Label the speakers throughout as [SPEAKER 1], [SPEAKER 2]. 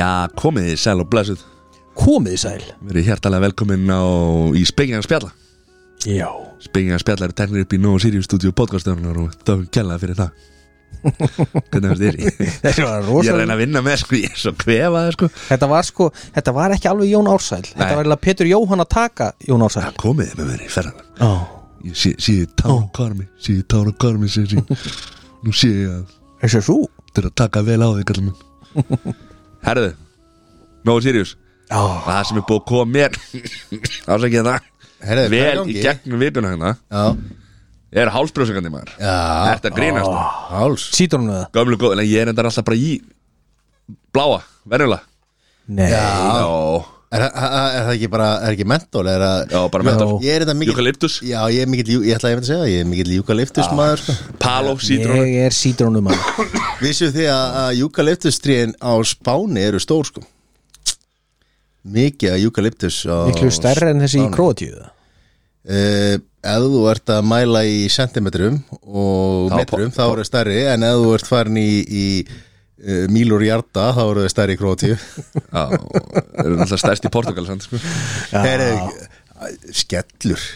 [SPEAKER 1] Já, komið þið sæl og blessuð
[SPEAKER 2] Komið þið sæl
[SPEAKER 1] Verið hjertalega velkomin á, í Spengjan Spjalla
[SPEAKER 2] Já
[SPEAKER 1] Spengjan Spjalla eru teknir upp í Nóa Sirius Studio podcastöfnunar og það er kjallað fyrir það Hvernig finnst þér?
[SPEAKER 2] Þetta
[SPEAKER 1] Ég
[SPEAKER 2] var
[SPEAKER 1] er að
[SPEAKER 2] rosalega
[SPEAKER 1] reyna að vinna með sko, ég er svo kvefaði sko
[SPEAKER 2] Þetta var sko, þetta var ekki alveg Jón Ársæl Þetta var eiginlega Petur Jóhann að taka Jón Ársæl
[SPEAKER 1] Komið þið með mér í ferðan
[SPEAKER 2] Já
[SPEAKER 1] Síði tára karmi, síði tára karmi sér sín Nú sé ég að
[SPEAKER 2] Þessi er þú
[SPEAKER 1] þetta er að taka vel á því kallar minn Herðu, Nóa Sirius
[SPEAKER 2] Já
[SPEAKER 1] Það sem er búið að koma mér Ásækja það
[SPEAKER 3] Herðu, hvað er
[SPEAKER 1] Vel
[SPEAKER 3] gangi?
[SPEAKER 1] í gegnum vituna hérna
[SPEAKER 3] Já,
[SPEAKER 1] Er hálsbrjósingandi maður
[SPEAKER 3] já,
[SPEAKER 1] Þetta grínast
[SPEAKER 3] háls
[SPEAKER 2] Sýtur hún það?
[SPEAKER 1] Gömlu góð, en ég er endar alltaf bara í Bláa, venjulega
[SPEAKER 2] Nei
[SPEAKER 3] Já,
[SPEAKER 1] Já,
[SPEAKER 3] er, er, er það ekki bara, er ekki mentól? Er að,
[SPEAKER 1] Já, bara mentól.
[SPEAKER 3] Ég er þetta mikill
[SPEAKER 1] Eukalyptus.
[SPEAKER 3] Já, ég er mikill, jú- ég ætla að ég veit að segja það, Ég er mikill eukalyptus maður sko.
[SPEAKER 1] Palo, sítrónu
[SPEAKER 2] Ég er sýtur hún um hann
[SPEAKER 3] Vissu þið að, að eukalyptus tríin á Spáni eru stór sko Mikið að eukalyptus á
[SPEAKER 2] Miklu stærri en þessi í krótíu það
[SPEAKER 3] Eh, ef þú ert að mæla í sentimetrum og
[SPEAKER 1] Þá-
[SPEAKER 3] metrum þá eru þau stærri en ef þú ert farin í, í uh, mílur hjarta þá eru þau stærri í krótíu
[SPEAKER 1] Já, það er alltaf stærst í Portugal sant, sko.
[SPEAKER 3] Heyrðu, skellur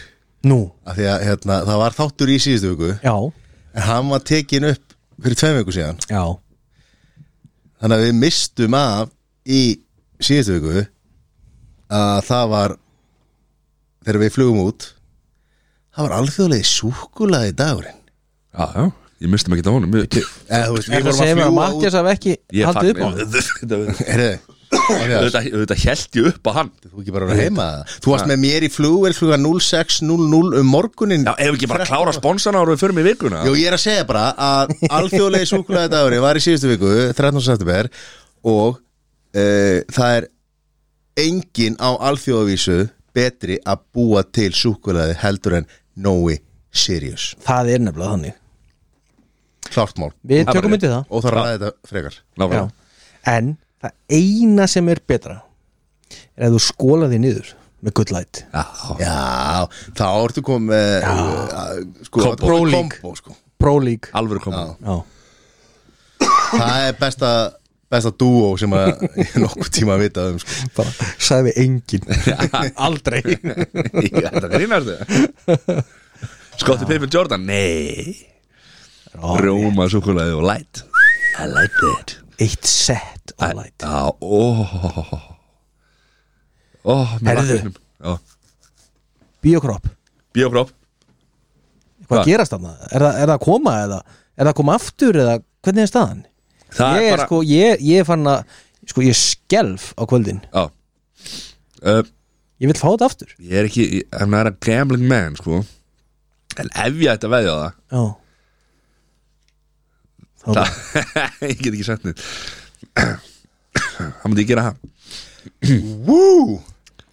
[SPEAKER 2] Nú
[SPEAKER 3] af því að hérna, það var þáttur í síðustu viku
[SPEAKER 2] Já
[SPEAKER 3] en hann var tekin upp fyrir tveim viku síðan
[SPEAKER 2] Já
[SPEAKER 3] þannig að við mistum af í síðustu viku að það var þegar við flugum út það var alþjóðlega súkulaði dagurinn
[SPEAKER 1] Já, já, ég mistum ekki það honum Ég,
[SPEAKER 3] Eða, þú veist,
[SPEAKER 2] Þetta segir mér að Mattias haf ekki
[SPEAKER 1] ég
[SPEAKER 2] haldið upp á hann
[SPEAKER 1] Þetta
[SPEAKER 3] Herðu,
[SPEAKER 1] held ég upp á hann
[SPEAKER 3] Þú ekki bara að vera heima það Þú varst með mér í flugvel kluga 06.00 um morgunin
[SPEAKER 1] Já, ef við ekki bara klára sponsana og við förum í vikuna
[SPEAKER 3] Jó, ég er að segja bara að alþjóðlegi súkulega dagurinn var í síðustu viku 13. september og uh, það er engin á alþjóðavísu betri að búa til súkulega heldur en Nói Sirius
[SPEAKER 2] Það er nefnilega þannig
[SPEAKER 3] Klartmál
[SPEAKER 1] Það
[SPEAKER 2] Við
[SPEAKER 1] er bara
[SPEAKER 2] tökum undir það
[SPEAKER 3] og það ræði þetta frekar
[SPEAKER 1] Nákvæmlega.
[SPEAKER 2] Já. En það eina sem er betra er að þú skóla því niður með good light
[SPEAKER 1] Já,
[SPEAKER 3] Já, þá ertu komið með uh, sko,
[SPEAKER 1] Kombo.
[SPEAKER 3] kombo,
[SPEAKER 2] Prólík.
[SPEAKER 3] kombo sko.
[SPEAKER 2] Pro League
[SPEAKER 1] alvöru koma
[SPEAKER 2] Já,
[SPEAKER 3] Það er besta besta dúo sem að ég nokkuð tíma að vita um sko.
[SPEAKER 2] bara sagði við engin Aldrei
[SPEAKER 1] Þetta grínast þið Skotti Pippin Jordan, nei Rjóma, súkulaði og light I like that
[SPEAKER 2] Eitt set of light
[SPEAKER 1] Já, ó Ó, með
[SPEAKER 2] Herðu.
[SPEAKER 1] vatninum Já,
[SPEAKER 2] Bíokropp,
[SPEAKER 1] Bíókropp
[SPEAKER 2] hvað
[SPEAKER 1] Hvað?
[SPEAKER 2] gerast þarna? Er, það- er það að koma eða? Er það að koma aftur eða hvernig er staðan?
[SPEAKER 1] Það
[SPEAKER 2] ég
[SPEAKER 1] er
[SPEAKER 2] er
[SPEAKER 1] bara-
[SPEAKER 2] sko, ég, ég er fann að sko, ég skelf á kvöldin
[SPEAKER 1] Já uh,
[SPEAKER 2] Ég vil fá þetta aftur
[SPEAKER 1] Ég er ekki, ég- I'm not a gambling man, sko En ef ég ætti að veðja á það
[SPEAKER 2] Já Þá bara,
[SPEAKER 1] það, Ég get ekki sagt neitt Það myndi ég gera það
[SPEAKER 3] Woo!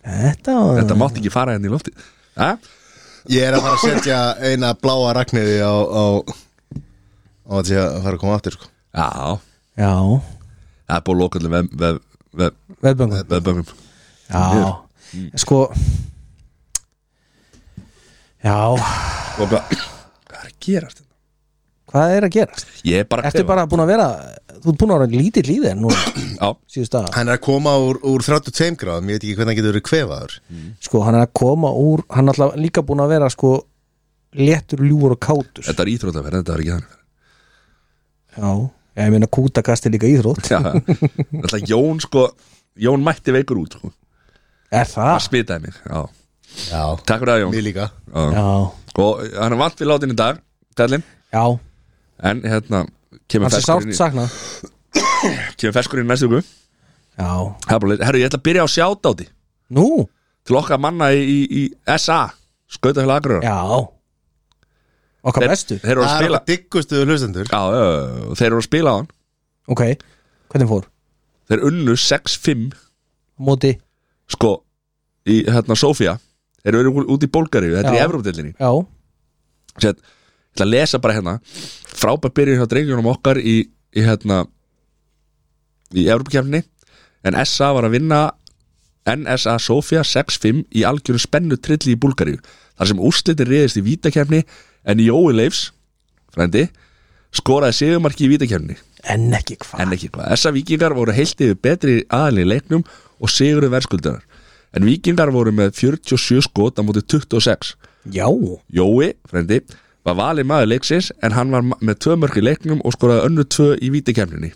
[SPEAKER 2] Þetta var
[SPEAKER 1] Þetta mátti ekki fara henni í lofti Ha?
[SPEAKER 3] Ég er að fara að setja eina bláa ragniði á, á, á að segja að fara að koma aftur sko.
[SPEAKER 1] Já,
[SPEAKER 2] Já,
[SPEAKER 1] það er búið að loka allir vef, vef, vef,
[SPEAKER 2] veðböngum
[SPEAKER 1] vefböngum
[SPEAKER 2] Já, sko Já,
[SPEAKER 1] Og bara, hvað er að gera þetta?
[SPEAKER 2] hvað er að gerast?
[SPEAKER 1] Ég er bara að
[SPEAKER 2] Ertu
[SPEAKER 1] klefa.
[SPEAKER 2] bara búin að vera Þú ert búin að vera lítill í þeir nú
[SPEAKER 1] Já,
[SPEAKER 2] síðust að
[SPEAKER 3] Hann er að koma úr, úr 32 gráðum Ég veit ekki hvernig hann getur verið kvefaður
[SPEAKER 2] Sko, hann er að koma úr Hann er alltaf líka búin að vera sko Léttur, ljúfur og kátur
[SPEAKER 1] þetta er íþrótaferð, þetta er ekki þannig
[SPEAKER 2] Já, já ég meina kútakast er líka íþrótt
[SPEAKER 1] Já, þetta er Jón sko Jón mætti veikur út sko
[SPEAKER 2] Er
[SPEAKER 1] Það
[SPEAKER 2] það?
[SPEAKER 1] spitaði mig, já
[SPEAKER 3] Já,
[SPEAKER 1] Takk fyrir það Jón
[SPEAKER 3] mér líka
[SPEAKER 1] já.
[SPEAKER 2] Já,
[SPEAKER 1] Og eh, hann er vant við látin í dag, kallinn
[SPEAKER 2] já
[SPEAKER 1] En hérna, kemur
[SPEAKER 2] Hann sé
[SPEAKER 1] ferskur
[SPEAKER 2] sárt
[SPEAKER 1] inn í,
[SPEAKER 2] saknað
[SPEAKER 1] kemur ferskur inn í næstu viku
[SPEAKER 2] Já,
[SPEAKER 1] Það er bara leið- Herru, ég ætla að byrja á sjátáti
[SPEAKER 2] nú,
[SPEAKER 1] Til okkar manna í, í, í SA Skautafélag Akureyrar
[SPEAKER 2] já Okkar bestu,
[SPEAKER 1] Þeir eru að
[SPEAKER 3] Það er
[SPEAKER 1] spila
[SPEAKER 3] að diggustu hlustendur
[SPEAKER 1] Já, já, já, og þeir eru að spila á hann
[SPEAKER 2] ok Hvernig fór?
[SPEAKER 1] Þeir unnu 6-5
[SPEAKER 2] Móti,
[SPEAKER 1] Sko, í hérna Sofía Þeir eru út í Bólgaríu, þetta er í
[SPEAKER 2] Já.
[SPEAKER 1] Evrópdelinni
[SPEAKER 2] já,
[SPEAKER 1] Sér, ég ætla að lesa bara hérna frábær byrjun hjá drengjunum okkar í, í hérna í Evropakefni en SA var að vinna NSA Sofia 6-5 í algjörum spennu trilli í Búlgaríu þar sem úrslitin reyðist í vítakefni en Jói Leifs, frændi skoraði sigumarki í vítakefni
[SPEAKER 2] En ekki hvað
[SPEAKER 1] en ekki hvað. Þessa vikingar voru heilt yfir betri aðalinn í leiknum og sigurðu verðskuldunar. En vikingar voru með 47 skot á móti 26.
[SPEAKER 2] Já,
[SPEAKER 1] Jói, frendi, var valið maður leiksins en hann var ma- með tvö mörk í leiknum og skoraði önnu tvö í vítikemninni.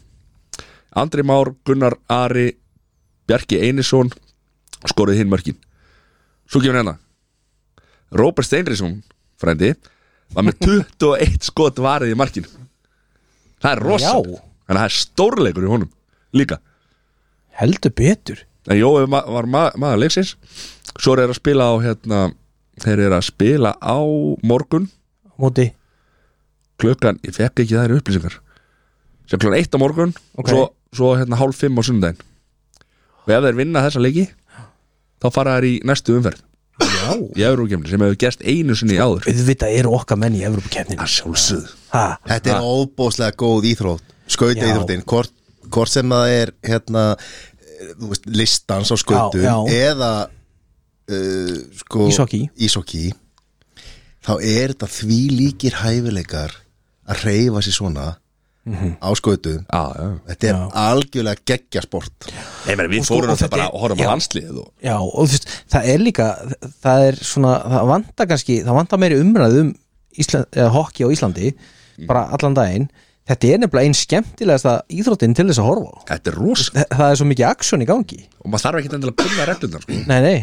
[SPEAKER 1] Andri Már, Gunnar, Ari, Bjarki Einarsson skoraði hinn mörkin. Svo kemur hérna. Róbert Steinrisson, frendi, var með 21 skot varið í markinu. Það er rosa.
[SPEAKER 2] Já.
[SPEAKER 1] Þannig að það er stórleikur í honum líka.
[SPEAKER 2] heldur betur
[SPEAKER 1] En Jói ma var ma maður leiksins Svo er að spila á hérna Þeir eru að spila á morgun
[SPEAKER 2] Á Móti,
[SPEAKER 1] Klukkan, ég fekk ekki þær upplýsingar Sem klukkan eitt á morgun og
[SPEAKER 2] Ok.
[SPEAKER 1] Svo, svo hérna hálf fimm á sundaginn Og ef þeir vinna þessa leiki Þá fara þær í næstu umferð
[SPEAKER 2] já Sko.
[SPEAKER 1] Í Eurókemni sem hefur gerst einu sinni áður
[SPEAKER 2] Auðvitað eru okkar menn í Evrópukefninu
[SPEAKER 1] Það sjálfsögð
[SPEAKER 2] Ha,
[SPEAKER 3] Þetta er óbóðslega góð íþrótt Skauta
[SPEAKER 2] Já.
[SPEAKER 3] íþróttin, hvort, hvort sem það er hérna, eh, þú veist, listans á skautum
[SPEAKER 2] Já, já.
[SPEAKER 3] eða uh, sko,
[SPEAKER 2] Íshokkí.
[SPEAKER 3] íshokkí, þá er þetta því líkir hæfileikar að reyfa sér svona
[SPEAKER 2] Mhm.
[SPEAKER 3] á skautum
[SPEAKER 1] Já, já
[SPEAKER 3] Þetta er
[SPEAKER 2] Já.
[SPEAKER 3] algjörlega geggja sport
[SPEAKER 1] Nei, meni, við
[SPEAKER 2] sko,
[SPEAKER 1] fórum
[SPEAKER 2] og
[SPEAKER 1] þetta
[SPEAKER 2] þetta
[SPEAKER 1] bara
[SPEAKER 2] er-
[SPEAKER 1] og horfum
[SPEAKER 2] já.
[SPEAKER 1] á landslið og
[SPEAKER 2] já, og þú veist, það er líka það er svona, það vantar kannski það vantar meiri umræð um Ísland, eða, hokki á Íslandi, bara allan daginn þetta er nefnilega einn skemmtilegasta íþróttin til þess að horfa á
[SPEAKER 1] Þetta er rosa
[SPEAKER 2] Þa- það er svo mikið aksjón í gangi
[SPEAKER 1] Og maður þarf ekki endilega að byrja reglundar sko.
[SPEAKER 2] nei, nei,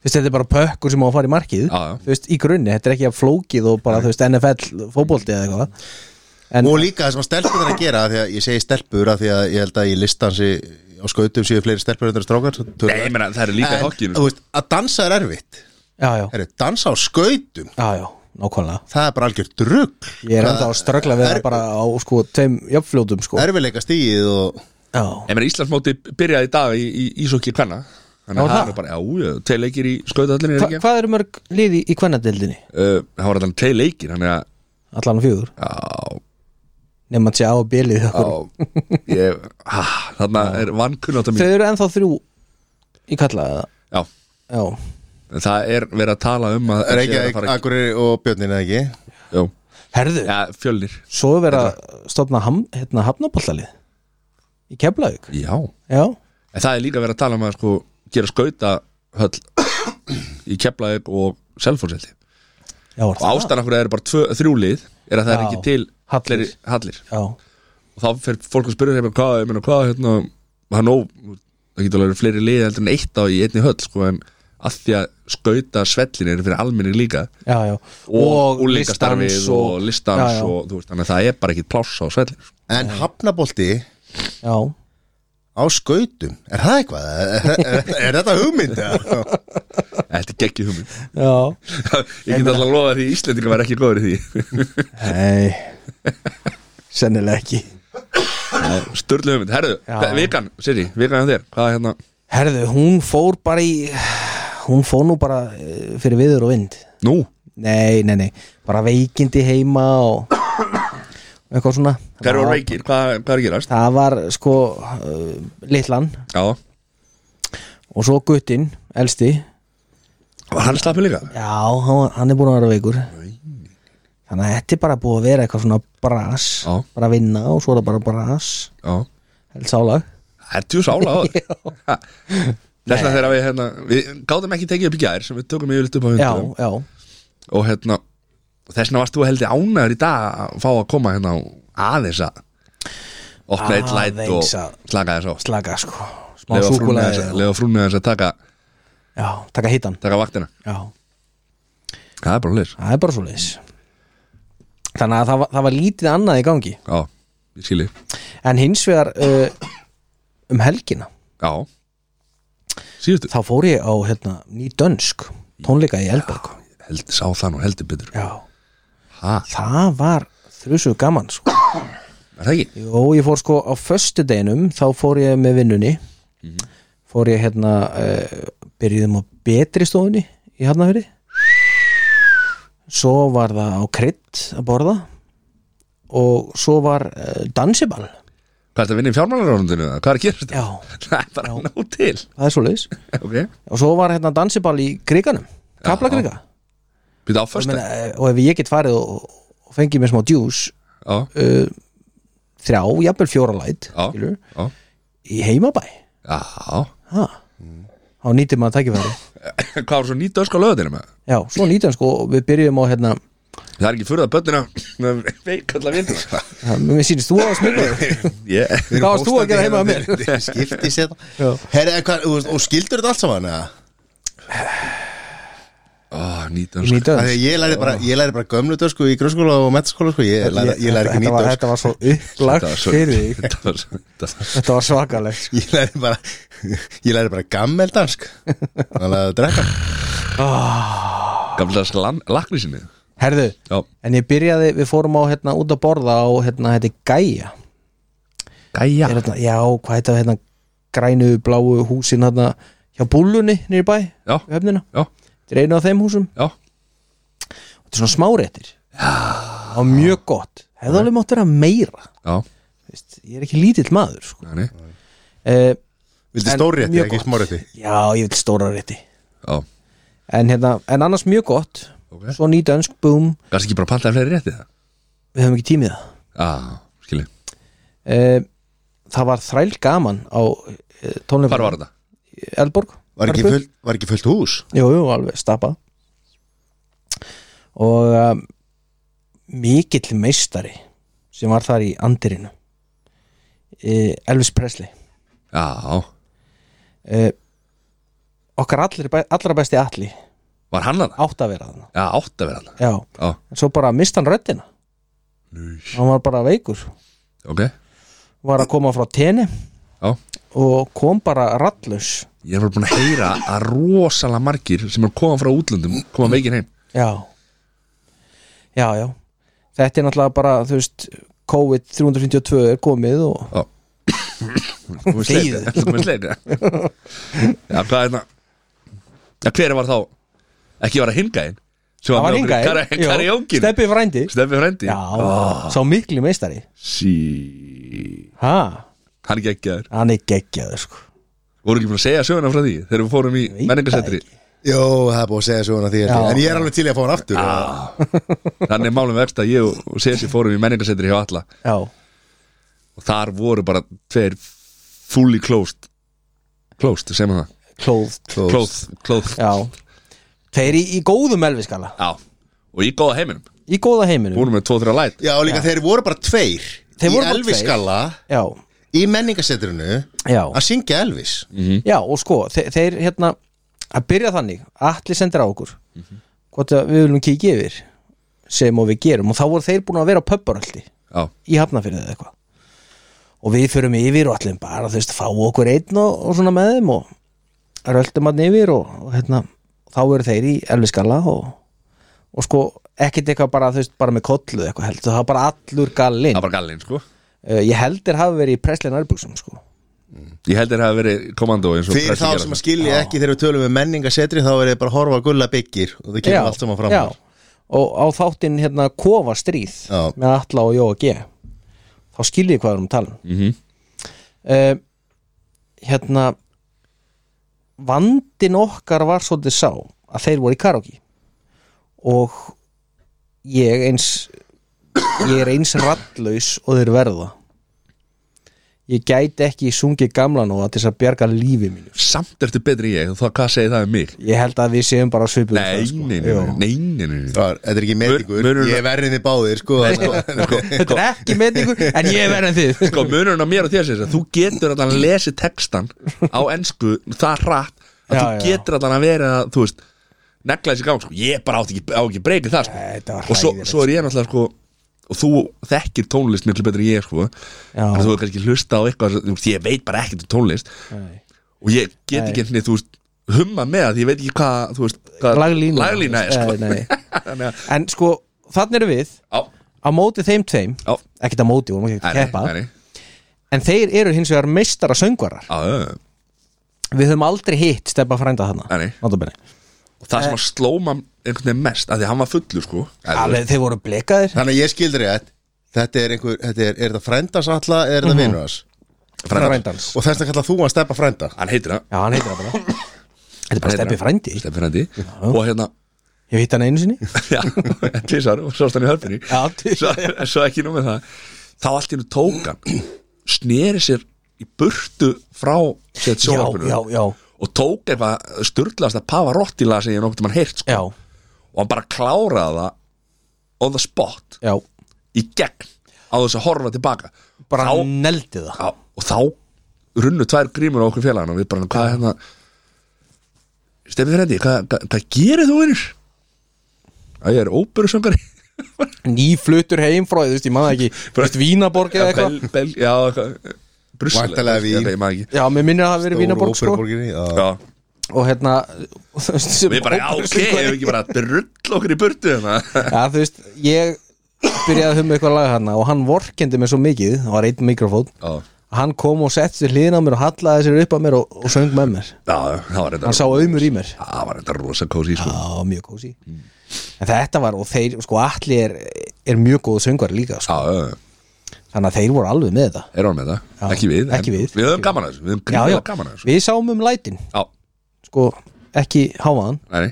[SPEAKER 2] þú veist, þetta er bara pökkur sem á að fara í
[SPEAKER 1] Já,
[SPEAKER 2] markið
[SPEAKER 1] já.
[SPEAKER 2] þú veist, í grunni, þetta er ekki að flókið og bara, þú veist, NFL fótbolti eða eitthvað en,
[SPEAKER 3] Og líka það sem að stelpur er að gera af Því að ég segi stelpur af því að ég held að ég listansi á skautum séu fleiri stelpur undir strákar
[SPEAKER 1] Nei, ég meina, það er líka í sko.
[SPEAKER 3] En,
[SPEAKER 1] hokkinu
[SPEAKER 3] þú veist, Að dansa er erfitt
[SPEAKER 2] já, já,
[SPEAKER 3] Heru, Dansa á skautum,
[SPEAKER 2] já, já, nákvæmlega
[SPEAKER 3] það er bara algjör drugg
[SPEAKER 2] ég er enda að ströggla við það bara á sko, tveim jöfnfljótum, sko
[SPEAKER 3] Erfileika stíð og
[SPEAKER 2] já,
[SPEAKER 1] Ég meina Íslandsmóti byrjaði í dag í, í ísokki kvenna Þannig
[SPEAKER 2] Já,
[SPEAKER 1] að það
[SPEAKER 2] það?
[SPEAKER 1] er bara, já, já, tvei leikir í skautahöllinni er
[SPEAKER 2] Hva,
[SPEAKER 1] ekki?
[SPEAKER 2] hvað eru mörg liði í kvennadeildinni?
[SPEAKER 1] Uh, Það var allan tvei leikir, þannig að
[SPEAKER 2] allan á fjögur,
[SPEAKER 1] Já,
[SPEAKER 2] nefn að sé á að bjelið
[SPEAKER 1] já ég, ha, Þarna er vankunnáta
[SPEAKER 2] þau
[SPEAKER 1] mín
[SPEAKER 2] eru ennþá þrjú í kalla eða?
[SPEAKER 1] Já,
[SPEAKER 2] já,
[SPEAKER 1] en það er verið að tala um að það sé að
[SPEAKER 3] Reykjavík,
[SPEAKER 1] fara ekki-
[SPEAKER 3] Akureyri og Björnin eða ekki
[SPEAKER 1] Já,
[SPEAKER 2] herðu,
[SPEAKER 1] ja, fjölnir
[SPEAKER 2] svo er verið að stofna ham, hérna, hafnabóllalið í Keflavík,
[SPEAKER 1] Já, en
[SPEAKER 2] já
[SPEAKER 1] það er líka verið að tala um að sko gera skautahöll í Keflavík og Selfonsveldi
[SPEAKER 2] já, var
[SPEAKER 1] Og ástæðan okkur er bara tvö, þrjú lið er að það er
[SPEAKER 2] Ah. Já,
[SPEAKER 1] ekki til
[SPEAKER 2] hallir.
[SPEAKER 1] fleiri hallir
[SPEAKER 2] já,
[SPEAKER 1] og þá fer fólk að spyrja þeim hvað, ég meina hvað, hérna hann ó, það getur alveg verið fleiri liði heldur en eitt á í einni höll, sko, en að því að skauta svellin er fyrir almenning líka
[SPEAKER 2] já, já
[SPEAKER 1] og, og
[SPEAKER 2] listans
[SPEAKER 1] listans og, listans
[SPEAKER 2] já, já,
[SPEAKER 1] og þú veist, þannig að það er bara ekki pláss á svellin sko.
[SPEAKER 3] En hafnabolti
[SPEAKER 2] já,
[SPEAKER 3] á skautum, er það eitthvað? Er, er, er þetta hugmynd? eða?
[SPEAKER 1] Þetta er geggjum hugmynd
[SPEAKER 2] já,
[SPEAKER 1] Ég get alltaf að lofa því að Íslendinga var ekki góður í því
[SPEAKER 2] hei sennilega ekki
[SPEAKER 1] Sturlu hugmynd, herðu,
[SPEAKER 2] Já.
[SPEAKER 1] já. vikan, Siri, vikan hjá þér Hvað er hérna,
[SPEAKER 2] herðu, hún fór bara í hún fór nú bara eh, fyrir viður og vind
[SPEAKER 1] nú,
[SPEAKER 2] Nei, nei, nei, bara veikindi heima og og eitthvað svona
[SPEAKER 1] hver voru veikir, hvað, hvað er að gerast?
[SPEAKER 2] Það var sko uh, litlan
[SPEAKER 1] Já,
[SPEAKER 2] og svo guttinn, elsti
[SPEAKER 1] var hann slappið líka?
[SPEAKER 2] Já, hann, var- hann er búin að vera veikur Þannig að þetta er bara búið að vera eitthvað svona bras
[SPEAKER 1] Já.
[SPEAKER 2] bara vinna og svo er það bara bras
[SPEAKER 1] Já,
[SPEAKER 2] held sálag
[SPEAKER 1] Það er tjú sála á það Ha. Þess vegna þegar við, hérna, við gáðum ekki tekið upp í gær sem við tökum yfirleitt upp á
[SPEAKER 2] Já,
[SPEAKER 1] hundum
[SPEAKER 2] já,
[SPEAKER 1] og hérna, og þess vegna varst þú heldig ánæður í dag að fá að koma hérna og aðeins að opna eitt læt og
[SPEAKER 2] Aðeins að-
[SPEAKER 1] slaka þess á
[SPEAKER 2] slaga sko smá
[SPEAKER 1] Lefa frúnni
[SPEAKER 2] súkkulaði
[SPEAKER 1] þess að, leyfa frúnni aðeins að taka,
[SPEAKER 2] Já, taka hittan
[SPEAKER 1] taka vaktina
[SPEAKER 2] Já,
[SPEAKER 1] Það er bara leys
[SPEAKER 2] það er bara svo leis Þannig að það var, það var lítið annað í gangi
[SPEAKER 1] Já, ég skilji
[SPEAKER 2] En hins vegar uh, um helgina
[SPEAKER 1] Já Síðustu
[SPEAKER 2] þá fór ég á hérna, ný dönsk tónleika í Elberg
[SPEAKER 1] held, Sá það nú heldur betur
[SPEAKER 2] Já.
[SPEAKER 1] Ha,
[SPEAKER 2] það var þrjusu gaman sko.
[SPEAKER 1] er það ekki?
[SPEAKER 2] og ég fór sko á föstudeginum þá fór ég með vinnunni fór ég hérna uh, byrjuðum á betri stofunni í Hafnafjörði svo var það á krydd að borða og svo var uh, eh, dansiball
[SPEAKER 1] Hvað er þetta að vinna í fjármálaránundinu? Hvað er að gera þetta?
[SPEAKER 2] Já,
[SPEAKER 1] Það er bara að ná til
[SPEAKER 2] það er svo leiðis
[SPEAKER 1] Ok,
[SPEAKER 2] Og svo var hérna dansiball í kriganum Kaplakrika
[SPEAKER 1] býta á
[SPEAKER 2] og,
[SPEAKER 1] fösta
[SPEAKER 2] meina, eh, og ef ég get farið og, og fengið mér smá djús
[SPEAKER 1] Já,
[SPEAKER 2] uh, Þrjá, jafnvel fjóra læt
[SPEAKER 1] Já.
[SPEAKER 2] skilur,
[SPEAKER 1] já,
[SPEAKER 2] Í heimabæ
[SPEAKER 1] já
[SPEAKER 2] ha. Þá nýtir maður tækifæri
[SPEAKER 1] Hvað var svo nýtt ösk á löðinu með?
[SPEAKER 2] Já, svo nýtir hann sko og Við byrjum á hérna
[SPEAKER 1] Það er ekki fyrir að bönnina Veikalla vinn
[SPEAKER 2] ha, Mér sýnist þú að smilja
[SPEAKER 1] Ég
[SPEAKER 2] Hvað varst þú að gera hérna? heima hjá mér?
[SPEAKER 3] Skipti sér
[SPEAKER 2] Já.
[SPEAKER 3] Herri, hvað, og, og skildur þetta allt saman? eða?
[SPEAKER 1] Nýtt
[SPEAKER 2] Í
[SPEAKER 1] ösk
[SPEAKER 2] nýtið
[SPEAKER 3] Af því að Ég læri bara, ég læri bara gömlu dösku í grunnskóla og metaskóla sko. Ég læri, ég læri ekki
[SPEAKER 2] þetta, var,
[SPEAKER 3] nýtt
[SPEAKER 2] þetta var svo
[SPEAKER 1] Þetta var
[SPEAKER 2] upplagt
[SPEAKER 1] svo-
[SPEAKER 2] fyrir þig
[SPEAKER 1] Þetta var svo- þetta var-
[SPEAKER 2] Þetta var svakalegt sko.
[SPEAKER 3] Ég læri bara Ég læri bara gammeldansk Þannig að drekka
[SPEAKER 1] Gamla slan- lakrísinni
[SPEAKER 2] Herðu,
[SPEAKER 1] Já,
[SPEAKER 2] en ég byrjaði, við fórum á hérna út að borða á hérna, hérna Gæja
[SPEAKER 1] gæja
[SPEAKER 2] er, hérna, Já, hvað heita hérna grænu, bláu húsin hérna hjá búllunni nýri bæ
[SPEAKER 1] Já,
[SPEAKER 2] við höfnina,
[SPEAKER 1] já,
[SPEAKER 2] þetta er einu af þeim húsum
[SPEAKER 1] já
[SPEAKER 2] þetta er svona smáréttir Já Það var mjög gott, hefði alveg mátt vera meira
[SPEAKER 1] Já,
[SPEAKER 2] Vist, Ég er ekki lítill maður sko.
[SPEAKER 1] næni
[SPEAKER 2] uh,
[SPEAKER 3] Vildi
[SPEAKER 2] En
[SPEAKER 3] stórétti,
[SPEAKER 2] mjög
[SPEAKER 3] ekki
[SPEAKER 2] gott.
[SPEAKER 3] smárétti
[SPEAKER 2] Já, ég vil stóra rétti
[SPEAKER 1] Já,
[SPEAKER 2] en, hérna, en annars mjög gott
[SPEAKER 1] Ok.
[SPEAKER 2] Svo nýt önsk, búm,
[SPEAKER 1] gæst ekki bara pantaði fleiri rétti það?
[SPEAKER 2] við höfum ekki tímið það
[SPEAKER 1] Já, skilji
[SPEAKER 2] Eh, það var þræl gaman á eh, tónleika
[SPEAKER 1] Hvar var þetta?
[SPEAKER 2] Elborg
[SPEAKER 3] Var ekki, full, var ekki fullt hús?
[SPEAKER 2] Jú, jú, alveg stappa og um, mikill meistari sem var þar í andirinu uh, Elvis Presley
[SPEAKER 1] Já,
[SPEAKER 2] uh, okkar allir, be- allra besti alli
[SPEAKER 1] var hann að það?
[SPEAKER 2] átt að vera þarna
[SPEAKER 1] Já, átt að vera hann
[SPEAKER 2] já,
[SPEAKER 1] Já,
[SPEAKER 2] en svo bara mista hann röddina
[SPEAKER 1] Nú.
[SPEAKER 2] hann var bara veikur
[SPEAKER 1] ok,
[SPEAKER 2] var að koma frá tenni
[SPEAKER 1] já
[SPEAKER 2] og kom bara rallus
[SPEAKER 1] Ég er bara búin að heyra að rosalega margir sem er koma frá útlöndum koma veikir heim
[SPEAKER 2] Já Já, já Þetta er náttúrulega bara, þú veist COVID-352 er komið og
[SPEAKER 1] Þú veist
[SPEAKER 2] Deyðu.
[SPEAKER 1] leika, þú veist leika Já, hvað er það? Já, hver var þá? Ekki var að hinga einn Sem
[SPEAKER 2] það var
[SPEAKER 1] með okkur í
[SPEAKER 2] hinga
[SPEAKER 1] kara- Karajókin
[SPEAKER 2] Steppi frændi
[SPEAKER 1] Steppi frendi
[SPEAKER 2] Já, sá miklu meistari
[SPEAKER 1] Sí
[SPEAKER 2] Ha,
[SPEAKER 1] Hann geggjaður
[SPEAKER 2] hann er geggjaður sko
[SPEAKER 1] Voru ekki búin að segja söguna frá því Þegar við fórum í
[SPEAKER 2] Veit það
[SPEAKER 1] menningarsetri
[SPEAKER 2] ekki.
[SPEAKER 3] Jó, það er búið að segja svona því
[SPEAKER 2] Já.
[SPEAKER 3] held ég. En ég er alveg til í að fá hann aftur
[SPEAKER 1] Þannig er málum verst að ég og- og Sessi fórum í menningarsetri hjá alla
[SPEAKER 2] Já,
[SPEAKER 1] Og þar voru bara tveir fully closed Closed, sem það
[SPEAKER 2] klóð
[SPEAKER 3] Closed.
[SPEAKER 1] Closed, closed
[SPEAKER 2] Já Þeir í, í góðum elviskala
[SPEAKER 1] Já, og í góða heiminum
[SPEAKER 2] Í góða heiminum
[SPEAKER 1] Búinum með 2-3 læt
[SPEAKER 3] Já, og líka þeir voru bara tveir
[SPEAKER 2] Þeir voru
[SPEAKER 3] Í
[SPEAKER 2] bara
[SPEAKER 3] Elvis-skalla
[SPEAKER 2] Já,
[SPEAKER 3] Í menningasetrinu
[SPEAKER 2] já
[SPEAKER 3] Að syngja Elvis
[SPEAKER 1] Mhm.
[SPEAKER 2] Já, og sko, þeir, þeir hérna að byrja þannig, allir sendir á okkur
[SPEAKER 1] Mhm.
[SPEAKER 2] hvort að við viljum kíkja yfir sem og við gerum og þá voru þeir búin að vera á pöpparöldi
[SPEAKER 1] Já,
[SPEAKER 2] í hafnafyrðið eða eitthvað og við förum yfir og allir bara þú veist fá okkur einn og, og svona með þeim og röldum hann yfir og, og hérna, þá eru þeir í elviskalla og, og sko ekkert eitthvað bara þú veist bara með kollu eða eitthvað heldur það var bara allur gallinn
[SPEAKER 1] það var gallinn sko
[SPEAKER 2] uh, ég heldur hafi verið í preslin ærbuxum sko
[SPEAKER 1] Ég held þeir hafa verið kommando eins og
[SPEAKER 3] Fyrir
[SPEAKER 1] pressi
[SPEAKER 3] þá
[SPEAKER 1] gera
[SPEAKER 3] sem að
[SPEAKER 1] það.
[SPEAKER 3] skilja ekki þegar við tölum við menningasetri Þá er þið bara að horfa að gulla byggir Og það kemur allt saman fram
[SPEAKER 2] já. og á þáttinn hérna kofa stríð
[SPEAKER 3] Já.
[SPEAKER 2] með Alla og Jóa G þá skil ég hvað við erum að tala um
[SPEAKER 1] Mhm.
[SPEAKER 2] Eh, hérna vandin okkar var svolítið sá að þeir voru í karaoke og ég eins ég er eins rattlaus og þeir verða ég gæti ekki sungið gamla nú til þess að bjarga lífi mínu
[SPEAKER 1] Samt ertu betri en ég, þá hvað segir það um mig?
[SPEAKER 2] ég held að við séum bara svipuð
[SPEAKER 1] Nei, nei, nei, nei, nei, nei, nei.
[SPEAKER 3] Það er, þetta er ekki
[SPEAKER 1] Mun-
[SPEAKER 3] meðingur
[SPEAKER 1] munurinn-
[SPEAKER 3] Ég verði þið báðir, sko
[SPEAKER 1] Sko,
[SPEAKER 2] Þetta er ekki meðningur en ég er verið en þið
[SPEAKER 1] sko munurinn á mér og þér sér að þú getur allan að lesi textan á ensku það hratt að
[SPEAKER 2] Já,
[SPEAKER 1] þú
[SPEAKER 2] já.
[SPEAKER 1] getur allan að vera að, þú veist, negla þessi gang sko. ég bara átti ekki, á ekki breykið það sko.
[SPEAKER 2] Nei, þetta var
[SPEAKER 1] og svo,
[SPEAKER 2] hræðilegt,
[SPEAKER 1] svo er ég náttúrulega sko og þú þekkir tónlist miklu betur en ég sko þannig að þú er kannski hlusta á eitthvað sem- þú veist, ég veit bara ekkert um tónlist
[SPEAKER 2] Nei.
[SPEAKER 1] og ég get
[SPEAKER 2] Nei.
[SPEAKER 1] ekki einhvernig, þú veist, humma með það því ég veit ekki hvað, þú veist, hvað
[SPEAKER 2] Laglína
[SPEAKER 1] laglína er sko.
[SPEAKER 2] Nei, nei.
[SPEAKER 1] þannig að,
[SPEAKER 2] En sko, þannig eru við
[SPEAKER 1] á,
[SPEAKER 2] á móti þeim tveim,
[SPEAKER 1] á,
[SPEAKER 2] ekkert á móti vorum ekki
[SPEAKER 1] nei,
[SPEAKER 2] að keppa,
[SPEAKER 1] nei, nei,
[SPEAKER 2] en þeir eru hins vegar meistara söngvarar
[SPEAKER 1] á, á, á.
[SPEAKER 2] Við höfum aldrei hitt steppa frænda þarna
[SPEAKER 1] Nei, nei.
[SPEAKER 2] Notabene.
[SPEAKER 1] og það sem
[SPEAKER 2] Eh.
[SPEAKER 1] að slóma einhvern veginn mest, að því að hann var fullur sko Eða, þú veist,
[SPEAKER 2] Alveg, þeir voru blekaðir
[SPEAKER 3] Þannig að ég skildur rétt Þetta er einhver, þetta er, er þetta frændans alla eða er þetta vinnur hans?
[SPEAKER 2] Frændans.
[SPEAKER 3] Og þess að kalla þú að steppa frænda
[SPEAKER 1] hann heitir það
[SPEAKER 2] Já, hann heitir það bara Þetta er
[SPEAKER 1] Hann
[SPEAKER 2] bara
[SPEAKER 1] heitir
[SPEAKER 2] steppi
[SPEAKER 1] það.
[SPEAKER 2] frændi
[SPEAKER 1] Stebbi frændi og hérna
[SPEAKER 2] Ég hitt hann einu sinni
[SPEAKER 1] já, tvisar og sást hann í hörpunni
[SPEAKER 2] Já,
[SPEAKER 1] svo,
[SPEAKER 2] tvisvar.
[SPEAKER 1] svo ekki nú með það þá allt í nú tók hann sneri sér í burtu frá sér
[SPEAKER 2] Já,
[SPEAKER 1] sjónarpunum
[SPEAKER 2] já, já,
[SPEAKER 1] og tók eitthvað sturglast að pafa rottilega sem ég nokkuð mann heyrt sko.
[SPEAKER 2] já,
[SPEAKER 1] og hann bara kláraði það on the spot
[SPEAKER 2] já.
[SPEAKER 1] í gegn á þess að horfa tilbaka
[SPEAKER 2] Bara
[SPEAKER 1] þá,
[SPEAKER 2] neldi það
[SPEAKER 1] á, og þá runnu tvær grímur á okkur félagana og við bara, hvað er hérna Stefið Frendi, hvað, hvað, hvað gerir þú vinnur? Að ég er óperusöngari
[SPEAKER 2] Nýflutur heim frá, þú veist, ég manna ekki Þú veist, Vínaborg eða eitthvað
[SPEAKER 1] Bel- Bel- Já, eitthvað Brussel
[SPEAKER 3] Væntanlega Vín.
[SPEAKER 1] Ég maður ekki
[SPEAKER 2] Já, mér minnir að það hafi verið Vínaborg, sko
[SPEAKER 3] sko
[SPEAKER 1] Já,
[SPEAKER 2] Og hérna og þú veist, sem
[SPEAKER 1] við bara, já, ok,
[SPEAKER 2] óperusöngvari.
[SPEAKER 1] hefur ekki bara drull okkur í burtu hérna
[SPEAKER 2] Já, þú veist, ég byrjaði að humma eitthvað lag hérna og hann vorkendi mér svo mikið, það var einn mikrofón
[SPEAKER 1] Já,
[SPEAKER 2] hann kom og sett sér hliðin á mér og hallaði sér upp á mér og, og söng með mér
[SPEAKER 1] já, það var
[SPEAKER 2] hann
[SPEAKER 1] þetta
[SPEAKER 2] sá auðmur í mér
[SPEAKER 1] Það var þetta rosa kósi, sko
[SPEAKER 2] Já, mjög kósi En þetta var, og þeir, sko, allir er, er mjög góð söngvar líka, sko
[SPEAKER 1] Já, já, já.
[SPEAKER 2] Þannig að þeir voru alveg með þetta
[SPEAKER 1] er hann með
[SPEAKER 2] Já,
[SPEAKER 1] það? Ekki við en
[SPEAKER 2] ekki við.
[SPEAKER 1] Við höfum gaman að þessu, við höfum
[SPEAKER 2] Já, já,
[SPEAKER 1] gríðlega gaman að þessu
[SPEAKER 2] við sáum um lætin
[SPEAKER 1] Já,
[SPEAKER 2] Sko, ekki hávaðan,
[SPEAKER 1] nei,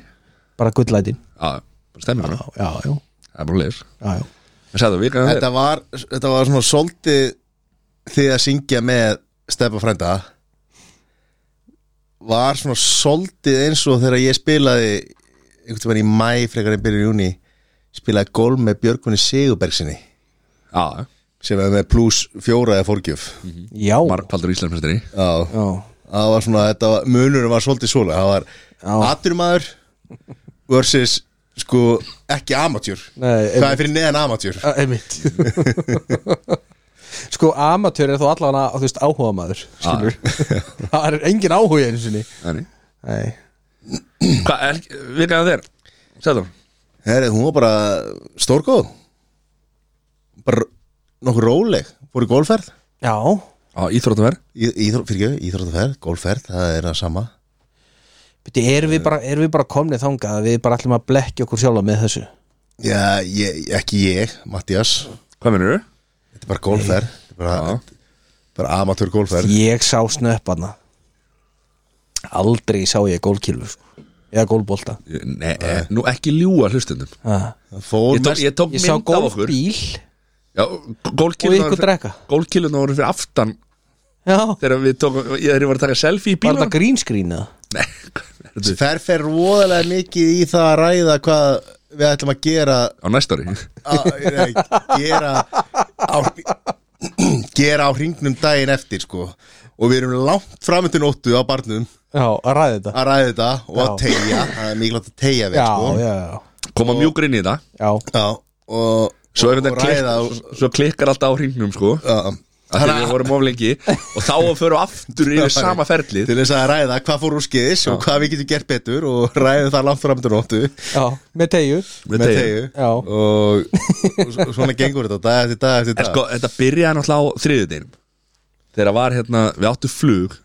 [SPEAKER 2] bara gulllætin
[SPEAKER 1] já, bara stemmir hann
[SPEAKER 2] Já, já, já,
[SPEAKER 1] Það er bara leis
[SPEAKER 2] já, já.
[SPEAKER 1] En sagði þú, við kannan
[SPEAKER 3] þetta var, þetta var svona svolítið því að syngja með Steppa frænda var svona svolítið eins og þegar ég spilaði einhvern tímann í mæ frekar en byrjun júni spilaði golf með Björgvinni Sigurbergsinni
[SPEAKER 1] Já,
[SPEAKER 3] sem er með pluss fjóra eða fórgjöf
[SPEAKER 2] Já,
[SPEAKER 1] margfaldur Íslandsmestari
[SPEAKER 3] já,
[SPEAKER 2] já,
[SPEAKER 3] það var svona þetta var, munurinn var svolítið svolega það var
[SPEAKER 2] Já.
[SPEAKER 3] aturmaður versus sko ekki amatjör
[SPEAKER 2] Nei,
[SPEAKER 3] það er fyrir neðan amatjör
[SPEAKER 2] Ö, einmitt Sko, amatör er þó allavega, þú veist, áhuga maður Skilur Það er engin áhuga einu sinni
[SPEAKER 1] Þannig
[SPEAKER 2] Nei,
[SPEAKER 1] Hvað, er, við kannan þér Sagði þú,
[SPEAKER 3] Heri, hún var bara stórgóð bara nokkuð róleg fór í golfferð
[SPEAKER 2] já,
[SPEAKER 1] á Íþróttaver
[SPEAKER 3] Í- íþró- fyrirgefðu, íþróttaferð, golfferð, það er það sama
[SPEAKER 2] beti, erum við bara, erum við bara komnið þangað að við bara ætlum að blekja okkur sjálfa með þessu
[SPEAKER 3] Já, ég, ekki ég, Mattias
[SPEAKER 1] Hvað mennur þú?
[SPEAKER 3] þetta er bara golfferð þetta er bara, bara amatör golfferð
[SPEAKER 2] Ég sá snöpparna Aldrei sá ég gólkilu Eða gólbolta
[SPEAKER 1] Nei, eh, nú ekki ljúa hlustundum
[SPEAKER 2] Ha.
[SPEAKER 3] fór
[SPEAKER 1] Ég tók,
[SPEAKER 3] mest
[SPEAKER 1] ég tók
[SPEAKER 2] Ég sá
[SPEAKER 1] mynd af okkur
[SPEAKER 2] gólbíl
[SPEAKER 1] Já, gólkiluna
[SPEAKER 2] Og ykkur drekka.
[SPEAKER 1] Gólkiluna voru fyrir aftan
[SPEAKER 2] Já,
[SPEAKER 1] Þegar við tókum, ég þegar ég var að taka selfie í
[SPEAKER 2] var
[SPEAKER 1] bílum
[SPEAKER 2] þetta grínskrín eða?
[SPEAKER 1] Nei, þetta er
[SPEAKER 3] fer fer voðalega mikið í það að ræða hvað við ætlum að gera
[SPEAKER 1] á næsta ári
[SPEAKER 3] að, nei, gera á, gera á hringnum daginn eftir sko og við erum langt framöndu nóttu á barnum
[SPEAKER 2] Já, að ræða þetta
[SPEAKER 3] að ræða þetta og að
[SPEAKER 2] Já.
[SPEAKER 3] tegja það er mikilvægt að tegja við
[SPEAKER 2] Já,
[SPEAKER 3] sko
[SPEAKER 2] já, já,
[SPEAKER 1] Koma mjúkur inn í þetta
[SPEAKER 2] já.
[SPEAKER 3] Já, og,
[SPEAKER 1] Svo,
[SPEAKER 3] og, og ræða
[SPEAKER 1] klikkar,
[SPEAKER 3] og,
[SPEAKER 1] svo, svo klikkar alltaf á hringnum sko
[SPEAKER 3] já,
[SPEAKER 1] að Þegar við vorum of lengi Og þá fyrir aftur yfir sama ferlið
[SPEAKER 3] til þess að ræða hvað fór úr skeiðis og hvað við getum gert betur og ræða það langt framöndu nóttu
[SPEAKER 2] já Með tegju
[SPEAKER 1] Með
[SPEAKER 3] með
[SPEAKER 1] teygju.
[SPEAKER 3] tegju
[SPEAKER 2] Já.
[SPEAKER 3] og, og svo- svona gengur þetta dag eftir dag eftir
[SPEAKER 1] En
[SPEAKER 3] dag
[SPEAKER 1] sko, þetta byrjaði náttúrulega á þriðudeginum Þegar var hérna, við áttum flug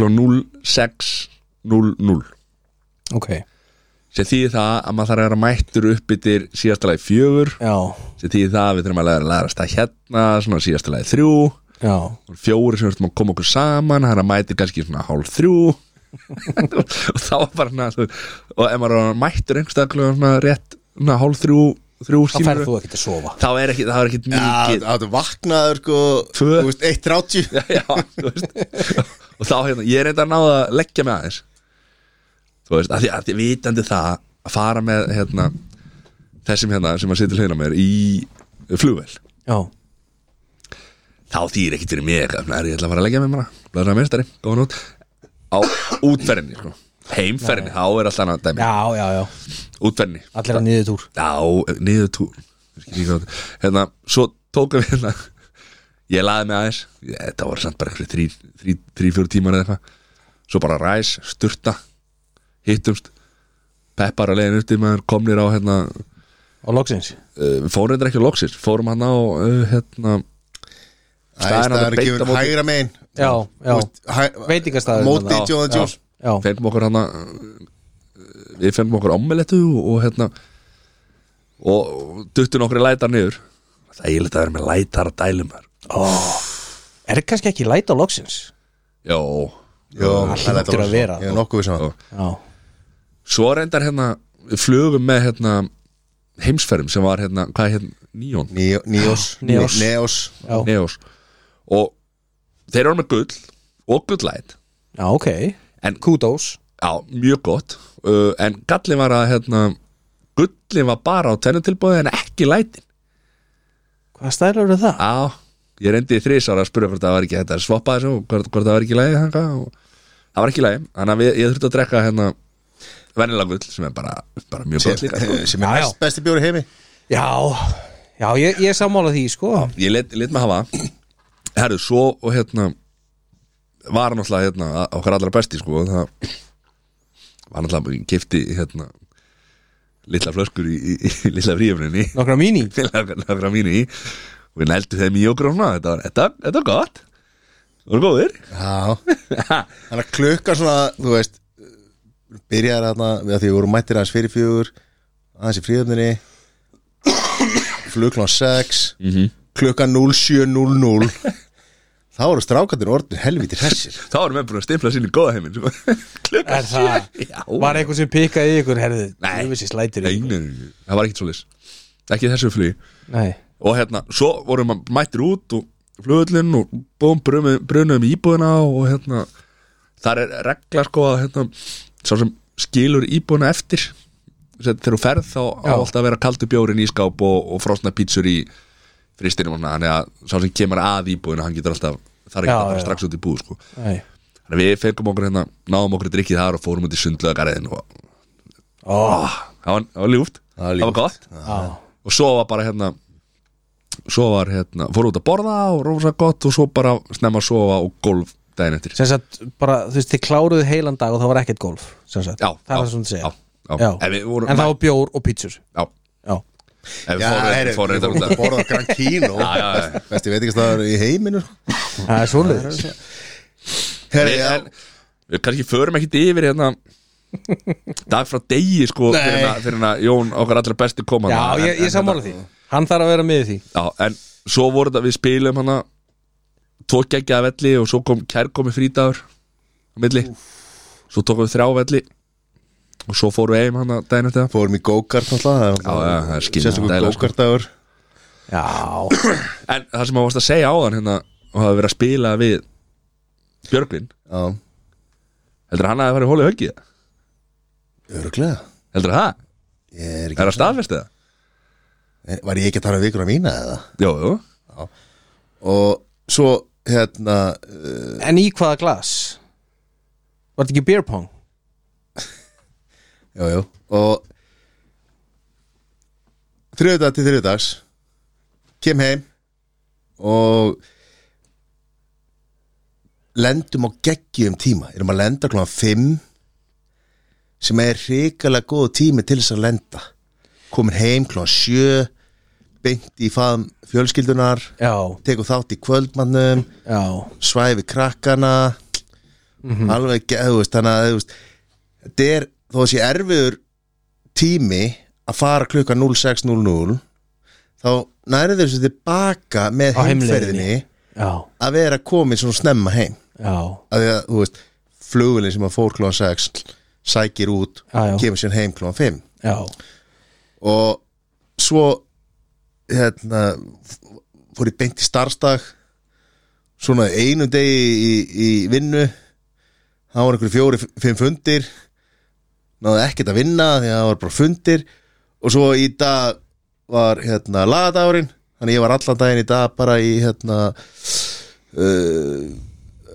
[SPEAKER 1] Klá 06.00
[SPEAKER 2] Ok,
[SPEAKER 1] Sem þýði það að maður þarf að vera mættur upp yfir síðastalagi fjögur
[SPEAKER 2] já,
[SPEAKER 1] Sem þýði það að við þurfum að læra, læra að stað hérna Svona síðastalagi þrjú
[SPEAKER 2] já
[SPEAKER 1] og Fjóri sem þurfum að koma okkur saman Það er að mæti kannski svona hálf þrjú Og þá var bara na, Og ef maður var mættur einhverstað Klá svona rétt na, hálf þrjú, þrjú
[SPEAKER 2] Þá
[SPEAKER 1] skilurðu,
[SPEAKER 2] ferð þú ekkert að sofa
[SPEAKER 1] Þá er ekki, það er ekki
[SPEAKER 3] Já,
[SPEAKER 1] mikið
[SPEAKER 3] þetta vaknaður sko
[SPEAKER 1] Tvö.
[SPEAKER 3] þú veist, 1.30
[SPEAKER 1] já, já, þú veist og þá hérna, ég er eitthvað að náða að leggja mig aðeins þú veist, að því að því vitandi það að fara með hérna, þessum hérna sem að sitja hliðina á mér í flugvel
[SPEAKER 2] Já, þá
[SPEAKER 1] þýr ekkert fyrir mig eitthvað, er ég ætla að fara að leggja mig bara, blæðra meistari, góðan út á útferðinni, sko heimferðinni, þá er alltaf annað dæmi
[SPEAKER 2] Já, já, já,
[SPEAKER 1] útferðinni,
[SPEAKER 2] allir að niður túr
[SPEAKER 1] já, niður tú Ég skil ekki hvað þetta- hérna, svo tókum við hérna ég laði mig aðeins ég, þetta voru samt bara eitthvað þrý, þrý, þrý, fjóru tímar eða eitthvað svo bara ræs, sturta hittumst, peppar að leiðin upp til maður komnir á hérna uh,
[SPEAKER 2] Og loksins
[SPEAKER 1] við fórum reyndar ekki loksist, fórum hann á uh, hérna, Staðan
[SPEAKER 3] Það
[SPEAKER 1] að
[SPEAKER 3] er
[SPEAKER 1] beita
[SPEAKER 3] ekki
[SPEAKER 1] móti.
[SPEAKER 3] hægra megin
[SPEAKER 2] Já, ah, já,
[SPEAKER 3] Þú veist, hæ-
[SPEAKER 2] Veitingastaður.
[SPEAKER 3] Móti
[SPEAKER 1] Já,
[SPEAKER 3] Jóðan Jóns
[SPEAKER 2] já,
[SPEAKER 1] fengum okkur hann eh, við fengum okkur omelettu og, og hérna og duttum okkur í lætar niður það er eiginlega að vera með lætar að dælum þar
[SPEAKER 2] Ó, er kannski ekki læt á loksins
[SPEAKER 1] Jó
[SPEAKER 3] Jó,
[SPEAKER 2] hlýtur
[SPEAKER 3] þetta var
[SPEAKER 2] að
[SPEAKER 3] svo.
[SPEAKER 2] vera.
[SPEAKER 3] Ég er nokkuð um við
[SPEAKER 1] Já.
[SPEAKER 3] saman
[SPEAKER 2] Já,
[SPEAKER 1] Svo reyndar hérna Við flugum með hérna Heimsferðum sem var hérna Hvað er hérna? Níón
[SPEAKER 3] Neos
[SPEAKER 2] Neos.
[SPEAKER 3] Neos
[SPEAKER 2] já,
[SPEAKER 1] Neós Og þeir eru með gull Og gullæt
[SPEAKER 2] já ok
[SPEAKER 1] En-
[SPEAKER 2] Kudos
[SPEAKER 1] Já, mjög gott uh, En gallin var að hérna Gullin var bara á tvennu tilbúið En ekki lætin
[SPEAKER 2] Hvað stælar eru það?
[SPEAKER 1] Já, ég reyndi í þrísar að spura hvort það var ekki þetta svoppa þessu og hvort, hvort það var ekki lægi hanga og það var ekki lægi þannig að við, ég þurfti að drekka hérna vennilega gull sem er bara, bara mjög gott líka sko.
[SPEAKER 3] sem
[SPEAKER 2] Já,
[SPEAKER 3] er
[SPEAKER 2] já.
[SPEAKER 3] næst besti bjóri heimi
[SPEAKER 2] Já, já ég, ég er sammála því sko
[SPEAKER 1] ég let, let mig hafa herru, svo og hérna var náttúrulega hérna a- okkar allra besti sko og það var náttúrulega kifti hérna litla flöskur í, í, í litla fríöfninni
[SPEAKER 2] Nokkra mini
[SPEAKER 1] félagra mínu í og við nældu þeim í okkur og svona þetta var, þetta, þetta var gott Það voru góðir
[SPEAKER 3] Já Þannig að klukkan svona, þú veist Byrjar þarna við að því við vorum mættir aðeins fyrir fjögur Aðeins í fríðöfninni Flugklán 6
[SPEAKER 1] Mhm.
[SPEAKER 3] -hmm. Klukkan 07.00 Þá voru strákandir orðin helvítir hessir
[SPEAKER 1] Þá erum við búin að stimpla sín í góða heiminn sko. Klukkan
[SPEAKER 2] Er það?
[SPEAKER 1] sjö. Já.
[SPEAKER 2] Var eitthvað sem pikkaði í ykkur herðið
[SPEAKER 1] Nei.
[SPEAKER 2] Þú vissi slætir
[SPEAKER 1] Nei,
[SPEAKER 2] í
[SPEAKER 1] nei, nei, nei, það var ekkert svolítið Ekki í þessu flugi
[SPEAKER 2] Nei
[SPEAKER 1] Og hérna, svo vorum við mættir út og flugullinn og búum brunum í íbúðina og hérna þar er regla sko að hérna sá sem skilur íbúðina eftir sem sagt, þegar þú ferð þá á
[SPEAKER 2] Já.
[SPEAKER 1] alltaf að vera kaldur bjórin í skáp og, og frosna pítsur í fristinum og svona þannig að sá sem kemur að íbúðina hann getur alltaf þar ekki
[SPEAKER 2] Já,
[SPEAKER 1] að fara
[SPEAKER 2] já.
[SPEAKER 1] strax út í búð sko
[SPEAKER 2] Nei
[SPEAKER 1] Þannig að við fengum okkur hérna, náðum okkur drikkið þar og fórum út í sundlöðagarðin og
[SPEAKER 2] Ó,
[SPEAKER 1] ah, það var, það var ljúft,
[SPEAKER 3] Það var ljúft.
[SPEAKER 1] það var gott
[SPEAKER 2] á
[SPEAKER 1] og svo var bara hérna svo var hérna, fórum út að borða og rosa gott og svo bara snemma að sofa og golf daginn eftir
[SPEAKER 2] Sem sagt, bara, þú veist, þið kláruðu heilan dag og það var ekkert golf Sem sagt,
[SPEAKER 1] Já,
[SPEAKER 2] það
[SPEAKER 1] já,
[SPEAKER 2] var svona að segja
[SPEAKER 1] já, já. En við vorum-
[SPEAKER 2] En það var bjór og pítsur
[SPEAKER 1] Já,
[SPEAKER 2] Já,
[SPEAKER 1] ef við fórum
[SPEAKER 3] heyrðu,
[SPEAKER 1] reyndar- fórum
[SPEAKER 3] við
[SPEAKER 1] reyndar út
[SPEAKER 3] fórum að
[SPEAKER 1] að
[SPEAKER 3] borða á Gran Kino
[SPEAKER 1] Já, já, já.
[SPEAKER 3] Besti veitingastæður í heiminu
[SPEAKER 2] það er svoleiðis
[SPEAKER 3] Herri,
[SPEAKER 1] Við-
[SPEAKER 3] já,
[SPEAKER 1] en- Við kannski förum ekkit yfir hérna dag frá degi sko
[SPEAKER 3] Nei.
[SPEAKER 1] fyrir að, fyrir að Jón okkar allra besti kom
[SPEAKER 2] Já,
[SPEAKER 1] þarna, en-
[SPEAKER 2] ég, ég
[SPEAKER 1] en
[SPEAKER 2] sammála því Hann þarf að vera með í því
[SPEAKER 1] Já, en svo voru þetta við spilum hana Tvo geggjaða velli og svo kom kærkomi frítagur á milli Svo tókum við þrjá velli og svo fórum við heim hana daginn eftir það
[SPEAKER 3] fórum í go-kart náttúrulega
[SPEAKER 1] Já, já, það er skiljanlegt
[SPEAKER 3] Sérstaklega
[SPEAKER 1] dæla, sko.
[SPEAKER 3] go-kartaður
[SPEAKER 2] Já,
[SPEAKER 1] En það sem maður varst að segja áðan hérna og hafa verið að spila við Björgvin
[SPEAKER 3] Já,
[SPEAKER 1] heldur hann að það farið hólið höggið
[SPEAKER 3] öruglega
[SPEAKER 1] heldur það,
[SPEAKER 3] Ég er
[SPEAKER 1] er
[SPEAKER 3] ekki,
[SPEAKER 1] það staðfestið það?
[SPEAKER 3] var ég ekki að tala um vikuna mína eða?
[SPEAKER 1] Jú, jú,
[SPEAKER 3] og svo hérna uh,
[SPEAKER 2] en í hvaða glas? Var þetta ekki beer pong?
[SPEAKER 3] jú, jú, og þriðudag til þriðudags kem heim og lendum á geggjum tíma erum að lenda klokkan 5 sem er hrikalega góð tími til þess að lenda komin heim klokkan 7 beint í faðum fjölskyldunar
[SPEAKER 2] Já,
[SPEAKER 3] tekum þátt í kvöldmannum
[SPEAKER 2] já,
[SPEAKER 3] svæfi krakkana
[SPEAKER 2] Mhm.
[SPEAKER 3] alveg geðust þannig að þú veist, þetta er þó þessi erfiður tími að fara klukka 06.00 þá nærið þessu tilbaka
[SPEAKER 2] Á
[SPEAKER 3] með heimferðinni
[SPEAKER 2] já,
[SPEAKER 3] að vera komin svona snemma heim
[SPEAKER 2] já
[SPEAKER 3] að því að, þú veist, flugulinn sem að fór klón 6 sækir út,
[SPEAKER 2] Já, já.
[SPEAKER 3] kemur sér heim klón 5
[SPEAKER 2] Já,
[SPEAKER 3] og svo hérna f- fór ég beint í starfstag svona einu degi í, í vinnu það var einhverju fjóri, fimm fundir náði ekkert að vinna því að það var bara fundir og svo í dag var hérna lagadagurinn þannig ég var allan daginn í dag bara í hérna uh,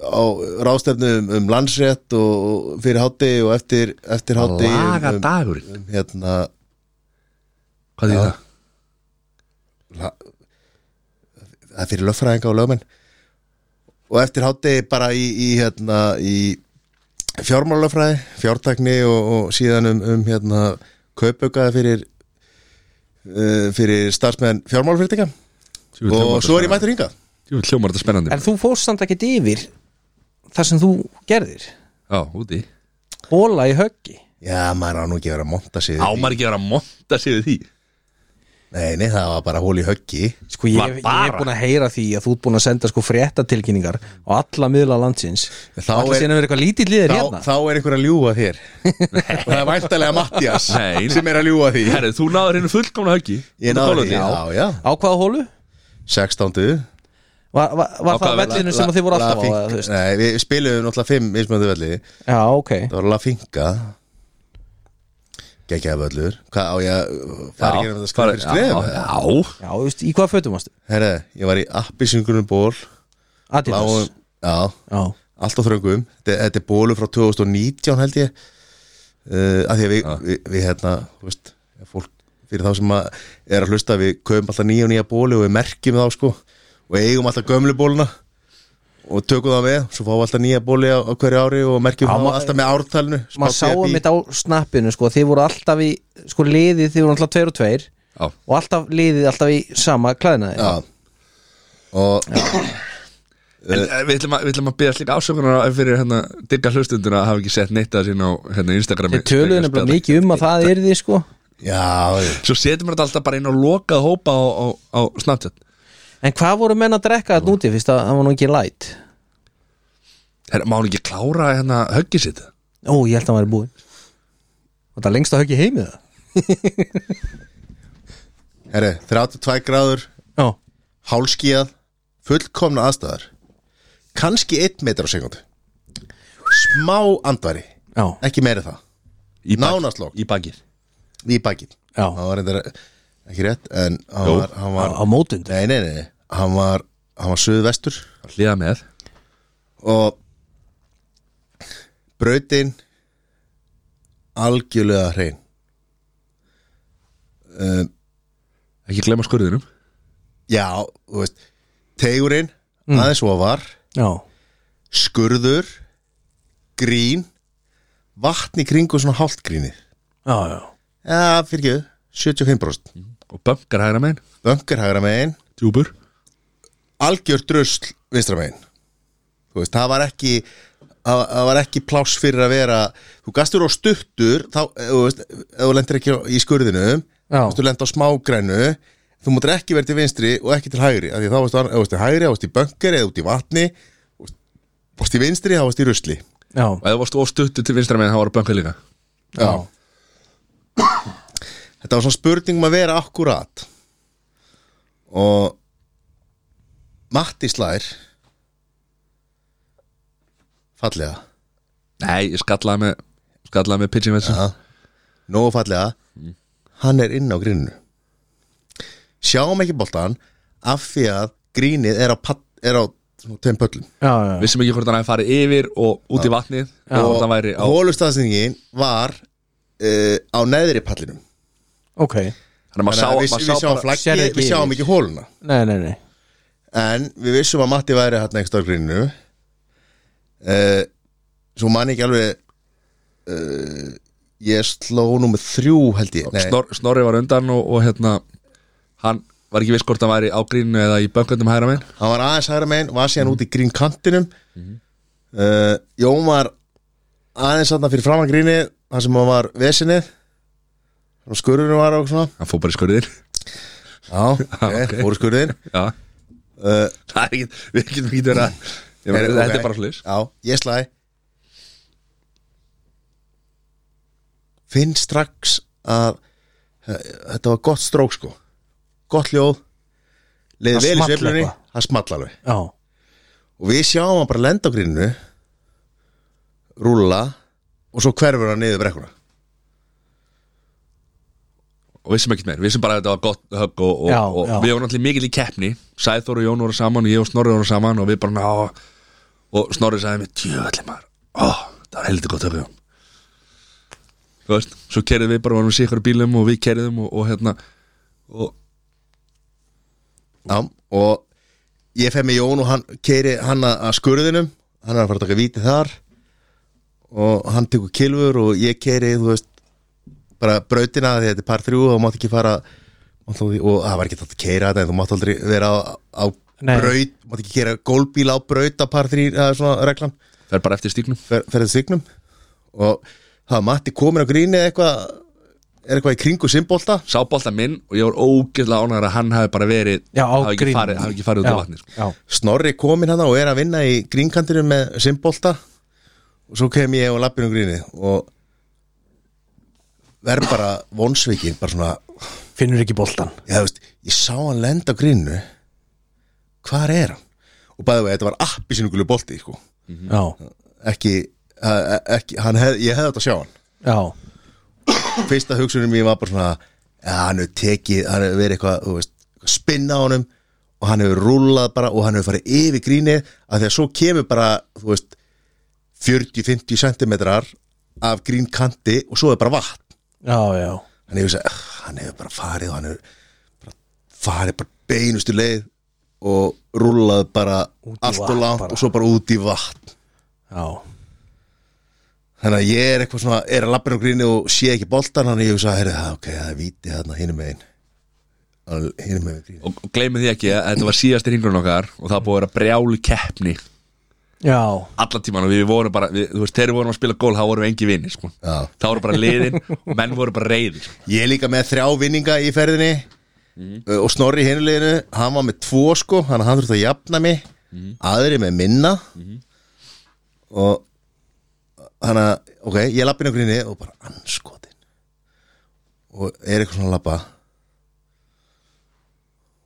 [SPEAKER 3] á ráðstefnu um, um landsrétt og og fyrir hátti og eftir, eftir hátti
[SPEAKER 1] laga
[SPEAKER 3] um, um,
[SPEAKER 1] dagurinn
[SPEAKER 3] um, hérna
[SPEAKER 1] Hvað því það?
[SPEAKER 3] la- það er fyrir löffræðinga og lögmenn og eftir hátegi bara í, í, hérna, í fjármálöfræði, fjártakni og, og síðan um, um hérna, kaupaukaði fyrir uh, fyrir starfsmenn fjármálfyrirtækja
[SPEAKER 1] Djú,
[SPEAKER 3] og
[SPEAKER 1] hljómar
[SPEAKER 3] svo er
[SPEAKER 1] þetta
[SPEAKER 3] ég mættur hingað
[SPEAKER 1] spennandi. Djú, hljómar þetta spennandi
[SPEAKER 2] en þú fórst samt ekkert yfir Það sem þú gerðir
[SPEAKER 1] Já, úti
[SPEAKER 2] Hóla í höggi
[SPEAKER 3] Já, maður á nú ekki að vera að monta sig
[SPEAKER 1] Ámar ekki að vera að monta sig við því
[SPEAKER 3] Nei, nei, það var bara hól í höggi
[SPEAKER 2] Sko ég,
[SPEAKER 1] Var
[SPEAKER 2] ég
[SPEAKER 1] bara?
[SPEAKER 2] er búin að heyra því að þú ert búin að senda sko fréttatilkynningar á alla miðla landsins
[SPEAKER 3] Þá
[SPEAKER 2] Þá er
[SPEAKER 3] er-
[SPEAKER 2] síðan að vera eitthvað lítill liðir
[SPEAKER 3] þá,
[SPEAKER 2] hérna
[SPEAKER 3] þá er einhver að ljúga þér Og það er væntalega Mattias
[SPEAKER 1] Nei.
[SPEAKER 3] sem er að ljúga því
[SPEAKER 1] Herri, þú náður henni fullkomna höggi
[SPEAKER 3] Ég náði því, já, já
[SPEAKER 2] Á hvaða hólu?
[SPEAKER 3] 16.
[SPEAKER 2] Var, var,
[SPEAKER 1] Á
[SPEAKER 2] var það
[SPEAKER 1] hvaða
[SPEAKER 2] vellinu sem að þið voru alltaf á? eða þú veist?
[SPEAKER 3] Nei, við spilum náttúrulega fimm mismöndu velli Það
[SPEAKER 2] Já, ok
[SPEAKER 3] var Lafinka Gekjaði völlur Hvað á ég að fara ekki um þetta skrif fyrir skrif?
[SPEAKER 1] Já, já,
[SPEAKER 2] Já, þú veist, í hvaða fötum varstu?
[SPEAKER 3] Herre, ég var í appisingunum ból
[SPEAKER 2] Adidas
[SPEAKER 3] Láum, já,
[SPEAKER 2] Já,
[SPEAKER 3] allt á þröngum Þetta þetta er bólu frá 2019 held ég uh, að því að við, við, við hérna, þú veist fólk fyrir þá sem að er að hlusta við kaupum alltaf nýja og nýja bólu og við merkjum þá sko og eigum alltaf gömlu bóluna og tökum það með, svo fáum við alltaf nýja bóli á, á hverju ári og merkjum
[SPEAKER 2] Já,
[SPEAKER 3] þá
[SPEAKER 2] ma-
[SPEAKER 3] alltaf með ártalinu
[SPEAKER 2] maður sáum þetta á snappinu sko Þið voru alltaf í, sko liðið Þið voru alltaf tveir og tveir
[SPEAKER 1] já.
[SPEAKER 2] Og alltaf liðið alltaf í sama klæðnaði
[SPEAKER 3] Já. og
[SPEAKER 1] En, eh, Við ætlum að, við ætlum að byrja slíka ásökunar á- fyrir hérna digga hlustunduna að hafa ekki sett neitt að sín á hérna Instagrami
[SPEAKER 2] Þið töluðu nefnilega mikið um að það er því sko
[SPEAKER 3] já,
[SPEAKER 1] Svo setjum við þetta alltaf bara inn á lokað hópa á, á, á Snapchat
[SPEAKER 2] En hvað voru menn að drekka þetta úti fyrst að það var nú ekki light?
[SPEAKER 1] Herra, má hann ekki klára hérna höggi sitt
[SPEAKER 2] Ó, ég held að hann væri búinn Og það lengst að höggi heimið það
[SPEAKER 3] herri, 32 gráður
[SPEAKER 2] Já,
[SPEAKER 3] hálskíðað, fullkomna aðstæðar kannski 1 metr á sekundu smá andvari
[SPEAKER 2] já,
[SPEAKER 3] ekki meira það,
[SPEAKER 1] Í bak-
[SPEAKER 3] Nánast lok.
[SPEAKER 1] Í bakið
[SPEAKER 3] í bakinn
[SPEAKER 2] Já.
[SPEAKER 3] hann var reyndar ekki rétt en hann
[SPEAKER 1] Jú.
[SPEAKER 3] var, hann
[SPEAKER 2] á,
[SPEAKER 3] var
[SPEAKER 2] á mótund
[SPEAKER 3] nei, nei, nei, hann var hann var suðvestur
[SPEAKER 1] Hliða með
[SPEAKER 3] og brautin algjörlega hrein um,
[SPEAKER 1] Ekki glemma skurðinum
[SPEAKER 3] já, þú veist tegurinn,
[SPEAKER 1] Mm.
[SPEAKER 3] aðeins ofar
[SPEAKER 2] Já,
[SPEAKER 3] skurður grín vatn í kringu svona hálft gríni
[SPEAKER 2] já, já
[SPEAKER 3] ja, fyrir ekki, 75%
[SPEAKER 1] Og bönkar hægra megin
[SPEAKER 3] böngur hægra megin
[SPEAKER 1] Djúbur
[SPEAKER 3] algjör drusl vinstra megin þú veist, það var ekki það það var ekki pláss fyrir að vera þú gastur á stuttur þá, eh, þú veist, ef þú lendir ekki í skurðinu þú veist, þú lendir á smágrænu þú mútur ekki verið til vinstri og ekki til hægri af því þá varst þú annað- ef þú varst til hægri, þá varst í böngur eða út í vatni þú varst- varst í vinstri, þá varst í rusli
[SPEAKER 2] Já,
[SPEAKER 1] Og ef þú varst óstuttu til vinstra megin þá var það bönkar líka
[SPEAKER 3] já þetta var svona spurning um að vera akkurat og Matti Slær fallega
[SPEAKER 1] Nei, ég skallaði með Skallaði með pitching vetsum
[SPEAKER 3] ja. nógu fallega
[SPEAKER 1] Mm.
[SPEAKER 3] hann er inn á gríninu sjáum ekki boltan af því að grínið er á, padd, er á svona tveim pöllum
[SPEAKER 2] já, já, já.
[SPEAKER 1] Vissum ekki hvort hann hefði farið yfir og út í vatnið Og það væri á
[SPEAKER 3] hólustafsningin var uh, á neðri pallinum
[SPEAKER 2] ok Nei,
[SPEAKER 1] Þannig að maður
[SPEAKER 3] Þannig
[SPEAKER 1] sá,
[SPEAKER 3] að við,
[SPEAKER 1] maður
[SPEAKER 3] við,
[SPEAKER 1] sá
[SPEAKER 3] sjáum
[SPEAKER 1] bara-
[SPEAKER 3] flaggi,
[SPEAKER 2] Sérðu ekki
[SPEAKER 3] við sjáum
[SPEAKER 2] yfir.
[SPEAKER 3] ekki hóluna
[SPEAKER 2] nei, nei
[SPEAKER 3] En við vissum að Matti væri hérna ekki starfgrinu uh, Svo man ég ekki alveg uh, Ég sló númer þrjú held ég Nei,
[SPEAKER 1] Snor, Snorri var undan og, og hérna hann var ekki viss hvort hann væri á grínu eða í bönkundum hæra minn
[SPEAKER 3] hann var aðeins hægra megin Var síðan út í grín kantinum uh, Jón var aðeins þarna fyrir framan gríni þar sem hann var vesinið Og skurðurinn var og svona
[SPEAKER 1] hann fór bara í skurðin
[SPEAKER 3] Já, ok,
[SPEAKER 1] ok.
[SPEAKER 3] fóru skurðin
[SPEAKER 1] já,
[SPEAKER 3] uh,
[SPEAKER 1] það er ekki, við getum ekki verið að Ég meina,
[SPEAKER 3] Heyrðu,
[SPEAKER 1] þetta
[SPEAKER 3] ok.
[SPEAKER 1] er bara slis
[SPEAKER 3] Já, ég slæ Finn strax að eh, þetta var gott strók sko gott ljóð leiði
[SPEAKER 2] Það
[SPEAKER 3] vel í
[SPEAKER 2] small
[SPEAKER 3] sveiflunni,
[SPEAKER 2] eitthvað.
[SPEAKER 3] það small alveg
[SPEAKER 2] Já,
[SPEAKER 3] og við sjáum hann bara lenda á gríninu rúlla og svo hverfur hann niður brekkuna
[SPEAKER 1] og vissum ekkert meir, vissum bara að þetta var gott högg og, og,
[SPEAKER 2] Já,
[SPEAKER 1] og
[SPEAKER 2] já.
[SPEAKER 1] við vorum allir mikil í keppni Sæþór og Jón voru saman og ég og Snorri voru saman og við bara ná og Snorri sagði mér, djöðli maður ó, það var heldur gott högg hjá honum." þú veist, svo kerðum við bara, vorum við sikkur bílum og við kerðum og, og hérna og
[SPEAKER 3] Já, og ég fer með Jón og hann keiri hann að að skurðinum hann er að fara að taka víti þar og hann tekur kilfur og ég keiri, þú veist bara brautina því þetta er par þrjú og mátt ekki fara mátt aldrei, og það var ekki þetta að keira þetta en þú mátt aldrei vera á, á
[SPEAKER 2] Nei.
[SPEAKER 3] braut mátt ekki keira gólbíl á braut á par þrjú eða svona reglan,
[SPEAKER 1] það er bara eftir stíknum
[SPEAKER 3] fer, ferðið signum og það var Matti komin á gríni eitthvað er eitthvað í kringu simbolta
[SPEAKER 1] sábolta minn og ég var ógeðlega ánægður að hann hafi bara verið
[SPEAKER 2] Já, á
[SPEAKER 1] hafi, ekki
[SPEAKER 2] grín.
[SPEAKER 1] farið, hafi ekki farið út á
[SPEAKER 2] Já,
[SPEAKER 1] vatni sko.
[SPEAKER 2] já.
[SPEAKER 3] Snorri komin hann og er að vinna í grínkantinu með simbolta og svo kem ég og lappin um grínið og verð bara vonsvikið, bara svona
[SPEAKER 2] finnur ekki boltan
[SPEAKER 3] Já, þú veist, ég sá hann lenda á grínu Hvar er hann? Og bæði vegi, þetta var appi sinugulu bolti, sko
[SPEAKER 1] Mhm.
[SPEAKER 2] já,
[SPEAKER 3] Ekki, eh, ekki hann hef, ég hefði átt að sjá hann
[SPEAKER 2] já,
[SPEAKER 3] Fyrsta hugsunum mín var bara svona ja, Hann hefur tekið, hann hefur verið eitthvað, þú veist eitthvað Spinna á honum Og hann hefur rúllað bara og hann hefur farið yfir grínið Af því að svo kemur bara, þú veist 40-50 sentimetrar Af grínkanti og svo er bara vatn
[SPEAKER 2] já, já
[SPEAKER 3] hann hefur sagt, hann hefur bara farið og hann hefur bara farið bara beinustu leið og rúllað bara
[SPEAKER 2] Út í
[SPEAKER 3] allt og
[SPEAKER 2] vatn
[SPEAKER 3] langt
[SPEAKER 2] bara.
[SPEAKER 3] og svo bara út í vatn
[SPEAKER 2] já,
[SPEAKER 3] þannig að ég er eitthvað svona, er að lappin á gríni og sé ekki boltan, þannig að ég hef sagt, heyrðu, það, ok, það er víti þarna hinum megin hinum megin gríni
[SPEAKER 1] og, og gleymið því ekki að þetta var síðasti ringurinn okkar og það var búið að vera brjálu keppni
[SPEAKER 2] já,
[SPEAKER 1] allan tíman og við vorum bara við, þú veist, þegar við vorum að spila gól þá vorum við engi vini sko.
[SPEAKER 3] Já.
[SPEAKER 1] þá voru bara liðin og menn voru bara sko. reyðir
[SPEAKER 3] ég er líka með þrjá vinninga í ferðinni uh, og Snorri í hinuleginu hann var með tvo sko, hann, hann þurfti að jafna mig aðri með minna og hann að, ok, ég lappi inn á gríni og bara anskotin og er eitthvað svona að lappa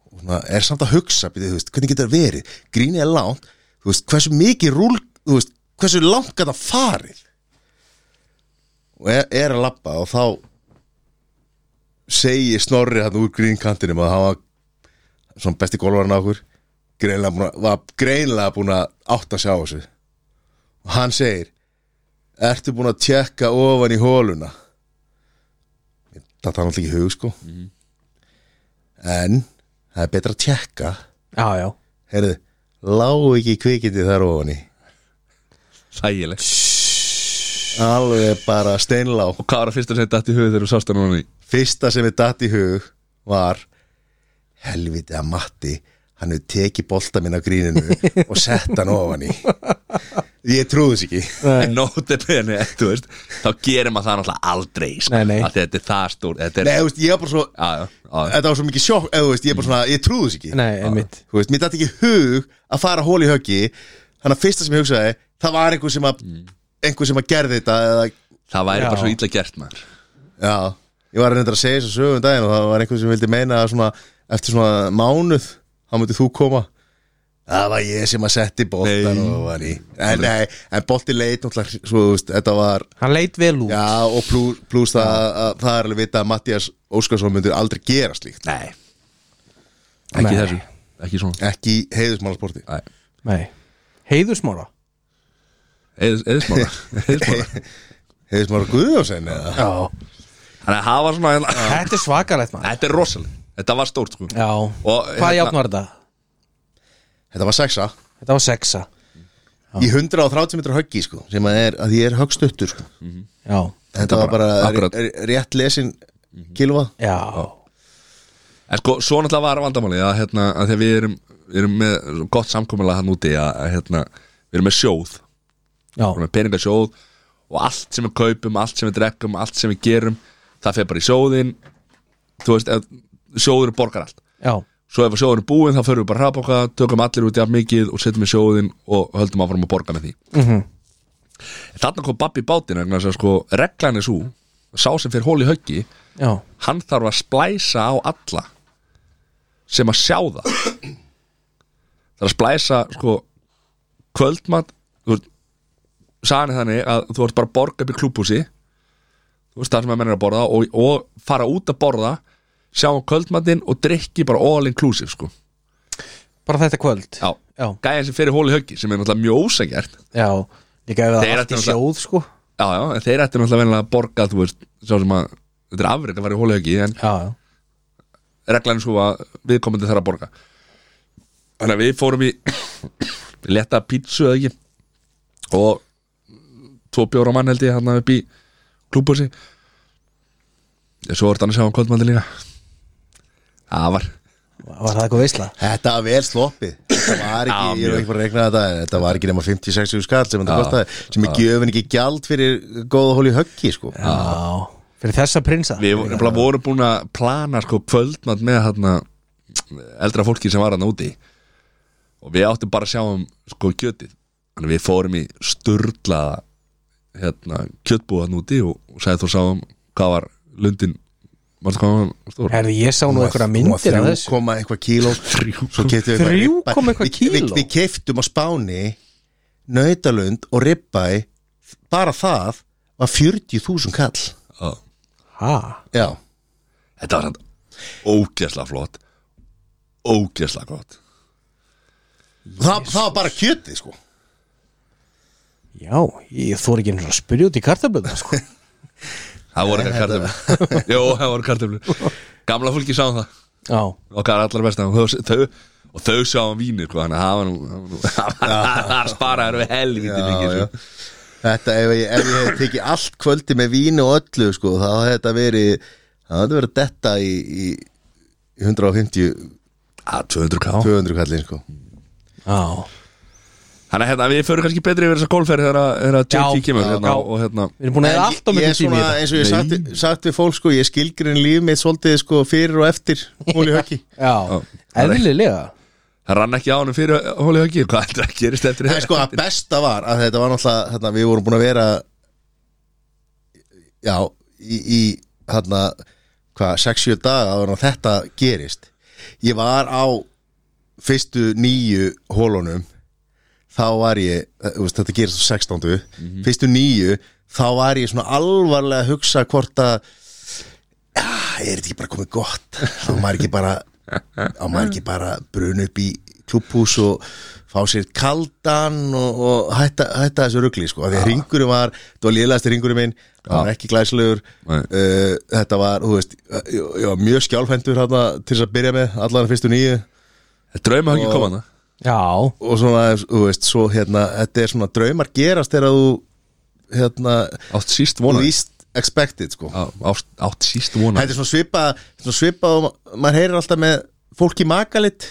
[SPEAKER 3] og svona, er samt að hugsa byrju, þú veist, hvernig getur það verið, gríni er langt þú veist, hversu mikið rúl þú veist, hversu langt gæta farið og er, er að lappa og þá segi Snorri hann úr grínkantinum að hann var svona besti golvarinn á okkur greinlega búin að, var greinlega búin að átta sig á þessu og hann segir ertu búin að tjekka ofan í hóluna þetta er náttúrulega ekki í hug sko en það er betra að tjekka
[SPEAKER 2] já, já
[SPEAKER 3] heyrðu, lágu ekki kvikindi þar ofan í
[SPEAKER 1] sægileg
[SPEAKER 3] alveg bara steinlá
[SPEAKER 1] og hvað var að fyrsta sem þetta í hugið þegar þú sást hann núna í
[SPEAKER 3] fyrsta sem ég datt í hug var helviti að Matti hann hefur tekið bolta minn á gríninu og sett hann ofan í ég trúði þess ekki
[SPEAKER 1] en nótebeni, þú veist þá gerir maður það náttúrulega aldrei sko,
[SPEAKER 2] Nei, nei.
[SPEAKER 1] af því að þetta er það stór þetta er,
[SPEAKER 3] Nei, þú veist, ég var bara svo,
[SPEAKER 1] að, að,
[SPEAKER 3] þetta var svo mikið sjokk eða, þú veist, ég, bara svona, ég trúði þess ekki
[SPEAKER 2] nei, einmitt
[SPEAKER 3] Þú veist, mér datt ekki í hug að fara hól í höggi þannig að fyrsta sem ég hugsaði það var einhver sem að, einhver sem að gerði þetta eða,
[SPEAKER 1] það væri
[SPEAKER 2] Já.
[SPEAKER 1] bara svo illa gert maður
[SPEAKER 3] já, ég var reyndar að segja þessu sögum daginn og það var einhver sem vildi meina að svona, eftir svona mánuð þá mútið þú koma Það var ég sem að setti boltan
[SPEAKER 1] Nei.
[SPEAKER 3] og var í En, nei, en bolti leit náttúrulega Svo, þú veist, þetta var
[SPEAKER 2] hann leit vel út,
[SPEAKER 3] Já, og plus, plus það að það er alveg vita að Mattias Óskarsson myndur aldrei gera slíkt
[SPEAKER 1] nei, ekki
[SPEAKER 2] Nei.
[SPEAKER 1] þessu ekki svona
[SPEAKER 3] Ekki í heiðismálasporti
[SPEAKER 1] Nei.
[SPEAKER 2] nei heiðursmára,
[SPEAKER 1] Eð- eðismála eðismála.
[SPEAKER 3] Heiðismála Guðjósen eða
[SPEAKER 2] já
[SPEAKER 1] þannig að hafa svona hérna.
[SPEAKER 2] þetta er svakalegt maður
[SPEAKER 1] þetta er rosaleg, þetta var stórt sko.
[SPEAKER 2] já,
[SPEAKER 1] Og,
[SPEAKER 2] hvað
[SPEAKER 1] hérna-
[SPEAKER 2] játn var þetta?
[SPEAKER 3] Þetta var sexa
[SPEAKER 2] þetta var sexa,
[SPEAKER 3] Í 130 metra höggi, sko Sem að, er, að ég er högstuttur, sko
[SPEAKER 2] já,
[SPEAKER 3] Þetta var bara
[SPEAKER 1] akkurat.
[SPEAKER 3] r- r- rétt lesin Kilva
[SPEAKER 2] já
[SPEAKER 1] En sko, svo náttúrulega var vandamálið að, hérna, að þegar við erum, við erum með svo gott samkomulega hann úti að, að hérna, við erum með sjóð, við
[SPEAKER 2] já,
[SPEAKER 1] erum með peningasjóð og allt sem við kaupum, allt sem við drekkum, allt sem við gerum, það fer bara í sjóðin þú veist, ef- sjóðurinn borgar allt.
[SPEAKER 2] já,
[SPEAKER 1] Svo ef sjóðurinn er búinn þá förum við bara að hraðbanka, tökum allir út í af mikið og setjum í sjóðin og höldum áfram að borga með því.
[SPEAKER 2] Mhm.
[SPEAKER 1] -hmm. Þannig kom Babbi í bátinn vegna þess að sko, reglan er svo, sá sem fyrir hól í höggi,
[SPEAKER 2] já
[SPEAKER 1] hann þarf að splæsa á alla sem að sjá það þarf að splæsa sko kvöldmatt þú veist sagði þannig að þú ert bara að borga upp í klúbhúsi þú veist það sem að menn er að borða og, og fara út að borða sjá um kvöldmattinn og drikki bara all inclusive sko
[SPEAKER 2] bara þetta kvöld,
[SPEAKER 1] Já.
[SPEAKER 2] já,
[SPEAKER 1] gæðin sem fer í hóli höggi sem er náttúrulega mjög ósengjart
[SPEAKER 2] já. líka ef það
[SPEAKER 1] Þeir
[SPEAKER 2] er allt
[SPEAKER 1] ættu
[SPEAKER 2] í
[SPEAKER 1] náttúrulega-
[SPEAKER 2] sjóð, sko
[SPEAKER 1] já já, en þeir ættu náttúrulega venjulega að borga þú veist, sá sem að þetta er afrið að fara í hóli höggi en
[SPEAKER 2] já, já,
[SPEAKER 1] reglan er svo að viðkomandi þarf að borga þannig að við fórum í við letta pítsu eða ekki og tvo bjóra mann held ég hann upp í klúbhúsi svo var þetta að sjá um kvöldmann líka það var
[SPEAKER 2] var það eitthvað veisla?
[SPEAKER 3] Þetta var vel sloppið Þetta var
[SPEAKER 1] Já,
[SPEAKER 3] ekki, ég
[SPEAKER 1] mjög.
[SPEAKER 3] var ekki bara að regna þetta en Þetta var ekki nema 50-60 skall sem þetta
[SPEAKER 1] Já.
[SPEAKER 3] kostaði Sem er gjöfin ekki gjald fyrir góða hóli höggi, sko
[SPEAKER 2] já, fyrir þessa prinsa
[SPEAKER 1] Við nefnilega vorum búin að plana sko kvöldnatt með hérna eldra fólki sem var hann úti og við áttum bara að sjá um sko kjötið þannig að við fórum í sturla hérna kjötbúð hann úti og, og sagði þú sáum hvað var lundin manstu hvað hann var stór
[SPEAKER 2] Herði, ég sá nú einhverja myndir af þessu
[SPEAKER 3] koma eitthvað kíló Svo keyptum við
[SPEAKER 2] Þrjú
[SPEAKER 3] eitthvað
[SPEAKER 2] komma eitthvað
[SPEAKER 3] ribba- Við-
[SPEAKER 2] kíló?
[SPEAKER 3] Við, við keiftum á Spáni nautalund og ribbæ bara það var 40.000 kall
[SPEAKER 1] Já.
[SPEAKER 2] Ha?
[SPEAKER 3] Já,
[SPEAKER 1] Þetta var hann ógeðslega flott ógeðslega gott
[SPEAKER 3] það, það var bara kjötið sko
[SPEAKER 2] Já, ég þór ekki einu sinni að spyrja út í kartablöðna sko.
[SPEAKER 1] Það voru eitthvað kartöflur Jó, það voru kartöflur Gamla fólki sáum það
[SPEAKER 2] Já,
[SPEAKER 1] okkar allar besta og þau, þau, og þau sjá hann vínir sko, þannig að það var nú- það var nú- það sparaður við helviti mikið
[SPEAKER 3] já.
[SPEAKER 1] sko.
[SPEAKER 3] Þetta, ef ég, ef ég hef tekið allt kvöldi með víni og öllu sko, þá hefði þetta verið það hefði verið detta í, í í 150,
[SPEAKER 1] að 200 ká
[SPEAKER 3] 200 kallin sko
[SPEAKER 2] já
[SPEAKER 1] þannig að hérna, við förum kannski betri yfir þessa golfferð þegar að- þegar að
[SPEAKER 2] Já,
[SPEAKER 1] JT kemur
[SPEAKER 2] já,
[SPEAKER 1] hérna,
[SPEAKER 2] já.
[SPEAKER 1] og hérna
[SPEAKER 2] Við erum búin að eða
[SPEAKER 3] En
[SPEAKER 2] alltaf
[SPEAKER 3] ég- ég
[SPEAKER 2] mikið tími í
[SPEAKER 3] er svona,
[SPEAKER 2] þetta
[SPEAKER 3] eins og ég
[SPEAKER 1] Nei.
[SPEAKER 3] sagt, sagt við fólk sko, ég skilgrinn líf mitt svolítið sko, fyrir og eftir múli höggi
[SPEAKER 2] Já,
[SPEAKER 1] það er-
[SPEAKER 2] eðlilega
[SPEAKER 1] það rann ekki á hann fyrir hóli höggi hvað heldur að gerist eftir
[SPEAKER 3] en sko að besta var að þetta var náttúrulega þarna, við vorum búin að vera já í, í hérna hvað, 6-7 daga áður en þetta gerist ég var á fyrstu nýju hólunum þá var ég, eh, þú veist, þetta gerist á 16. fyrstu nýju þá var ég svona alvarlega að hugsa hvort að ah, er þetta ekki bara komið gott þá maður ekki bara á maður ekki bara brun upp í klúppús og fá sér kaldan og, og hætta, hætta þessu rugli sko, af því að ringurinn var þetta var lélægasti ringurinn minn, það var ekki glæslegur
[SPEAKER 1] Nei.
[SPEAKER 3] uh, þetta var, þú veist ég, ég var mjög skjálfhendur hérna til þess að byrja með allan fyrstu nýju
[SPEAKER 1] drauma höggi koma hann
[SPEAKER 2] Já,
[SPEAKER 3] og svona, þú veist, svo hérna þetta er svona draumar gerast þegar þú hérna,
[SPEAKER 1] átt síst vonar Ah,
[SPEAKER 3] least expected sko.
[SPEAKER 1] átt, átt síst vonar
[SPEAKER 3] þetta er svona svipað svona svipað og ma- maður heyrir alltaf með fólki makalitt,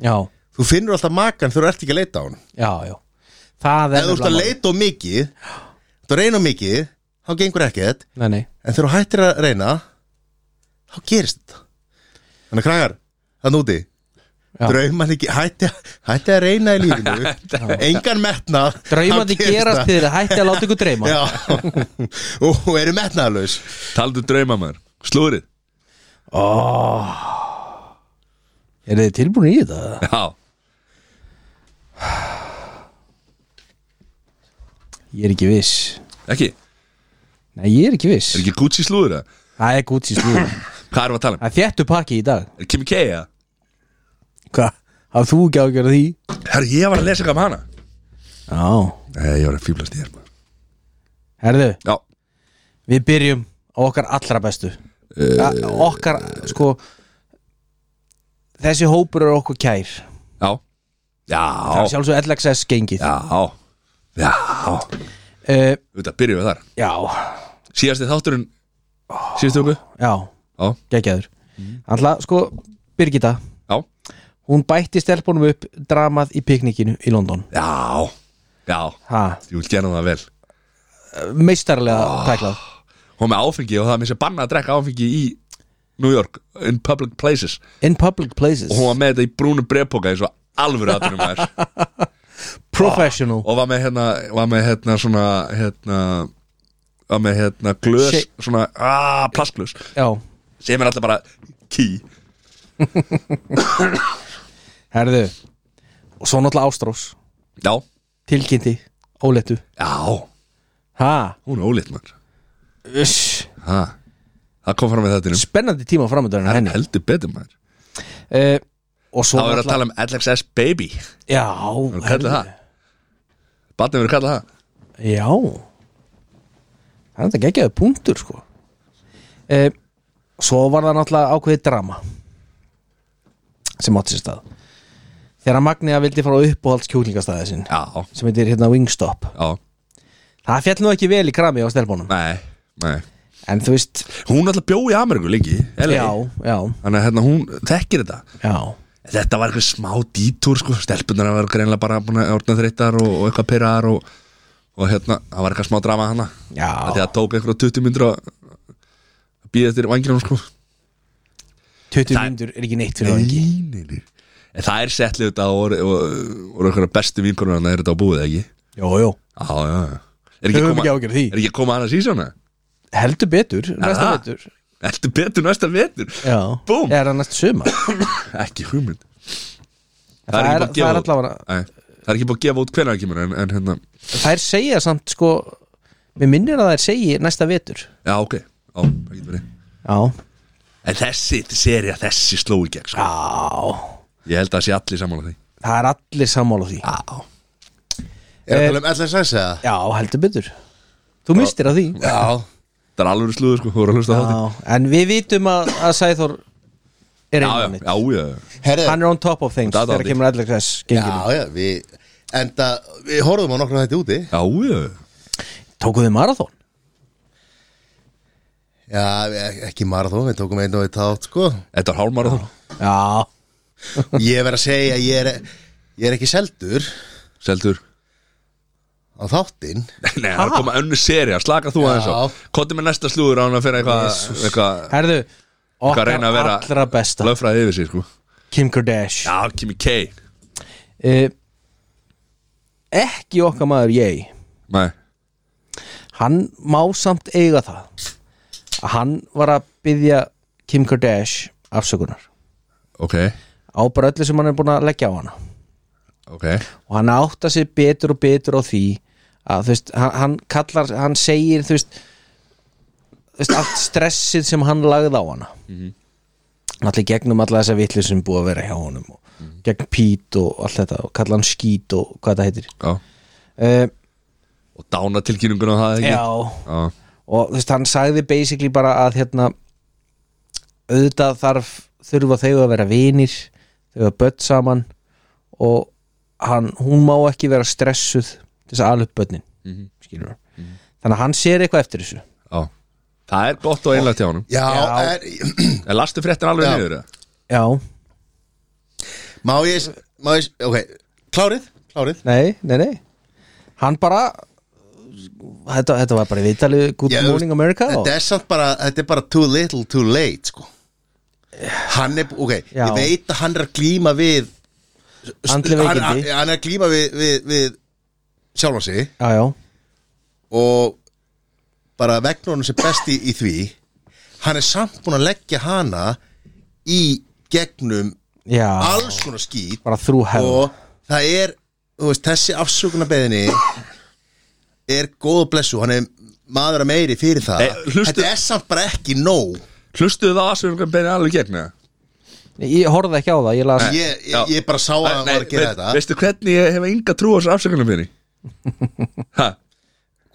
[SPEAKER 2] já,
[SPEAKER 3] þú finnur alltaf makan þegar þú ert ekki að leita á hann
[SPEAKER 2] já, já Það
[SPEAKER 3] ef
[SPEAKER 2] er
[SPEAKER 3] þú ert að leita á mikið þú reyna á mikið, þá gengur ekkert
[SPEAKER 2] Nei, nei,
[SPEAKER 3] en þegar þú hættir að reyna þá gerist þetta þannig að kragar, þann úti
[SPEAKER 2] Já.
[SPEAKER 3] drauman ekki, hætti, hætti að reyna í lífinu engan metna
[SPEAKER 2] draumandi gerast þið hætti að láta ykkur dreyma
[SPEAKER 3] Já, og eru metnaðalus
[SPEAKER 1] taldu drauma maður slúrið
[SPEAKER 2] Er þið tilbúin í þetta?
[SPEAKER 1] já
[SPEAKER 2] Ég er ekki viss
[SPEAKER 1] ekki er
[SPEAKER 2] Nei, ég er ekki viss
[SPEAKER 1] ekki Gucci slúrið eða?
[SPEAKER 2] Það er gútt í slúður
[SPEAKER 1] hvað erum við að tala um
[SPEAKER 2] Það er þéttu pakki í dag
[SPEAKER 1] er Kimi K eða?
[SPEAKER 2] Hvað? Hafðu þú ekki ágjörð því?
[SPEAKER 1] herru ég var að lesa eitthvað um hana
[SPEAKER 2] Já
[SPEAKER 1] nei ég var að fýblast í þér maður.
[SPEAKER 2] Herðu,
[SPEAKER 1] já
[SPEAKER 2] við byrjum á okkar allra bestu
[SPEAKER 1] Eh,
[SPEAKER 2] uh, Okkar, sko Þessi hópur er okkur kær
[SPEAKER 1] Já
[SPEAKER 2] Það er
[SPEAKER 1] Já
[SPEAKER 2] sjálfsög LXS gengið
[SPEAKER 1] Já Já
[SPEAKER 2] uh,
[SPEAKER 1] Þetta byrjum við þar
[SPEAKER 2] Já,
[SPEAKER 1] Síðasti þátturinn Síðasti okkur
[SPEAKER 2] já,
[SPEAKER 1] Já Mm.
[SPEAKER 2] geggjaður Alltaf, sko, Birgitta
[SPEAKER 1] Já
[SPEAKER 2] Hún bætti stelpunum upp dramað í piknikinu í London
[SPEAKER 1] Já Já
[SPEAKER 2] Ha,
[SPEAKER 1] Ég vil gera það vel
[SPEAKER 2] meistarlega
[SPEAKER 1] Ah.
[SPEAKER 2] tæklað
[SPEAKER 1] Hún með áfengi og það með sér banna að drekka áfengi í New York In public places
[SPEAKER 2] In public places
[SPEAKER 1] Og hún var með þetta í brúnu brefpoka eins og alvöru aðtunum maður
[SPEAKER 2] Professional
[SPEAKER 1] Og var með hérna Var með hérna svona Hérna Var með hérna glös
[SPEAKER 2] Shake.
[SPEAKER 1] Svona aaa plastglös
[SPEAKER 2] Já,
[SPEAKER 1] Sem er alltaf bara Ký
[SPEAKER 2] herðu Og svo náttúrulega Ástrós
[SPEAKER 1] Já
[SPEAKER 2] Tilkynnti, óleittu
[SPEAKER 1] Já
[SPEAKER 2] Ha,
[SPEAKER 1] Hún er ólitt maður
[SPEAKER 2] uss
[SPEAKER 1] Ha Það kom fram með þetta
[SPEAKER 2] Spennandi tíma framöndan
[SPEAKER 1] Það er
[SPEAKER 2] henni
[SPEAKER 1] heldur betur maður
[SPEAKER 2] uh, Og svo
[SPEAKER 1] Það verður að tala um LXS Baby Það
[SPEAKER 2] Já,
[SPEAKER 1] verður kallað það Batnið verður kallað það
[SPEAKER 2] Já Það er þetta geggjaði punktur sko e, Svo var það náttúrulega ákveðið drama sem átti sér stað Þegar Magniða vildi fara á uppáhalds kjúklingastæði sinn
[SPEAKER 1] Já,
[SPEAKER 2] sem heitir hérna Wingstop
[SPEAKER 1] já,
[SPEAKER 2] Það fjall nú ekki vel í krami á stelbónum
[SPEAKER 1] nei, nei
[SPEAKER 2] En þú veist,
[SPEAKER 1] Hún alltaf bjó í Ameríku lengi LA.
[SPEAKER 2] já, já,
[SPEAKER 1] Þannig að hérna, hún þekkir þetta
[SPEAKER 2] já
[SPEAKER 1] Þetta var eitthvað smá dítúr sko Stelpunar var greinlega bara búin að orðna þreyttar og, og eitthvað pyrrar og, og hérna, það var eitthvað smá drama hana
[SPEAKER 2] Já.
[SPEAKER 1] Af Því að það tók eitthvað 20 myndur að býða eftir vanginum sko
[SPEAKER 2] 20
[SPEAKER 1] Það-
[SPEAKER 2] mínútur er ekki neitt fyrir vangi
[SPEAKER 1] nei, nei. En það er settlið þetta og voru- og voru einhverja bestu vinkonur hann er þetta á búið eða ekki
[SPEAKER 2] Jó, jó,
[SPEAKER 1] Já, já, já Er ekki að
[SPEAKER 2] höfum
[SPEAKER 1] koma,
[SPEAKER 2] ekki ágjörð því
[SPEAKER 1] er ekki að koma annars í svona?
[SPEAKER 2] Heldur betur, næsta
[SPEAKER 1] það?
[SPEAKER 2] betur
[SPEAKER 1] Þetta er betur næsta vetur
[SPEAKER 2] Já,
[SPEAKER 1] Búm.
[SPEAKER 2] er það næst suma
[SPEAKER 1] Ekki hugmynd
[SPEAKER 2] Það
[SPEAKER 1] ekki búið að
[SPEAKER 2] er, það
[SPEAKER 1] gefa
[SPEAKER 2] er
[SPEAKER 1] út.
[SPEAKER 2] allavega
[SPEAKER 1] Nei, það er ekki búið að gefa út hvernig það kemur en, en hérna,
[SPEAKER 2] Þær segja samt sko Mér minnir að þær segi næsta vetur
[SPEAKER 1] já ok Já, það getur verið
[SPEAKER 2] Já,
[SPEAKER 1] En þessi seria, þessi sló í gegn sko.
[SPEAKER 2] já
[SPEAKER 1] Ég held að það sé allir sammála því
[SPEAKER 2] Það er allir sammála því
[SPEAKER 1] Já
[SPEAKER 3] Er það
[SPEAKER 2] Eh,
[SPEAKER 3] að tala um LSS eða?
[SPEAKER 2] Já, heldur betur Þú mistir að því
[SPEAKER 3] Já
[SPEAKER 1] Það er alveg slúður sko, þú voru að hlusta á
[SPEAKER 2] já,
[SPEAKER 1] þetta
[SPEAKER 2] En við vitum að, að Sæþór er
[SPEAKER 1] Já,
[SPEAKER 2] einmann
[SPEAKER 1] já, já, já
[SPEAKER 3] Herðu,
[SPEAKER 2] Hann er on top of things
[SPEAKER 1] Þetta er
[SPEAKER 2] þegar
[SPEAKER 1] dálítið.
[SPEAKER 2] kemur allir þess genginu
[SPEAKER 3] Já, já, við Enda, við horfum á nokkra þetta úti
[SPEAKER 1] Já, já
[SPEAKER 2] Tókuðu þið marathón?
[SPEAKER 3] Já, við- ekki marathón, við tókum einn og eitt átt, sko
[SPEAKER 1] Þetta er hálmarathon
[SPEAKER 2] Já,
[SPEAKER 3] Ég verð að segja, ég er, ég er ekki seldur
[SPEAKER 1] Seldur
[SPEAKER 3] á þáttinn
[SPEAKER 1] Nei, nei, það er að koma önnu seria, slaka þú aðeins á Kottu með næsta slúður án að finna eitthvað eitthvað-
[SPEAKER 2] herðu
[SPEAKER 1] eitthvað að
[SPEAKER 2] Okkar
[SPEAKER 1] reyna að vera
[SPEAKER 2] allra besta
[SPEAKER 1] Löffræði yfir sig sko
[SPEAKER 2] Kim Kardashian
[SPEAKER 1] Já, Kimi K
[SPEAKER 2] uh, Ekki okkar maður ég
[SPEAKER 1] Nei,
[SPEAKER 2] Hann má samt eiga það að Hann var að byggja Kim Kardashian afsökunar
[SPEAKER 1] ok,
[SPEAKER 2] á bara öllu sem hann er búin að leggja á hana
[SPEAKER 1] ok
[SPEAKER 2] og hann átta sig betur og betur á því að þú veist, hann, hann kallar hann segir þú veist, þú veist allt stressið sem hann lagði á hana mm -hmm. allir gegnum alla þessa vitlu sem búið að vera hjá honum og gegn Pít og allt þetta og kalla hann skít og hvað þetta heitir
[SPEAKER 1] Já.
[SPEAKER 2] uh,
[SPEAKER 1] Og dána tilkynningun á það ekki
[SPEAKER 2] já,
[SPEAKER 1] Já,
[SPEAKER 2] og þú veist, hann sagði basically bara að hérna auðvitað þarf þurfa þau að vera vinir þau að börn saman og hann, hún má ekki vera stressuð til þess að ala upp börnin
[SPEAKER 1] Mhm.
[SPEAKER 2] skilur þannig að hann sér eitthvað eftir þessu
[SPEAKER 1] já Það er gott og einlægt hjá honum
[SPEAKER 3] Já,
[SPEAKER 2] Já.
[SPEAKER 3] Er,
[SPEAKER 1] En lastu fréttin alveg
[SPEAKER 3] Já.
[SPEAKER 1] niður eða?
[SPEAKER 2] já,
[SPEAKER 3] má ég, má ég, ok Klárið, klárið
[SPEAKER 2] nei, nei, nei hann bara þetta, þetta var bara í viðtalið Good
[SPEAKER 3] Já, þú
[SPEAKER 2] Morning
[SPEAKER 3] veist,
[SPEAKER 2] America og,
[SPEAKER 3] Þetta er samt bara, þetta er bara too little too late sko. Hann er, ok,
[SPEAKER 2] Já.
[SPEAKER 3] ég veit að hann er að glíma við
[SPEAKER 2] Andleg
[SPEAKER 3] hann, hann
[SPEAKER 2] veikindi.
[SPEAKER 3] hann er að glíma við, við, við sjálfan sig
[SPEAKER 2] já, já,
[SPEAKER 3] og bara vegna honum sem besti í því hann er samt búin að leggja hana í gegnum
[SPEAKER 2] já
[SPEAKER 3] alls konar skýt
[SPEAKER 2] bara þrú hefð
[SPEAKER 3] og það er þú veist, þessi afsökunarbeðinni er góð og blessu hann er maður að meiri fyrir það
[SPEAKER 1] Eh, hlustu-
[SPEAKER 3] þetta er samt bara ekki nóg
[SPEAKER 1] Hlustuðu það að sem hann beina alveg gegn eða?
[SPEAKER 2] ég horfði ekki á það, ég las
[SPEAKER 3] ég, ég,
[SPEAKER 1] Já.
[SPEAKER 3] ég bara sá að hann var að gera
[SPEAKER 1] veit-
[SPEAKER 3] þetta
[SPEAKER 1] veistu hvernig ég hef enga trú á þessu afsökunum minni? ha,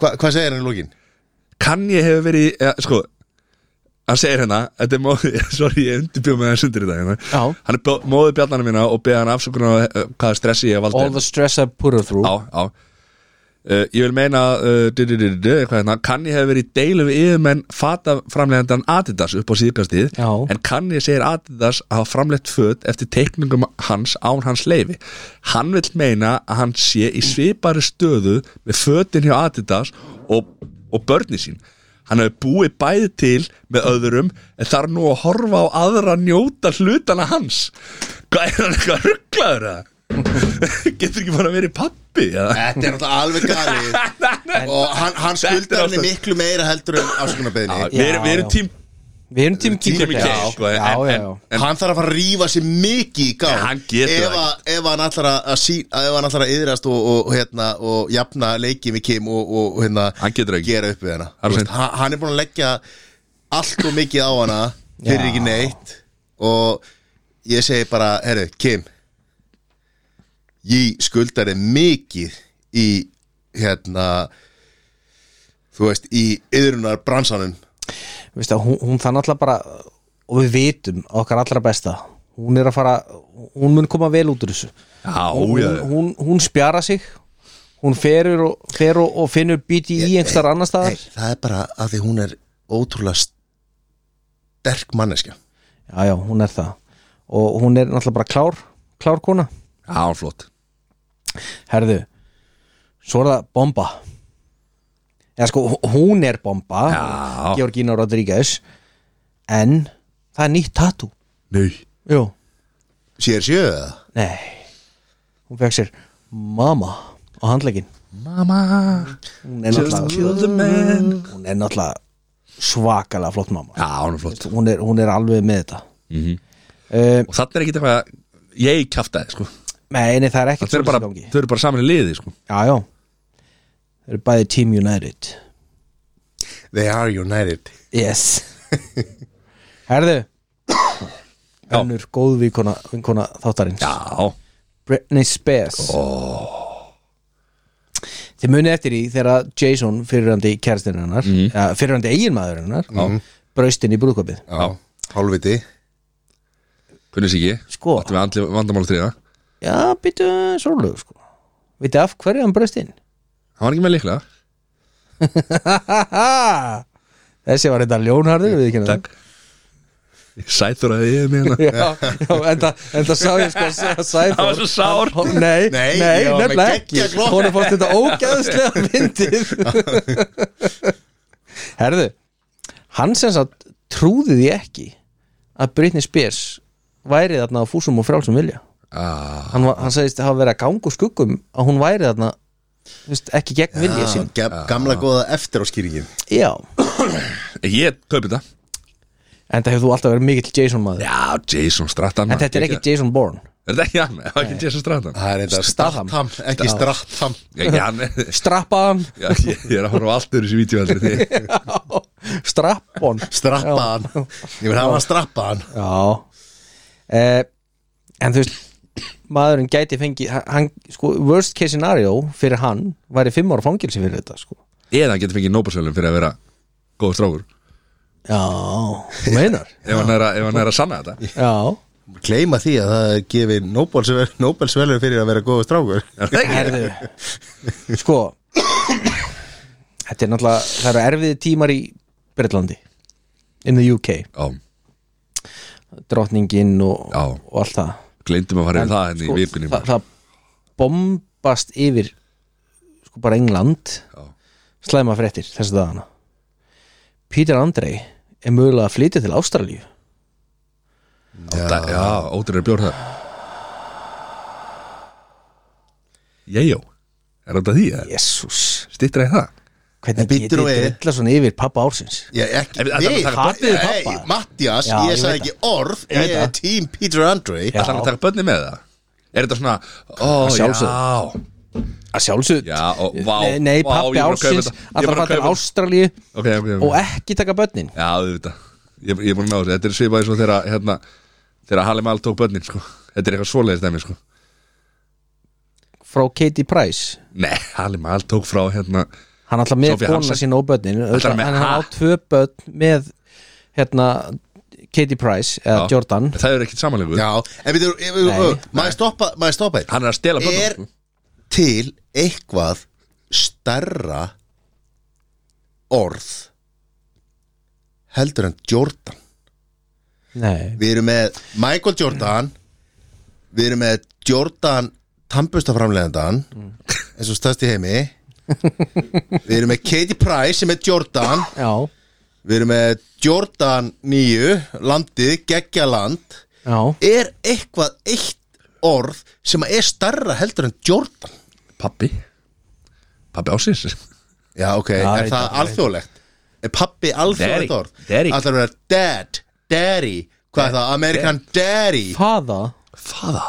[SPEAKER 3] Hva, hvað segir hann í lókin?
[SPEAKER 1] kann ég hefur verið, ja, sko hann segir hérna, þetta er móði sorry, ég undirbjóð með það sundir þetta hérna.
[SPEAKER 2] Já.
[SPEAKER 1] hann er bjó- móðir bjarnarna mína og beða hann afsökunar á eh, hvaða stressi ég valdi
[SPEAKER 2] All the stress I put her through
[SPEAKER 1] já, já Uh, ég vil meina uh, du, du, du, du, du, eitthvað hérna, kann ég hef verið í deilu við yfirmenn fata framlegðandan Adidas upp á síðkastíð
[SPEAKER 2] Já.
[SPEAKER 1] en kann ég segir Adidas að hafa framlegt föt eftir teikningum hans án hans leifi hann vil meina að hann sé í svipari stöðu með fötin hjá Adidas og, og börni sín hann hefur búið bæði til með öðrum en þarf nú að horfa á aðra njóta hlutana hans hvað er hann eitthvað rugglaður að getur ekki bara verið pappi eða
[SPEAKER 3] þetta er náttúrulega alveg galið og hann, hann
[SPEAKER 1] Þetta er
[SPEAKER 3] skuldar henni
[SPEAKER 1] ástæð-
[SPEAKER 3] miklu meira heldur en afsökunarbeðinni
[SPEAKER 1] Við erum, við erum
[SPEAKER 2] já.
[SPEAKER 1] tím
[SPEAKER 2] Við erum tím
[SPEAKER 1] Team Kim
[SPEAKER 2] Kim
[SPEAKER 1] K,
[SPEAKER 2] Kardashian
[SPEAKER 1] sko, en-
[SPEAKER 2] Já, já,
[SPEAKER 1] en-
[SPEAKER 2] já
[SPEAKER 1] en-
[SPEAKER 3] hann þarf að fara að rífa sér mikið í
[SPEAKER 1] Nei,
[SPEAKER 3] gang
[SPEAKER 1] hann getur
[SPEAKER 3] ef,
[SPEAKER 1] það
[SPEAKER 3] að, ef hann allar að, að sí, að- ef hann allar að yðrast og, og, hérna, og jafna leikið með Kim og, og hérna,
[SPEAKER 1] Hann getur það ekki.
[SPEAKER 3] gera upp við hana
[SPEAKER 1] Hann er
[SPEAKER 3] Þú veist, hann, hann er búin að leggja allt og mikið á hana fyrir
[SPEAKER 2] Já.
[SPEAKER 3] ekki neitt og ég segi bara, herru, Kim ég skuldar þið mikið í hérna þú veist, í yðrunar bransanum
[SPEAKER 2] Veistu, að hún, hún þann alltaf bara og við vitum okkar allra besta hún er að fara, hún mun koma vel út úr þessu
[SPEAKER 1] Já,
[SPEAKER 2] hún,
[SPEAKER 1] já.
[SPEAKER 2] hún, hún, hún spjara sig hún ferur og, fer og, og finnur bíti í einhverstar annar staðar
[SPEAKER 3] Nei, það er bara að því hún er ótrúlega sterk manneskja
[SPEAKER 2] já, já, hún er það og hún er náttúrulega bara klár, klár kona
[SPEAKER 1] Já, hann er flott
[SPEAKER 2] herðu, svo er það bomba eða sko, hún er bomba
[SPEAKER 1] Já.
[SPEAKER 2] Georgina Rodríguez en það er nýtt tattoo
[SPEAKER 1] Nei
[SPEAKER 2] Jú,
[SPEAKER 3] Sér sjöða
[SPEAKER 2] nei Hún fekk sér mamma á handlegin
[SPEAKER 1] Mamma
[SPEAKER 2] Hún er náttúrulega,
[SPEAKER 1] the man
[SPEAKER 2] hún er náttúrulega svakalega flott mamma
[SPEAKER 1] Já, hún er flott
[SPEAKER 2] hún er, hún er alveg með þetta
[SPEAKER 1] Og þannig er ekki eitthvað Ég kjaftaði, sko
[SPEAKER 2] Nei, nei, það er ekkert
[SPEAKER 1] Þau eru
[SPEAKER 2] svoleiðis
[SPEAKER 1] bara,
[SPEAKER 2] í gangi.
[SPEAKER 1] þau eru bara saman í liði, sko
[SPEAKER 2] Já, já Þeir eru bæði Team United
[SPEAKER 3] They are united
[SPEAKER 2] Yes Herðu Önnur góð vinkona, vinkona þáttarins
[SPEAKER 1] Já
[SPEAKER 2] Britney Spears oh. Þið munið eftir í þegar Jason fyrirandi kærastinn hennar
[SPEAKER 1] Mhm.
[SPEAKER 2] mm. ja, fyrirandi eiginmaður hennar mm. braustinn í brúðkopið
[SPEAKER 3] Já, hálfviti
[SPEAKER 1] Kunnis ekki
[SPEAKER 2] Sko.
[SPEAKER 1] Þetta við andli vandamál að tríða
[SPEAKER 2] Já, býtu svolug sko Vitið af hverju hann braustinn?
[SPEAKER 1] Hann var ekki með líklega
[SPEAKER 2] Þessi var þetta ljónharður við ekki
[SPEAKER 1] Takk Sætur að ég er með hana
[SPEAKER 2] já, já, en, það, en það sá ég sko að Sæþór
[SPEAKER 1] Það var svo sár.
[SPEAKER 2] hann- Nei, nei,
[SPEAKER 3] Nei,
[SPEAKER 2] nei
[SPEAKER 3] já, með
[SPEAKER 2] nefnilega ekki
[SPEAKER 3] geggjað glott.
[SPEAKER 2] Hún er fórst þetta ógæðslega myndið Herðu Hann sem sagt trúði því ekki að Britney Spears væri þarna á fúsum og frálsum vilja
[SPEAKER 1] ah,
[SPEAKER 2] Hann, var, hann sagðist að hafa verið að ganga úr skuggum að hún væri þarna þú veist, ekki gegn vilja
[SPEAKER 3] Ah, Já,
[SPEAKER 2] sín
[SPEAKER 3] gef- Gamla góða eftir á skýringin
[SPEAKER 2] Já,
[SPEAKER 1] Ég kaupi þetta
[SPEAKER 2] en það hefur þú alltaf verið mikill Jason maður
[SPEAKER 1] Já, Jason Stratton
[SPEAKER 2] En þetta er ekki Jason Bourne
[SPEAKER 1] Er þetta ekki hann? Er þetta ekki Jason Stratton?
[SPEAKER 3] Það er þetta
[SPEAKER 2] Statham.
[SPEAKER 3] ekki Stratham
[SPEAKER 1] Já, Ekki hann
[SPEAKER 2] Strappaðan,
[SPEAKER 1] Já, Ég ég er að horfa á allt öðru þessi vídeo heldur en þig.
[SPEAKER 2] strappon
[SPEAKER 3] Strappaðan Ég vil hafa hann strappaðan
[SPEAKER 2] Já eh, En þú veist maðurinn gæti fengið hann- hann, sko, worst case scenario fyrir hann væri fimm ára fangilsi fyrir þetta sko.
[SPEAKER 1] Eða hann getur fengið nóbasölum fyrir að vera góð strákur
[SPEAKER 2] Já, þú meinar
[SPEAKER 1] Ef hann er að, ef hann er að sanna þetta
[SPEAKER 2] Já,
[SPEAKER 3] Kleima því að það er gefið Nóbelsvel- Nóbelsvelun fyrir að vera góða strákur
[SPEAKER 1] Er það ekki?
[SPEAKER 2] herðu Sko Þetta er náttúrulega, það eru erfiði tímar í Breitlandi in the UK,
[SPEAKER 1] Já,
[SPEAKER 2] drottningin og,
[SPEAKER 1] Já.
[SPEAKER 2] og allt það
[SPEAKER 1] gleyndum að fara yfir það henni í
[SPEAKER 2] sko,
[SPEAKER 1] vikunni
[SPEAKER 2] það, það bombast yfir sko bara England
[SPEAKER 1] Já.
[SPEAKER 2] slæma fréttir þessu dagana Peter Andrei er mögulega að flytja til Ástralíu
[SPEAKER 1] Já, já ótrúlega bjór það Jæjó Er þetta því? Yeah.
[SPEAKER 2] Jésús
[SPEAKER 1] Stittra í það?
[SPEAKER 2] hvernig
[SPEAKER 3] En bíddu
[SPEAKER 2] getið
[SPEAKER 3] nú við.
[SPEAKER 2] drilla svona yfir pappa ársins
[SPEAKER 3] Já, ekki
[SPEAKER 1] En við- ætlum við að taka
[SPEAKER 2] börnin við
[SPEAKER 3] Nei,
[SPEAKER 2] pabba?
[SPEAKER 3] Mattias,
[SPEAKER 2] Já,
[SPEAKER 3] ég
[SPEAKER 2] ég
[SPEAKER 3] sagði
[SPEAKER 2] veit
[SPEAKER 3] ekki orð
[SPEAKER 2] Ég veit
[SPEAKER 3] Ég er
[SPEAKER 2] það.
[SPEAKER 3] team Peter Andre
[SPEAKER 2] Já.
[SPEAKER 1] Það er að taka bönni með það? Er þetta svona Ó,
[SPEAKER 2] Að
[SPEAKER 1] já
[SPEAKER 2] sjálfsögðu. að sjálfsögð
[SPEAKER 1] Já, ó, vá,
[SPEAKER 2] nei,
[SPEAKER 1] vá,
[SPEAKER 2] nei
[SPEAKER 1] ég
[SPEAKER 2] pappi
[SPEAKER 1] var að kaupa
[SPEAKER 2] ársins
[SPEAKER 1] þetta. Mm. Ég
[SPEAKER 2] að
[SPEAKER 1] var að
[SPEAKER 2] það fara til
[SPEAKER 1] kaupa-
[SPEAKER 2] Ástralíu
[SPEAKER 1] Ok, ok, ok
[SPEAKER 2] og e- ekki taka börnin
[SPEAKER 1] Já, þú veit það Ég ég er búin að ná þessu Þetta er svipað eins og þegar hérna, Þegar Halle Mal tók bönnin sko. Þetta er eitthvað svoleiðist dæmi sko.
[SPEAKER 2] frá Katie Price
[SPEAKER 1] Nei, Halle Mal tók frá hérna
[SPEAKER 2] hann alltaf með
[SPEAKER 1] Sophie
[SPEAKER 2] kona
[SPEAKER 1] Hansen.
[SPEAKER 2] sína og börnin
[SPEAKER 1] Ætlar
[SPEAKER 2] auðvitað-
[SPEAKER 1] með-
[SPEAKER 2] en hann á
[SPEAKER 1] Ha?
[SPEAKER 2] tvö börn með hérna Katie Price eða
[SPEAKER 1] já,
[SPEAKER 2] Jordan
[SPEAKER 1] Það er ekkit samanlegu
[SPEAKER 3] Já, en við
[SPEAKER 2] Nei.
[SPEAKER 3] þurfum Maður stoppa, maður stoppa einn.
[SPEAKER 1] Hann er að stela bönnum
[SPEAKER 3] Er
[SPEAKER 1] sko.
[SPEAKER 3] til eitthvað stærra orð heldur en Jordan
[SPEAKER 2] nei,
[SPEAKER 3] Við erum með Michael Jordan Við erum með Jordan tampustaframlegandan eins og stærst í heimi Við erum með Katie Price sem er Jordan
[SPEAKER 2] já,
[SPEAKER 3] Við erum með Jordan 9 landið, geggjaland
[SPEAKER 2] já
[SPEAKER 3] er eitthvað eitt orð sem er starra heldur en Jordan
[SPEAKER 1] Pappi Pappi ásins
[SPEAKER 3] Já, ok,
[SPEAKER 2] ég
[SPEAKER 3] er
[SPEAKER 2] veit
[SPEAKER 3] það
[SPEAKER 2] það,
[SPEAKER 3] alþjóðlegt? Er pappi alþjóðlegt
[SPEAKER 1] Daddy,
[SPEAKER 3] orð?
[SPEAKER 1] daddy.
[SPEAKER 3] Allar vera dad, daddy Hvað er það? American daddy
[SPEAKER 2] Fada
[SPEAKER 1] Fada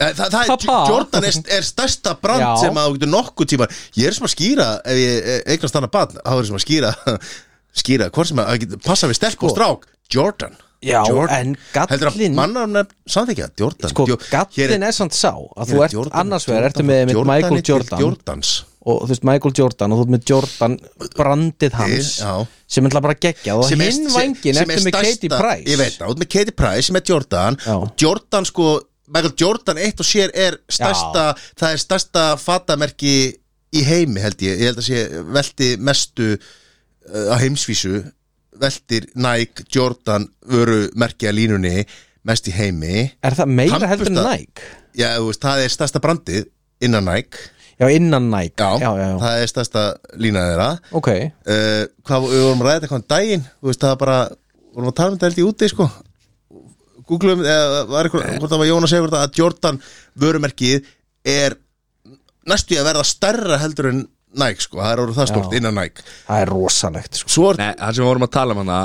[SPEAKER 3] Eh, Það, það er,
[SPEAKER 2] Papa.
[SPEAKER 3] Jordan er, er stærsta brand
[SPEAKER 2] Já.
[SPEAKER 3] sem að þú getur nokkuð tíma Ég er sem að skýra, ef ég eh, eignast þannig barn þá er ég sem að skýra skýra, hvort sem að að getur passa við stelp og strák Jordan
[SPEAKER 2] Sko. Já,
[SPEAKER 3] Jordan.
[SPEAKER 2] en gallinn-
[SPEAKER 3] Heldur að mannarnar samþykja, Jordan
[SPEAKER 2] sko,
[SPEAKER 3] Jo- hér
[SPEAKER 2] gallin
[SPEAKER 3] er-
[SPEAKER 2] er samt sá að
[SPEAKER 3] hér
[SPEAKER 2] þú
[SPEAKER 3] er
[SPEAKER 2] ert
[SPEAKER 3] Jordan,
[SPEAKER 2] annars vegar, ertu
[SPEAKER 3] Jordan,
[SPEAKER 2] með, með Michael
[SPEAKER 3] er til
[SPEAKER 2] Jordan
[SPEAKER 3] Jordans
[SPEAKER 2] og þú veist Michael Jordan og þú ert með Jordan brandið hans
[SPEAKER 3] Já.
[SPEAKER 2] sem er bara geggja og
[SPEAKER 3] Sem er-
[SPEAKER 2] hinn
[SPEAKER 3] sem-
[SPEAKER 2] vangin
[SPEAKER 3] sem
[SPEAKER 2] ertu
[SPEAKER 3] er
[SPEAKER 2] með
[SPEAKER 3] stærsta-
[SPEAKER 2] Katie Price
[SPEAKER 3] Ég veit það, út með Katie Price sem er Jordan
[SPEAKER 2] Já.
[SPEAKER 3] og Jordan sko, Michael Jordan eitt og sér er stærsta það er stærsta fatamerki í heimi held ég, ég held að sé velti mestu uh, á heimsvísu veltir Nike, Jordan vöru merkja línunni mest í heimi
[SPEAKER 2] er það meira
[SPEAKER 3] Tannbursta-
[SPEAKER 2] heldur en Nike
[SPEAKER 3] Já, þú veist, það er stærsta brandið innan Nike
[SPEAKER 2] já, innan Nike
[SPEAKER 3] Já,
[SPEAKER 2] já, já, já.
[SPEAKER 3] það er stærsta lína þeirra
[SPEAKER 2] ok,
[SPEAKER 3] Eh, uh, hvað við vorum að ræða þetta eitthvað um daginn þú veist það er bara vorum að tala um þetta held ég úti sko Googlum, eða var eitthvað, hvort það var Jón að segja hvort það að Jordan vörumerkið er næstu í að verða stærra heldur en Nike sko, það er orðið það stort
[SPEAKER 2] Já.
[SPEAKER 3] innan Nike
[SPEAKER 2] það er rosalegt sko.
[SPEAKER 3] Svo er,
[SPEAKER 1] Nei, það sem við vorum að tala um hana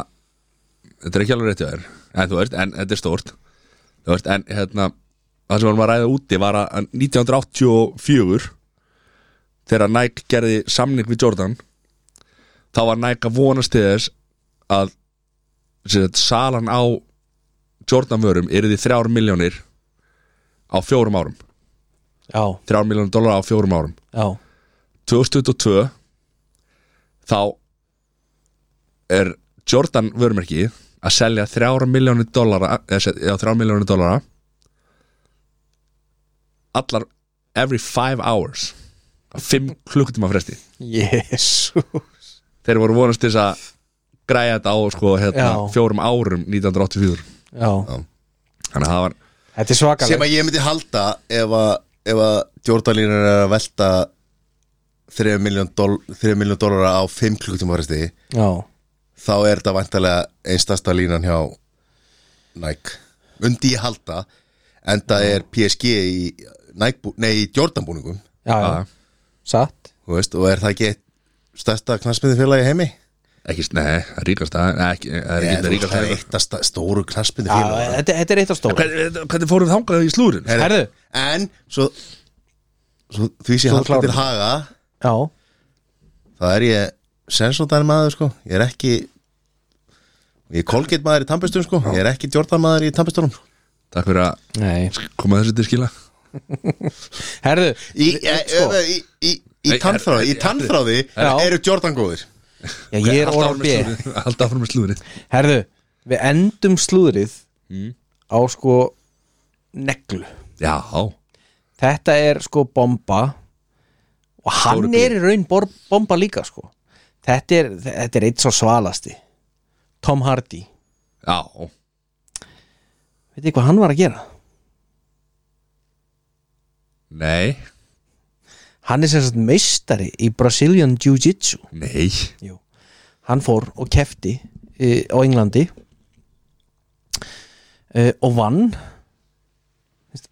[SPEAKER 1] Þetta er ekki alveg rétt hjá þér En þú veist, en þetta er stórt Þú veist, en hérna Það sem við vorum að ræða úti var að að 1984 Þegar Nike gerði samning við Jordan Þá var Nike að vonast til þess Að sér, Salan á Jordan vörum er því þrjár miljónir Á fjórum árum
[SPEAKER 2] já,
[SPEAKER 1] Þrjár miljónir dólar á fjórum árum
[SPEAKER 2] já,
[SPEAKER 1] 2022 þá er Jordan vörumerki að selja 3 miljónir dollara eða se- já, 3 miljónir dollara allar every 5 hours á 5 klukkutíma fresti
[SPEAKER 2] jésús
[SPEAKER 1] þeir voru vonast til þess að græja þetta á sko, hérna,
[SPEAKER 2] Já.
[SPEAKER 1] fjórum árum 1984
[SPEAKER 2] já,
[SPEAKER 1] þannig að það var
[SPEAKER 2] þetta er
[SPEAKER 3] sem
[SPEAKER 2] svakalegt
[SPEAKER 3] að ég myndi halda ef að, ef að Jordan línur er að velta 3 miljón doll, 3 miljón dólara á 5 klukkutíma fresti
[SPEAKER 2] já,
[SPEAKER 3] þá er þetta vantarlega einstasta línan hjá Nike undi ég halda en það er PSG í, Nike, bú- nei, í Jordan búningum
[SPEAKER 2] já, já,
[SPEAKER 1] að,
[SPEAKER 2] satt
[SPEAKER 3] þú veist, og er það ekki eitt stærsta knarsmyndi félagi heimi?
[SPEAKER 1] ekki, nei, það er ríkast að ekki, það er
[SPEAKER 3] Nei,
[SPEAKER 1] ekki það
[SPEAKER 3] þú
[SPEAKER 1] er
[SPEAKER 3] veist,
[SPEAKER 1] ríkast
[SPEAKER 3] það
[SPEAKER 1] að
[SPEAKER 3] er eitt af sta- stóru knarsmyndi
[SPEAKER 2] já,
[SPEAKER 3] félagi
[SPEAKER 2] þetta, þetta er eitt af stóra
[SPEAKER 1] hvernig, hvernig fórum við þangað í slúrin?
[SPEAKER 2] Herðu.
[SPEAKER 3] en svo, svo því sé
[SPEAKER 2] Svo
[SPEAKER 3] halda
[SPEAKER 2] klárar
[SPEAKER 3] til haga
[SPEAKER 2] já,
[SPEAKER 3] þá er ég sensóndæni maður sko, ég er ekki ég er Colgate maður í tampestum sko, ég er ekki Jordan maður í tampestunum sko.
[SPEAKER 1] takk fyrir að
[SPEAKER 2] nei,
[SPEAKER 1] koma þessu til skila
[SPEAKER 2] herðu
[SPEAKER 3] í,
[SPEAKER 2] við-
[SPEAKER 3] e-
[SPEAKER 2] sko,
[SPEAKER 3] e- í, í, í
[SPEAKER 1] Nei,
[SPEAKER 3] tannþráði,
[SPEAKER 1] er-
[SPEAKER 3] í
[SPEAKER 1] er-
[SPEAKER 3] tannþráði
[SPEAKER 2] Já.
[SPEAKER 3] eru Jordan góðir
[SPEAKER 2] já, ég er
[SPEAKER 1] Halda áfram
[SPEAKER 2] orðan
[SPEAKER 1] með
[SPEAKER 2] björn
[SPEAKER 1] slúðrið. Halda áfram með slúðurinn
[SPEAKER 2] Herðu, við endum slúðrið á sko neglu
[SPEAKER 1] Já,
[SPEAKER 2] Þetta er sko bomba og hann
[SPEAKER 1] bíl.
[SPEAKER 2] er í raun bor- bomba líka sko Þetta er, þetta er eitt svo svalasti Tom Hardy
[SPEAKER 1] já
[SPEAKER 2] Veit þið hvað hann var að gera?
[SPEAKER 1] Nei,
[SPEAKER 2] Hann er sem sagt meistari í Brazilian Jiu-Jitsu
[SPEAKER 1] nei
[SPEAKER 2] Jú. Hann fór og kefti e, á Englandi e, og vann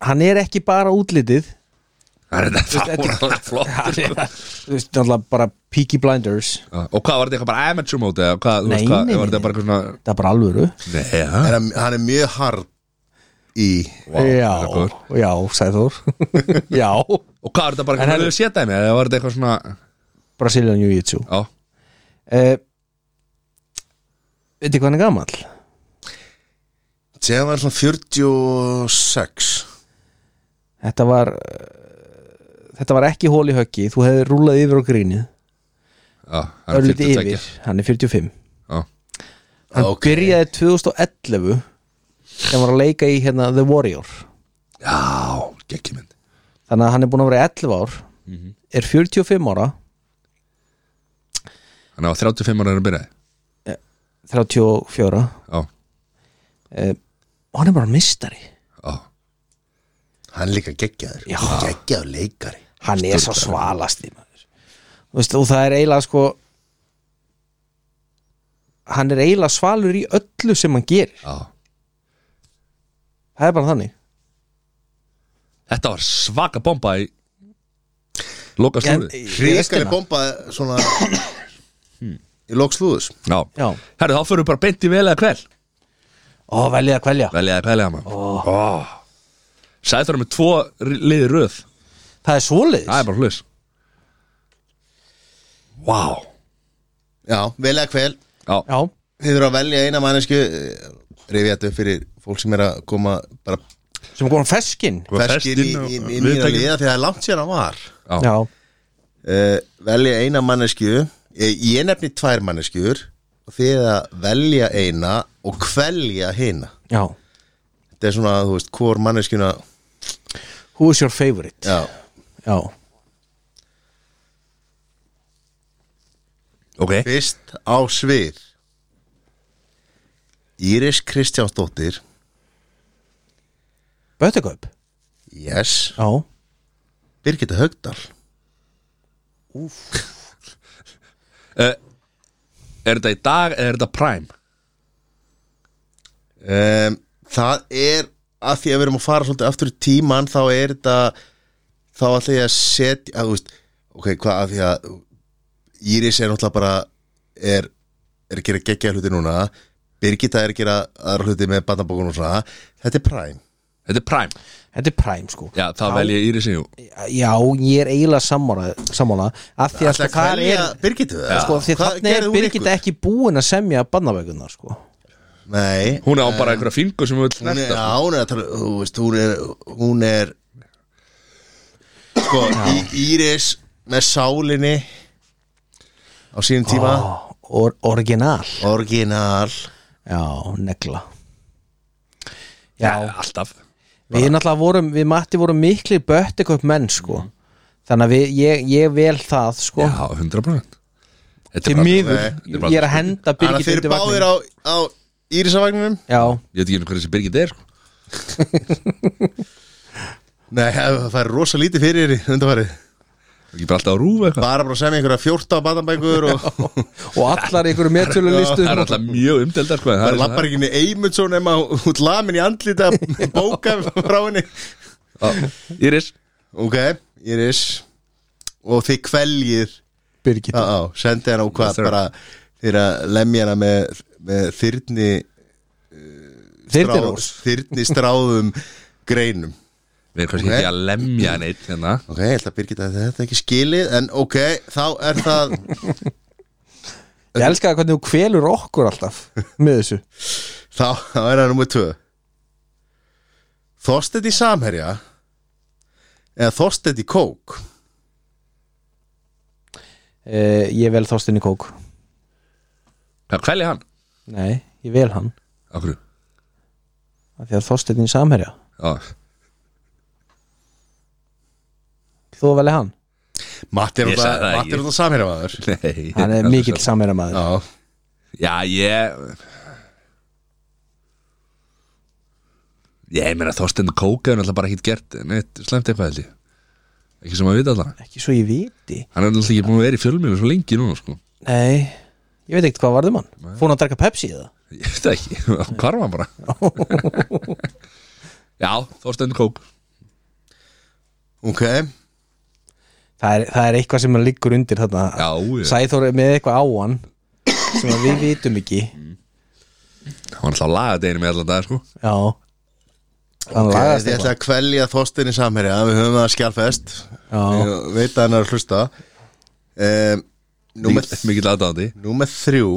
[SPEAKER 2] Hann er ekki bara útlitið
[SPEAKER 1] Það er þetta það
[SPEAKER 2] þetta-
[SPEAKER 1] voru alveg flott
[SPEAKER 2] Þú veist, náttúrulega bara Peaky Blinders
[SPEAKER 1] Og hvað var þetta eitthvað bara amateur móti eða hvað, þú
[SPEAKER 2] Nei,
[SPEAKER 1] veist hvað,
[SPEAKER 2] nei,
[SPEAKER 1] var þetta
[SPEAKER 2] nei.
[SPEAKER 1] bara eitthvað svona
[SPEAKER 2] Það er bara alvöru
[SPEAKER 1] Nei, já,
[SPEAKER 3] er, hann- hann er mjög hard í
[SPEAKER 1] vá,
[SPEAKER 2] Já,
[SPEAKER 1] þetta er góður.
[SPEAKER 2] já, sæður Já,
[SPEAKER 1] Og hvað var þetta bara
[SPEAKER 2] En
[SPEAKER 1] eitthvað
[SPEAKER 2] hann-
[SPEAKER 1] við séð dæmi eða var þetta eitthvað svona
[SPEAKER 2] Brazilian Jiu-Jitsu
[SPEAKER 1] Já,
[SPEAKER 2] uh, Veitir hvað hann er gamall?
[SPEAKER 3] sem hann var svona 46
[SPEAKER 2] Þetta var uh, Þetta var ekki hól í höggi Þú hefði rúlað yfir á grínið
[SPEAKER 1] já, hann er
[SPEAKER 2] Örlítið
[SPEAKER 1] 42.
[SPEAKER 2] yfir, hann er 45
[SPEAKER 1] Já,
[SPEAKER 2] Hann
[SPEAKER 3] Ok.
[SPEAKER 2] byrjaði 2011 sem var að leika í hérna The Warrior
[SPEAKER 1] já geggjum mynd
[SPEAKER 2] Þannig að hann er búin að vera í 11 ár
[SPEAKER 1] Mhm.
[SPEAKER 2] Er 45 ára
[SPEAKER 1] Hann var 35 ára að byrjaði
[SPEAKER 2] 34
[SPEAKER 1] Já,
[SPEAKER 2] uh, og hann er bara mistari
[SPEAKER 1] já,
[SPEAKER 3] hann er líka geggjaður,
[SPEAKER 2] Já.
[SPEAKER 3] geggjaður leikari
[SPEAKER 2] hann er svo svalasti maður. Þú veist, og það er eiginlega sko hann er eiginlega svalur í öllu sem hann gerir
[SPEAKER 1] já
[SPEAKER 2] það er bara þannig
[SPEAKER 1] Þetta var svaka bomba í Loka slúrið
[SPEAKER 3] hrikaleg bomba svona í lokslúðus
[SPEAKER 1] Já,
[SPEAKER 2] já.
[SPEAKER 1] herru þá fyrir bara beint í vel eða kvel
[SPEAKER 2] ó, velja að kvelja
[SPEAKER 1] Veljaði pælega maður oh. oh. Sæþóra með tvo liði röð
[SPEAKER 2] það er
[SPEAKER 1] Það er
[SPEAKER 2] svoleiðis
[SPEAKER 1] bara hlust Vá wow.
[SPEAKER 3] já, vel eða kvel,
[SPEAKER 1] Já,
[SPEAKER 2] já,
[SPEAKER 3] þið þurfa að velja eina mannesku rifið þetta upp fyrir fólk sem er að koma bara
[SPEAKER 2] sem kom feskin
[SPEAKER 1] Hvað er
[SPEAKER 3] ferskir í,
[SPEAKER 1] og-
[SPEAKER 3] í, í
[SPEAKER 1] við
[SPEAKER 3] nýra
[SPEAKER 1] tekum-
[SPEAKER 3] liða því það er langt sér að var
[SPEAKER 1] Já.
[SPEAKER 2] já,
[SPEAKER 3] uh, velja eina mannesku ég, ég nefni tvær manneskjur og þið að velja eina og kvelja hina
[SPEAKER 2] já
[SPEAKER 3] þetta er svona, þú veist, hvor manneskjuna
[SPEAKER 2] who is your favorite
[SPEAKER 3] já,
[SPEAKER 2] já,
[SPEAKER 1] Ok,
[SPEAKER 3] fyrst á svið Íris Kristjánsdóttir
[SPEAKER 2] Bötteköp
[SPEAKER 3] yes,
[SPEAKER 2] já,
[SPEAKER 3] Birgitta Högdal
[SPEAKER 1] er þetta í dag eða er þetta prime?
[SPEAKER 3] um, Það er að því að við erum að fara svolítið aftur í tíman þá er þetta þá ætla ég að setja að, þú veist, ok, hvað að því að Íris er náttúrulega bara er, er að gera geggja hluti núna Birgitta er að gera aðra hluti með bandabókun og svona þetta er Prime
[SPEAKER 1] Þetta er Prime
[SPEAKER 2] Þetta er præm sko
[SPEAKER 1] Já, það vel ég Írisi jú
[SPEAKER 2] Já, ég er eiginlega sammála, sammála af því að
[SPEAKER 3] Ætla
[SPEAKER 2] sko,
[SPEAKER 3] að
[SPEAKER 2] þar
[SPEAKER 3] kvelja
[SPEAKER 2] er
[SPEAKER 3] Birgittu það?
[SPEAKER 2] sko, því
[SPEAKER 3] Hvað
[SPEAKER 2] þannig er
[SPEAKER 3] gerði hún
[SPEAKER 2] Birgitta
[SPEAKER 3] ykkur?
[SPEAKER 2] ekki búin að semja barnabækunar sko
[SPEAKER 3] Nei,
[SPEAKER 1] Hún á bara einhverja fingur sem hún vil
[SPEAKER 3] hún er,
[SPEAKER 1] snerta
[SPEAKER 3] já, hún er að tala þú veist, hún er, hún er sko, í, Íris með sálinni á sínum tíma
[SPEAKER 2] Ó, or, Original
[SPEAKER 3] orginal
[SPEAKER 2] Já, negla
[SPEAKER 1] Já,
[SPEAKER 2] Já,
[SPEAKER 1] alltaf
[SPEAKER 2] við náttúrulega vorum við Matti vorum miklir bötteköp menn sko Þannig að við, ég, ég vel það sko
[SPEAKER 1] Mm. Já, 100% Þetta
[SPEAKER 2] Til
[SPEAKER 1] bara-
[SPEAKER 2] miður,
[SPEAKER 3] Nei,
[SPEAKER 1] þetta er bara-
[SPEAKER 2] ég er að henda
[SPEAKER 3] Þannig að
[SPEAKER 2] Birgitta
[SPEAKER 3] þeir
[SPEAKER 2] undir
[SPEAKER 3] báðir
[SPEAKER 2] vagnin
[SPEAKER 3] á, á Írisavagninum
[SPEAKER 2] Já,
[SPEAKER 1] Ég veit ekki hvernig þessi Birgit er sko.
[SPEAKER 3] Nei, það er rosa lítið fyrir undanfarið
[SPEAKER 1] Ekki bara alltaf á rúf eitthvað
[SPEAKER 3] bara bara að semja einhverja 14 batanbækur og
[SPEAKER 2] og allar einhverju meðtölulistu
[SPEAKER 1] Það er alltaf mjög umdeldar sko, en það
[SPEAKER 3] það
[SPEAKER 1] er eins og
[SPEAKER 3] lappar ekki niður Eymundsson ef maður út lamin í andlita bóka frá henni
[SPEAKER 1] það. Já, Íris
[SPEAKER 3] ok, Íris og þið kveljir
[SPEAKER 2] Birgitta
[SPEAKER 3] Já, já, sendi hana og hvað
[SPEAKER 1] Yes, sir.
[SPEAKER 3] bara fyrir að lemja hana með, með þyrni,
[SPEAKER 2] Þyrnirós
[SPEAKER 3] þyrni stráðum greinum
[SPEAKER 1] Við erum kannski
[SPEAKER 3] Ok.
[SPEAKER 1] ekki að lemja neitt hérna
[SPEAKER 3] Ok, ég held að Birgitta að þetta ekki skilið en ok, þá er það
[SPEAKER 2] Ég elska það hvernig þú kvelur okkur alltaf með þessu
[SPEAKER 3] þá, þá er það nummer tvö Þorstedt í samherja eða Þorstedt í kók
[SPEAKER 2] uh, Ég vel Þorstinni Kók
[SPEAKER 1] Hvað kvelja hann?
[SPEAKER 2] Nei, ég vel hann
[SPEAKER 1] Akkur
[SPEAKER 2] af Því að Þorstinni samherja
[SPEAKER 1] Já,
[SPEAKER 2] Þú veli hann
[SPEAKER 3] Matti er
[SPEAKER 1] Ég sagði það ekki.
[SPEAKER 3] þetta samherja maður
[SPEAKER 1] nei
[SPEAKER 2] Hann er
[SPEAKER 1] það
[SPEAKER 2] mikill
[SPEAKER 1] svo-
[SPEAKER 2] samherja maður
[SPEAKER 3] Já,
[SPEAKER 1] Já, ég Ég meina Þorsteinn Kóka er náttúrulega bara ekkert gert neitt slæmt eitthvað held ég Ekki sem að vita alltaf
[SPEAKER 2] Ekki svo ég viti
[SPEAKER 1] Hann er náttúrulega ekki búin að vera í fjölmiðlum svo lengi núna sko
[SPEAKER 2] Nei, ég veit ekkert hvað varðum hann Fór hann að drekka Pepsi eða
[SPEAKER 1] Ég veit það ekki, hvar var hann bara Já, Þorsteinn Kók
[SPEAKER 3] ok
[SPEAKER 2] Það er, það er eitthvað sem hann liggur undir þarna
[SPEAKER 1] Já, ég-
[SPEAKER 2] Sæþór er með eitthvað á hann sem að við vitum ekki
[SPEAKER 1] Hann var alltaf lagadeginu með allan dag sko
[SPEAKER 2] Já Hann
[SPEAKER 3] Ok,
[SPEAKER 2] lagast
[SPEAKER 3] Þið ætla að kvelja Þorstein í samherja Við höfum það skjálfest
[SPEAKER 2] Já.
[SPEAKER 3] Ég veit að hann er að hlusta um, Númer
[SPEAKER 1] Mikill- Mikill aðdáðandi
[SPEAKER 3] Númer þrjú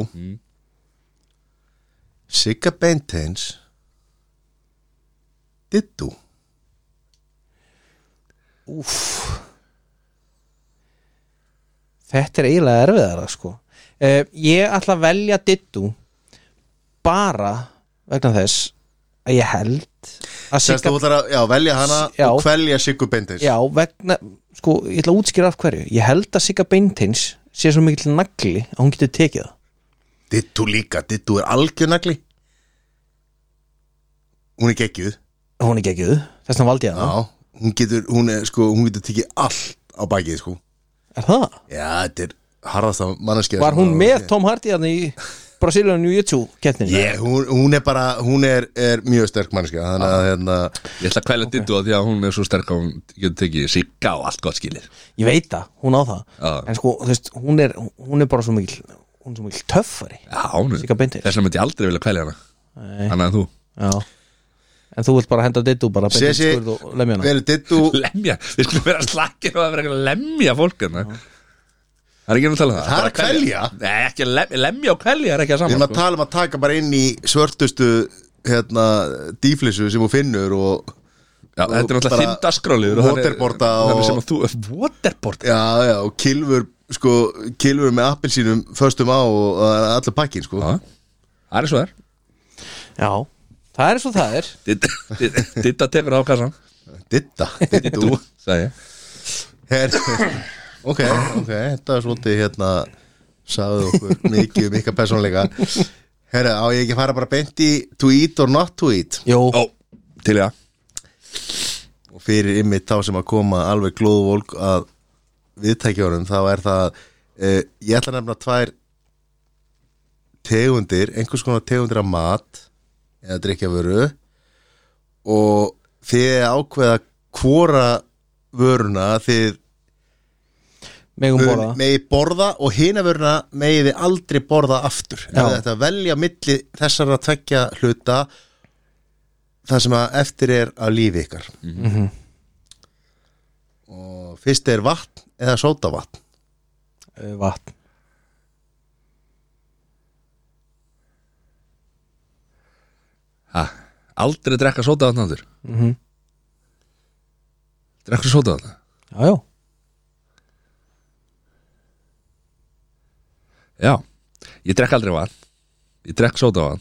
[SPEAKER 3] Sigga Bentens Dittu
[SPEAKER 2] Þetta er eiginlega erfiðara sko uh, Ég ætla að velja Dittu bara vegna þess að ég held að
[SPEAKER 3] Sérst
[SPEAKER 2] Sigga
[SPEAKER 3] þú ætlar að já, velja hana
[SPEAKER 2] Já.
[SPEAKER 3] og kvelja Siggu Bentens
[SPEAKER 2] Já, vegna, sko, ég ætla að útskýra af hverju Ég held að Sigga Beintins sé svo mikill nagli að hún getur tekið það
[SPEAKER 3] Dittu líka, Dittu er algjörnagli Hún er geggjuð
[SPEAKER 2] Hún er geggjuð, þess vegna valdi ég
[SPEAKER 3] Já,
[SPEAKER 2] hana
[SPEAKER 3] hún getur, hún er sko, hún getur tekið allt á bakið sko
[SPEAKER 2] Er það?
[SPEAKER 3] Já, þetta er harðast af manneskja
[SPEAKER 2] Var hún með Tom Hardy hann í Brazilian Jiu-Jitsu keppnin?
[SPEAKER 3] Ég, hún, hún er bara, hún er, er mjög sterk manneskja Þannig að hérna
[SPEAKER 1] Ég ætla að kvelja okay. dittu að því að hún er svo sterk að hún getur tekið sigga og allt gott skilir
[SPEAKER 2] Ég veit það, hún á það
[SPEAKER 1] Já.
[SPEAKER 2] En sko, þú veist, hún er, hún er bara svo mikill Hún er svo mikill töffari
[SPEAKER 1] Já, hún er
[SPEAKER 2] Sigga Beinteins.
[SPEAKER 1] Þess vegna myndi ég aldrei vilja kvelja hana Annað en þú
[SPEAKER 2] Já En þú vilt bara henda dittu bara beint í
[SPEAKER 3] Sessi,
[SPEAKER 2] skurð og lemja hana
[SPEAKER 3] vel dittu
[SPEAKER 1] lemja, við skulum vera slakir og að vera eitthvað að lemja fólk hérna Það er ekki að tala um það
[SPEAKER 3] Það er að
[SPEAKER 1] Bara Nei, ekki að lemja, lemja og kvelja er ekki að sko.
[SPEAKER 3] Við erum
[SPEAKER 1] saman
[SPEAKER 3] að tala um að taka bara inn í svörtustu hérna, dýflissu sem hún finnur og
[SPEAKER 1] Já, þetta er náttúrulega
[SPEAKER 3] bara
[SPEAKER 1] þinn dasgráliður
[SPEAKER 3] waterboarda og-
[SPEAKER 1] og... Þú, waterboarda?
[SPEAKER 3] já, já, og kilfur sko, kilfur með appelsínum föstum á og það er allir pakkin sko.
[SPEAKER 1] Já, það er svo þær
[SPEAKER 2] Já, það er svo það er
[SPEAKER 1] Ditta- ditta- Ditta tekur á kassan
[SPEAKER 3] Ditta
[SPEAKER 1] Dittu, sagði ég
[SPEAKER 3] Her, ok, ok, þetta er svolítið hérna sagði okkur mikið um ykkar persónleika Herra, á ég ekki að fara bara beint í to eat or not to eat
[SPEAKER 2] Jó,
[SPEAKER 1] Ó, til ég að
[SPEAKER 3] og fyrir ymmið þá sem að koma alveg glóðvólk að viðtækjónum þá er það uh, ég ætla að nefna tvær tegundir einhvers konar tegundir af mat eða drikkjavöru og þið ákveða hvora vöruna þið
[SPEAKER 2] megum borða
[SPEAKER 3] megi borða og hina vöruna megi þið aldrei borða aftur
[SPEAKER 2] Já.
[SPEAKER 3] eða þetta velja milli þessara tvekja hluta það sem að eftir er af lífi ykkar
[SPEAKER 2] Mhm.
[SPEAKER 3] og fyrst er vatn eða sótavatn
[SPEAKER 2] Eh, vatn
[SPEAKER 1] ha, aldrei drekka sóta þarna andur
[SPEAKER 2] mm -hmm.
[SPEAKER 1] drekka sóta þarna
[SPEAKER 2] já, já,
[SPEAKER 1] Já, ég drekk aldrei vatn Ég drekk sóta vatn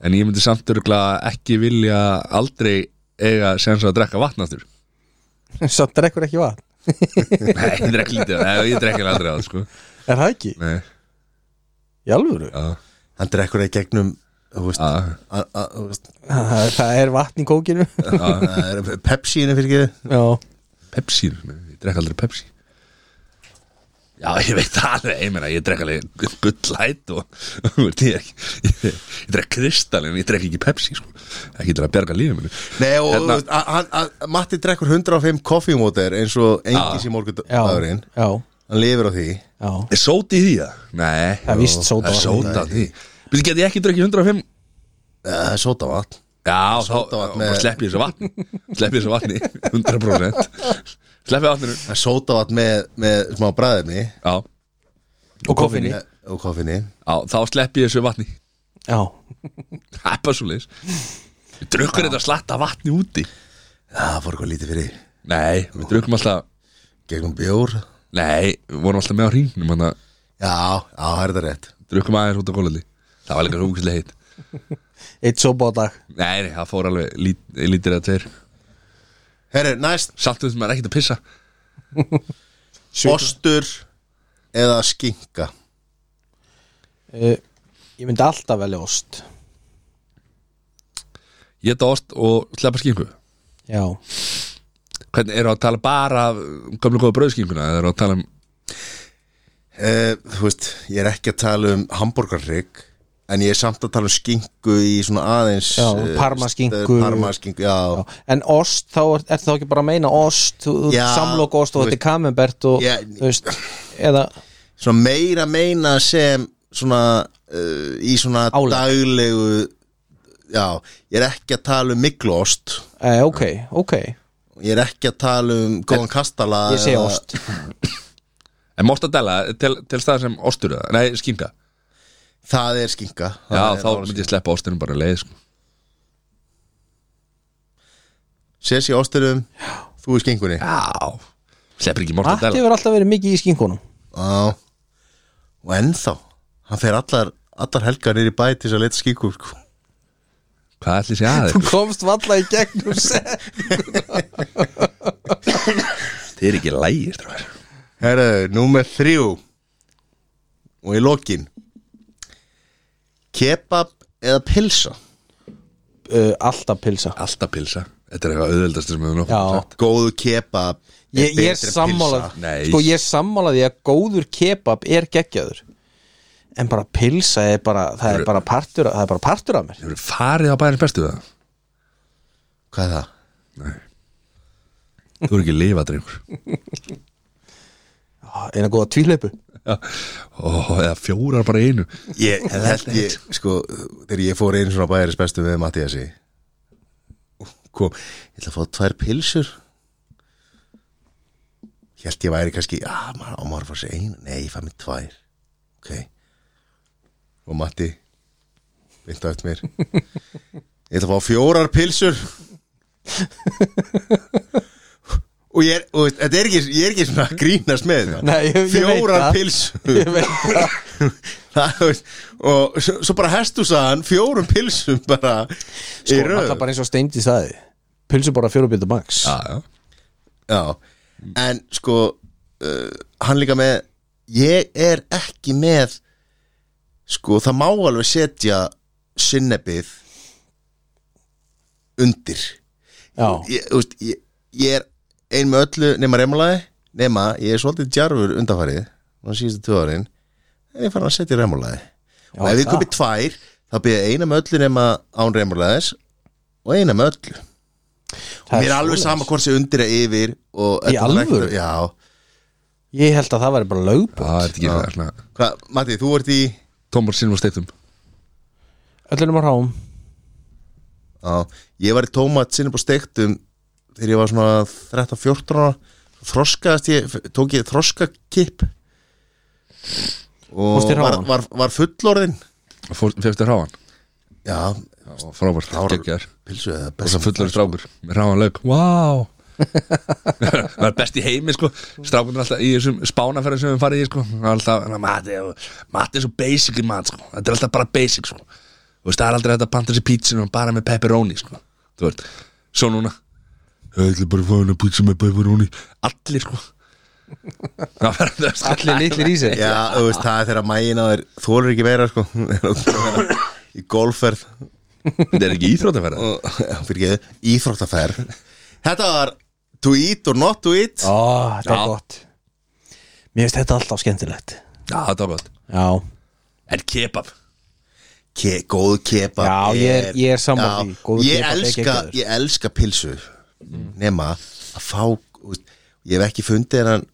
[SPEAKER 1] En ég myndi samt örgla ekki vilja aldrei eiga sens að drekka vatn aftur
[SPEAKER 2] samt drekkur ekki vatn
[SPEAKER 1] Nei, ég drekk lítið Nei, ég drekk hérna aldrei að sko
[SPEAKER 2] er það ekki?
[SPEAKER 1] Nei,
[SPEAKER 2] í alvöru?
[SPEAKER 1] já,
[SPEAKER 3] hann drekkur það í gegnum þú veist,
[SPEAKER 1] já,
[SPEAKER 3] að, að, þú veist,
[SPEAKER 2] það það er vatn í kókinu
[SPEAKER 1] já
[SPEAKER 3] það er pepsíinu fyrir ekki
[SPEAKER 2] já,
[SPEAKER 1] Pepsi, nei, ég drekk aldrei Pepsi Já, ég veit það alveg, ég meina, ég drekk alveg gullæt og ég, ég, ég, ég drekk kristal en ég drekk ekki Pepsi, sko, ekki til að bjarga lífið minni
[SPEAKER 3] Nei, og
[SPEAKER 1] Hérna-
[SPEAKER 3] hérna, að, að, að Matti drekkur 105 koffimóter eins og engis í morgun
[SPEAKER 2] já,
[SPEAKER 3] dagurinn
[SPEAKER 2] já,
[SPEAKER 3] hann lifir á því
[SPEAKER 2] já
[SPEAKER 1] Er sóti í því það? Nei
[SPEAKER 2] Það er víst
[SPEAKER 1] Það
[SPEAKER 2] sódavatn.
[SPEAKER 1] er sóta í því Býttu get ég ekki drukkið 105
[SPEAKER 3] Eh, sótavatn
[SPEAKER 1] Já, þá
[SPEAKER 3] Sódavatn
[SPEAKER 1] bara
[SPEAKER 3] með-
[SPEAKER 1] slepp ég þessu vatni Slepp ég þessu vatni 100% Slepp ég vatninu
[SPEAKER 3] Það er sótavatn með, með smá bræðefni
[SPEAKER 1] Já,
[SPEAKER 2] og koffinu
[SPEAKER 3] eh, og koffinni
[SPEAKER 1] já þá slepp ég þessu vatni
[SPEAKER 2] já,
[SPEAKER 1] Það er bara svo leis Við drukkum þetta slatta vatni úti
[SPEAKER 3] Það fór eitthvað lítið fyrir
[SPEAKER 1] Nei, við drukkum alltaf
[SPEAKER 3] gegnum bjór
[SPEAKER 1] Nei, við vorum alltaf með á hringnum Þannig að
[SPEAKER 3] Já, já, það er það rétt
[SPEAKER 1] drukkum aðeins út á gólaldi Það var líka svo úkislega heitt
[SPEAKER 2] eitt sopa á dag
[SPEAKER 1] Nei, nei, það fór alveg lít, lítir eða tveir
[SPEAKER 3] Herru, næst,
[SPEAKER 1] Samt við sem er ekkert að pissa
[SPEAKER 3] ostur eða skinka
[SPEAKER 2] uh, ég myndi alltaf velja ost
[SPEAKER 1] Ég þetta ost og sleppa skinku
[SPEAKER 2] já,
[SPEAKER 1] Hvernig eru að tala bara af gömlu góða brauðskinguna eða eru að tala um
[SPEAKER 3] Eh, Þú veist, ég er ekki að tala um hambúrgarrygg En ég er samt að tala um skinku í svona aðeins
[SPEAKER 2] Já,
[SPEAKER 3] eh,
[SPEAKER 2] parmaskinku.
[SPEAKER 3] st- Parmaskinku, já,
[SPEAKER 2] já. en ost, þá er, ertu þá ekki bara að meina ost,
[SPEAKER 3] Já,
[SPEAKER 2] samlok ost og
[SPEAKER 3] þú
[SPEAKER 2] þetta er kamembert og
[SPEAKER 3] Já.
[SPEAKER 2] þú veist, eða
[SPEAKER 3] Svona meira meina sem svona uh, Í svona
[SPEAKER 2] Álag.
[SPEAKER 3] daglegu Já, ég er ekki að tala um miglost
[SPEAKER 2] eh, ok, ok,
[SPEAKER 3] Ég er ekki að tala um góðan kastala
[SPEAKER 2] ég segi
[SPEAKER 3] eða-
[SPEAKER 2] ost
[SPEAKER 1] En mostadella, til, til stað sem ostur eða- Nei, skinka
[SPEAKER 3] Það er skinka
[SPEAKER 1] Já,
[SPEAKER 3] Það er
[SPEAKER 1] þá
[SPEAKER 3] alveg
[SPEAKER 1] myndi ég sleppa ostinum bara leið sko.
[SPEAKER 3] Sessi ásturum, um, þú í skinkunni
[SPEAKER 1] Já Sleppir ekki
[SPEAKER 2] Matti
[SPEAKER 1] mostadella
[SPEAKER 2] hefur alltaf verið mikið í skinkunum
[SPEAKER 3] Já Og ennþá, hann fer allar, allar helgar nýri bæ til þess að leita skinku sko.
[SPEAKER 1] Hvað ætli sé aðeins?
[SPEAKER 2] þú komst valla í gegnum
[SPEAKER 1] Þið er ekki lægi strákar.
[SPEAKER 3] Herðu, númer þrjú Og í lokin Kebab eða pilsa
[SPEAKER 2] uh, alltaf pilsa
[SPEAKER 1] Alltaf pilsa Þetta er eitthvað auðveldast sem við höfum
[SPEAKER 2] Já.
[SPEAKER 1] nokkuð sagt.
[SPEAKER 3] Góðu kebab
[SPEAKER 2] ég,
[SPEAKER 3] er
[SPEAKER 2] ég er
[SPEAKER 3] betri en
[SPEAKER 2] sammála
[SPEAKER 3] pylsa.
[SPEAKER 1] Nei.
[SPEAKER 2] sko ég er sammála því að góður kebab er geggjaður en bara pilsa er bara það er bara partur, það er bara partur af mér
[SPEAKER 1] Þið eru farið á bæðin bestu það
[SPEAKER 3] Hvað er það?
[SPEAKER 1] Þú eru ekki lifað drengur
[SPEAKER 2] Ah, eina góða tvíleipu
[SPEAKER 1] Já. Ó, eða fjórar bara í einu
[SPEAKER 3] Ég, held ég, sko, þegar ég fór einu svona bæðaris bestu með Mattiasi Kom, ég ætla að fá tvær pilsur Ég held ég væri kannski, já, maður á maður að fá sér einu Nei, ég fæ mér tvær Ok Og Matti Vint á eftir mér Ég ætla að fá fjórar pilsur Og ég er, og veist, þetta er ekki, ég er ekki svona að grínast með þetta
[SPEAKER 2] Nei, ég- ég veit
[SPEAKER 3] Fjórar
[SPEAKER 2] það.
[SPEAKER 3] pilsur
[SPEAKER 2] Ég veit sko, það.
[SPEAKER 3] það, þú veist, og svo, svo bara hestu hann fjórum pilsum bara í
[SPEAKER 2] sko,
[SPEAKER 3] röð
[SPEAKER 2] alltaf bara eins og steindi staði pilsu bara fjórubjöldu max
[SPEAKER 1] Já, já
[SPEAKER 3] Já. en sko uh, hann líka með ég er ekki með sko það má alveg setja sinnebið undir
[SPEAKER 2] já,
[SPEAKER 3] ég, þú veist, ég, ég er ein með öllu nema remulaði nema ég er svolítið djarfur undanfarið á síðustu tvö árin en ég fann að setja remulaði
[SPEAKER 2] Já,
[SPEAKER 3] og ef ég
[SPEAKER 2] það.
[SPEAKER 3] kaupi tvær það byrja eina með öllu nema án reymurleðis og eina með öllu og
[SPEAKER 2] Það
[SPEAKER 3] mér er alveg
[SPEAKER 2] svoleiðis.
[SPEAKER 3] sama hvort sé undir að yfir og
[SPEAKER 2] Í
[SPEAKER 3] þetta var ekkert-
[SPEAKER 2] alvöru?
[SPEAKER 3] Já,
[SPEAKER 2] Ég held að það væri bara lögbönd
[SPEAKER 1] það er ekki það svona
[SPEAKER 3] hvað, Matti, þú ert í
[SPEAKER 1] Tómar sínum og steiptum
[SPEAKER 2] Öllunum á ráum
[SPEAKER 3] Já, ég var í tómat sinnum og steiktum um, þegar ég var svona 13-14 ára. þroskaðast ég, tók ég þroskakipp og
[SPEAKER 2] Fórstu í
[SPEAKER 3] var,
[SPEAKER 2] hráan?
[SPEAKER 3] var, var fullorðin
[SPEAKER 1] Fjöfstu hráan
[SPEAKER 3] Já,
[SPEAKER 1] og frábært,
[SPEAKER 3] var-
[SPEAKER 1] geggjar
[SPEAKER 3] pilsu eða
[SPEAKER 1] og svo
[SPEAKER 3] best
[SPEAKER 1] fullur strákur, með hráan lög wow það er best í heimi sko strákurinn er alltaf í þessum spánaferðum sem við farið í sko Það er alltaf, mati, mati er svo basic í mat sko, þetta er alltaf bara basic sko þú veist, það er aldrei þetta að panta sér pítsinum bara með pepperoni sko, þú veist svo núna, ég ætla bara að fá hennar pítsi með pepperoni, allir sko Það verður- þú veist,
[SPEAKER 2] Allir litlir í sig
[SPEAKER 3] Já, þú veist, það er þegar mægin á þér þólur ekki meira sko í golfferð
[SPEAKER 1] þetta er ekki íþrótaferð
[SPEAKER 3] og fyrir ekki, íþróttaferð Þetta var to eat or not to eat
[SPEAKER 2] Ó,
[SPEAKER 1] Já.
[SPEAKER 2] þetta er gott Mér finnst þetta alltaf skemmtilegt
[SPEAKER 1] já, það er gott,
[SPEAKER 2] Já,
[SPEAKER 1] en kebab
[SPEAKER 3] Ke, góð kebab
[SPEAKER 2] Já, ég er- ég er sammála
[SPEAKER 3] Já,
[SPEAKER 2] því. Góður
[SPEAKER 3] ég,
[SPEAKER 2] kebab er
[SPEAKER 3] elska,
[SPEAKER 2] geggjaður.
[SPEAKER 3] ég elska pilsu nema að fá þú veist, ég hef ekki fundið hennan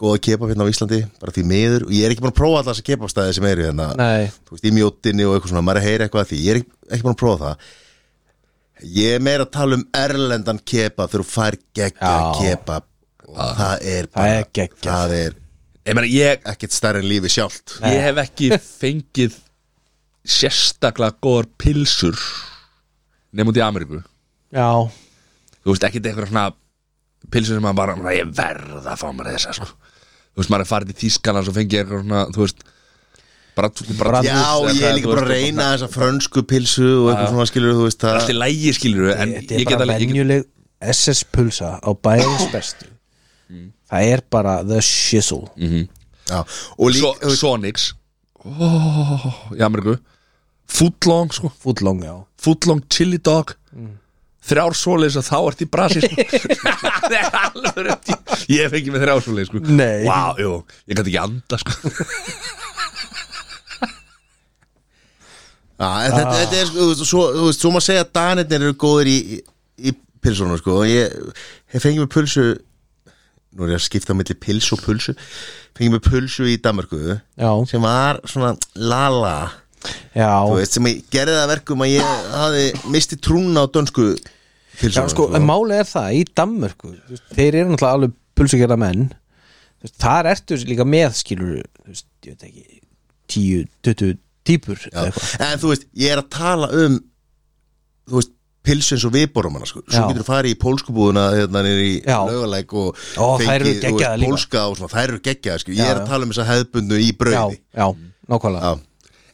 [SPEAKER 3] góða kebab hérna á Íslandi, bara því miður og ég er ekki búin að prófa alltaf þessa kebabstæði sem eru hérna
[SPEAKER 2] nei
[SPEAKER 3] þú veist, í mjóttinni og eitthvað svona, maður er að heyra eitthvað að því ég er ekki, ekki búin að prófa það ég er meira að tala um erlendan kebab þegar þú fær geggja
[SPEAKER 2] Já. Ah,
[SPEAKER 3] kebab og það er
[SPEAKER 2] Það
[SPEAKER 3] bara
[SPEAKER 2] er geggjað.
[SPEAKER 3] það er
[SPEAKER 1] ég meina, ég
[SPEAKER 3] ekkert stærri en lífi sjálft
[SPEAKER 1] ég hef ekki fengið sérstaklega góðar pilsur nefnum út í Ameríku
[SPEAKER 2] Já,
[SPEAKER 1] þú veist ekki eitthvað svona pilsur sem maður bara, "Nei, ég verð að fá mér þessa sko. þú veist maður er farið í Þískaland og fengið eitthvað svona, þú veist bara, bara
[SPEAKER 3] Já, ég er líka bara að reyna þessa frönsku pilsu og eitthvað svona skilur þú veist
[SPEAKER 1] allt
[SPEAKER 3] það
[SPEAKER 1] í lægi skilur en
[SPEAKER 2] þetta
[SPEAKER 1] ég
[SPEAKER 2] er
[SPEAKER 1] get
[SPEAKER 2] bara
[SPEAKER 1] alveg ég get-
[SPEAKER 2] venjuleg SS-pulsa á bæðins bestu Það er bara the shizzle
[SPEAKER 3] Já, og líka,
[SPEAKER 1] Svo- Sonics oh, í Ameríku Footlong sko
[SPEAKER 2] Footlong, já
[SPEAKER 1] footlong chili dog
[SPEAKER 3] Mm.
[SPEAKER 1] þrjár svoleiðis og þá ert í brasi sko. það er alveg rétt. ég hef ekki með þrjár svoleiðis sko.
[SPEAKER 2] Nei.
[SPEAKER 1] Vá, jú, ég gæti ekki anda sko.
[SPEAKER 3] Já, en þetta,
[SPEAKER 2] Ah.
[SPEAKER 3] þetta er sko, þú veist, svo, þú veist, svo maður segja að danirnir eru góðir í, í, í pilsunum sko og ég hef fengið mér pulsu nú er ég að skipta á milli pilsu og pulsu fengið mér pulsu í Danmarku
[SPEAKER 2] Já,
[SPEAKER 3] sem var svona lala þú
[SPEAKER 2] já,
[SPEAKER 3] veist, sem ég gerði það að verkum að ég hafi misti trúna á dönsku
[SPEAKER 2] já
[SPEAKER 3] pilsunum
[SPEAKER 2] sko, en málið er það í Danmörku þú veist, þeir eru náttúrulega alveg pulsugjara menn Þú veist, þar ertu líka með skilur þú veist, ég veit ekki 10, 20 típur eða
[SPEAKER 3] Já,
[SPEAKER 2] eitthvað.
[SPEAKER 3] en þú veist, ég er að tala um þú veist, pilsins og viðborum hana, sko. svo
[SPEAKER 2] Já.
[SPEAKER 3] getur þú farið í pólskubúðuna hérna niður í
[SPEAKER 2] Já.
[SPEAKER 3] laugalæk og
[SPEAKER 2] Ó, þær eru
[SPEAKER 3] þú veist,
[SPEAKER 2] geggjaðar líka.
[SPEAKER 3] pólska og svona, þær eru geggjaða, sko.
[SPEAKER 2] Já,
[SPEAKER 3] ég er
[SPEAKER 2] já.
[SPEAKER 3] að tala um þess að hefðbundu í
[SPEAKER 2] já,
[SPEAKER 3] brauði
[SPEAKER 2] já, nákvæmlega
[SPEAKER 3] Já.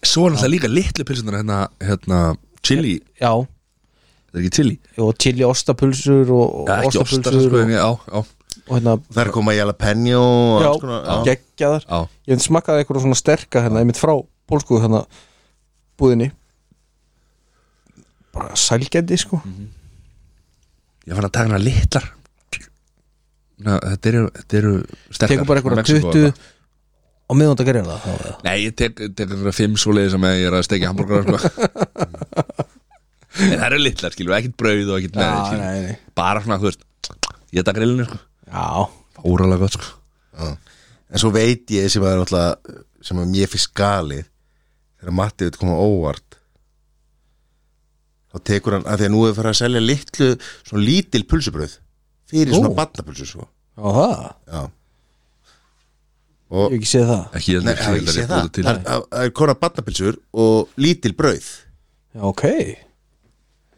[SPEAKER 1] svo er það líka litlu pilsunar hérna, hérna chili,
[SPEAKER 2] Já,
[SPEAKER 1] það er ekki chili
[SPEAKER 2] og chili ostapulsur og, og
[SPEAKER 1] ja, ekki ostar
[SPEAKER 2] ostapulsur
[SPEAKER 1] sko,
[SPEAKER 2] og,
[SPEAKER 1] en ég- á, á,
[SPEAKER 2] og hérna
[SPEAKER 3] þær koma í jalapeno og
[SPEAKER 2] Já,
[SPEAKER 3] alls konar, já.
[SPEAKER 2] geggjaðar
[SPEAKER 1] á.
[SPEAKER 2] Ég veit smakkaði eitthvað svona sterka hérna einmitt frá pólsku hérna búðinni bara sælgæti sko
[SPEAKER 1] Mhm. ég fann að taka hana litlar Ná, þetta eru, þetta eru sterkar
[SPEAKER 2] tekur bara eitthvað
[SPEAKER 1] Mexíkó
[SPEAKER 2] 20
[SPEAKER 1] eða eitthvað.
[SPEAKER 2] á miðvönda gerðina það þá,
[SPEAKER 1] Nei, ég tek, tek einhverja fimm svoleiði sem ég er að steikja hambúrgar sko. En það eru litlar, skilur, ekkert brauð og ekkert neði,
[SPEAKER 2] Já,
[SPEAKER 1] skilur
[SPEAKER 2] nei, nei.
[SPEAKER 1] Bara svona, þú veist, ég þetta grillinu, sko
[SPEAKER 2] já,
[SPEAKER 1] Óralega gott, sko
[SPEAKER 3] Já. en svo veit ég sem að, náttúrulega, sem að mér fyrir skalið þegar Matti veit koma óvart þá tekur hann að því að nú er farið að selja litlu svona lítil pulsubröð fyrir
[SPEAKER 2] Ó.
[SPEAKER 3] svona batnapulsu sko.
[SPEAKER 2] á það ég
[SPEAKER 3] Já Og
[SPEAKER 2] hef ekki séð það
[SPEAKER 1] Ekki ég
[SPEAKER 3] Nei,
[SPEAKER 1] heldur
[SPEAKER 3] það er ekki séð það
[SPEAKER 1] til
[SPEAKER 3] Það er- Það er konar batnapilsur og lítil brauð
[SPEAKER 2] já, ok,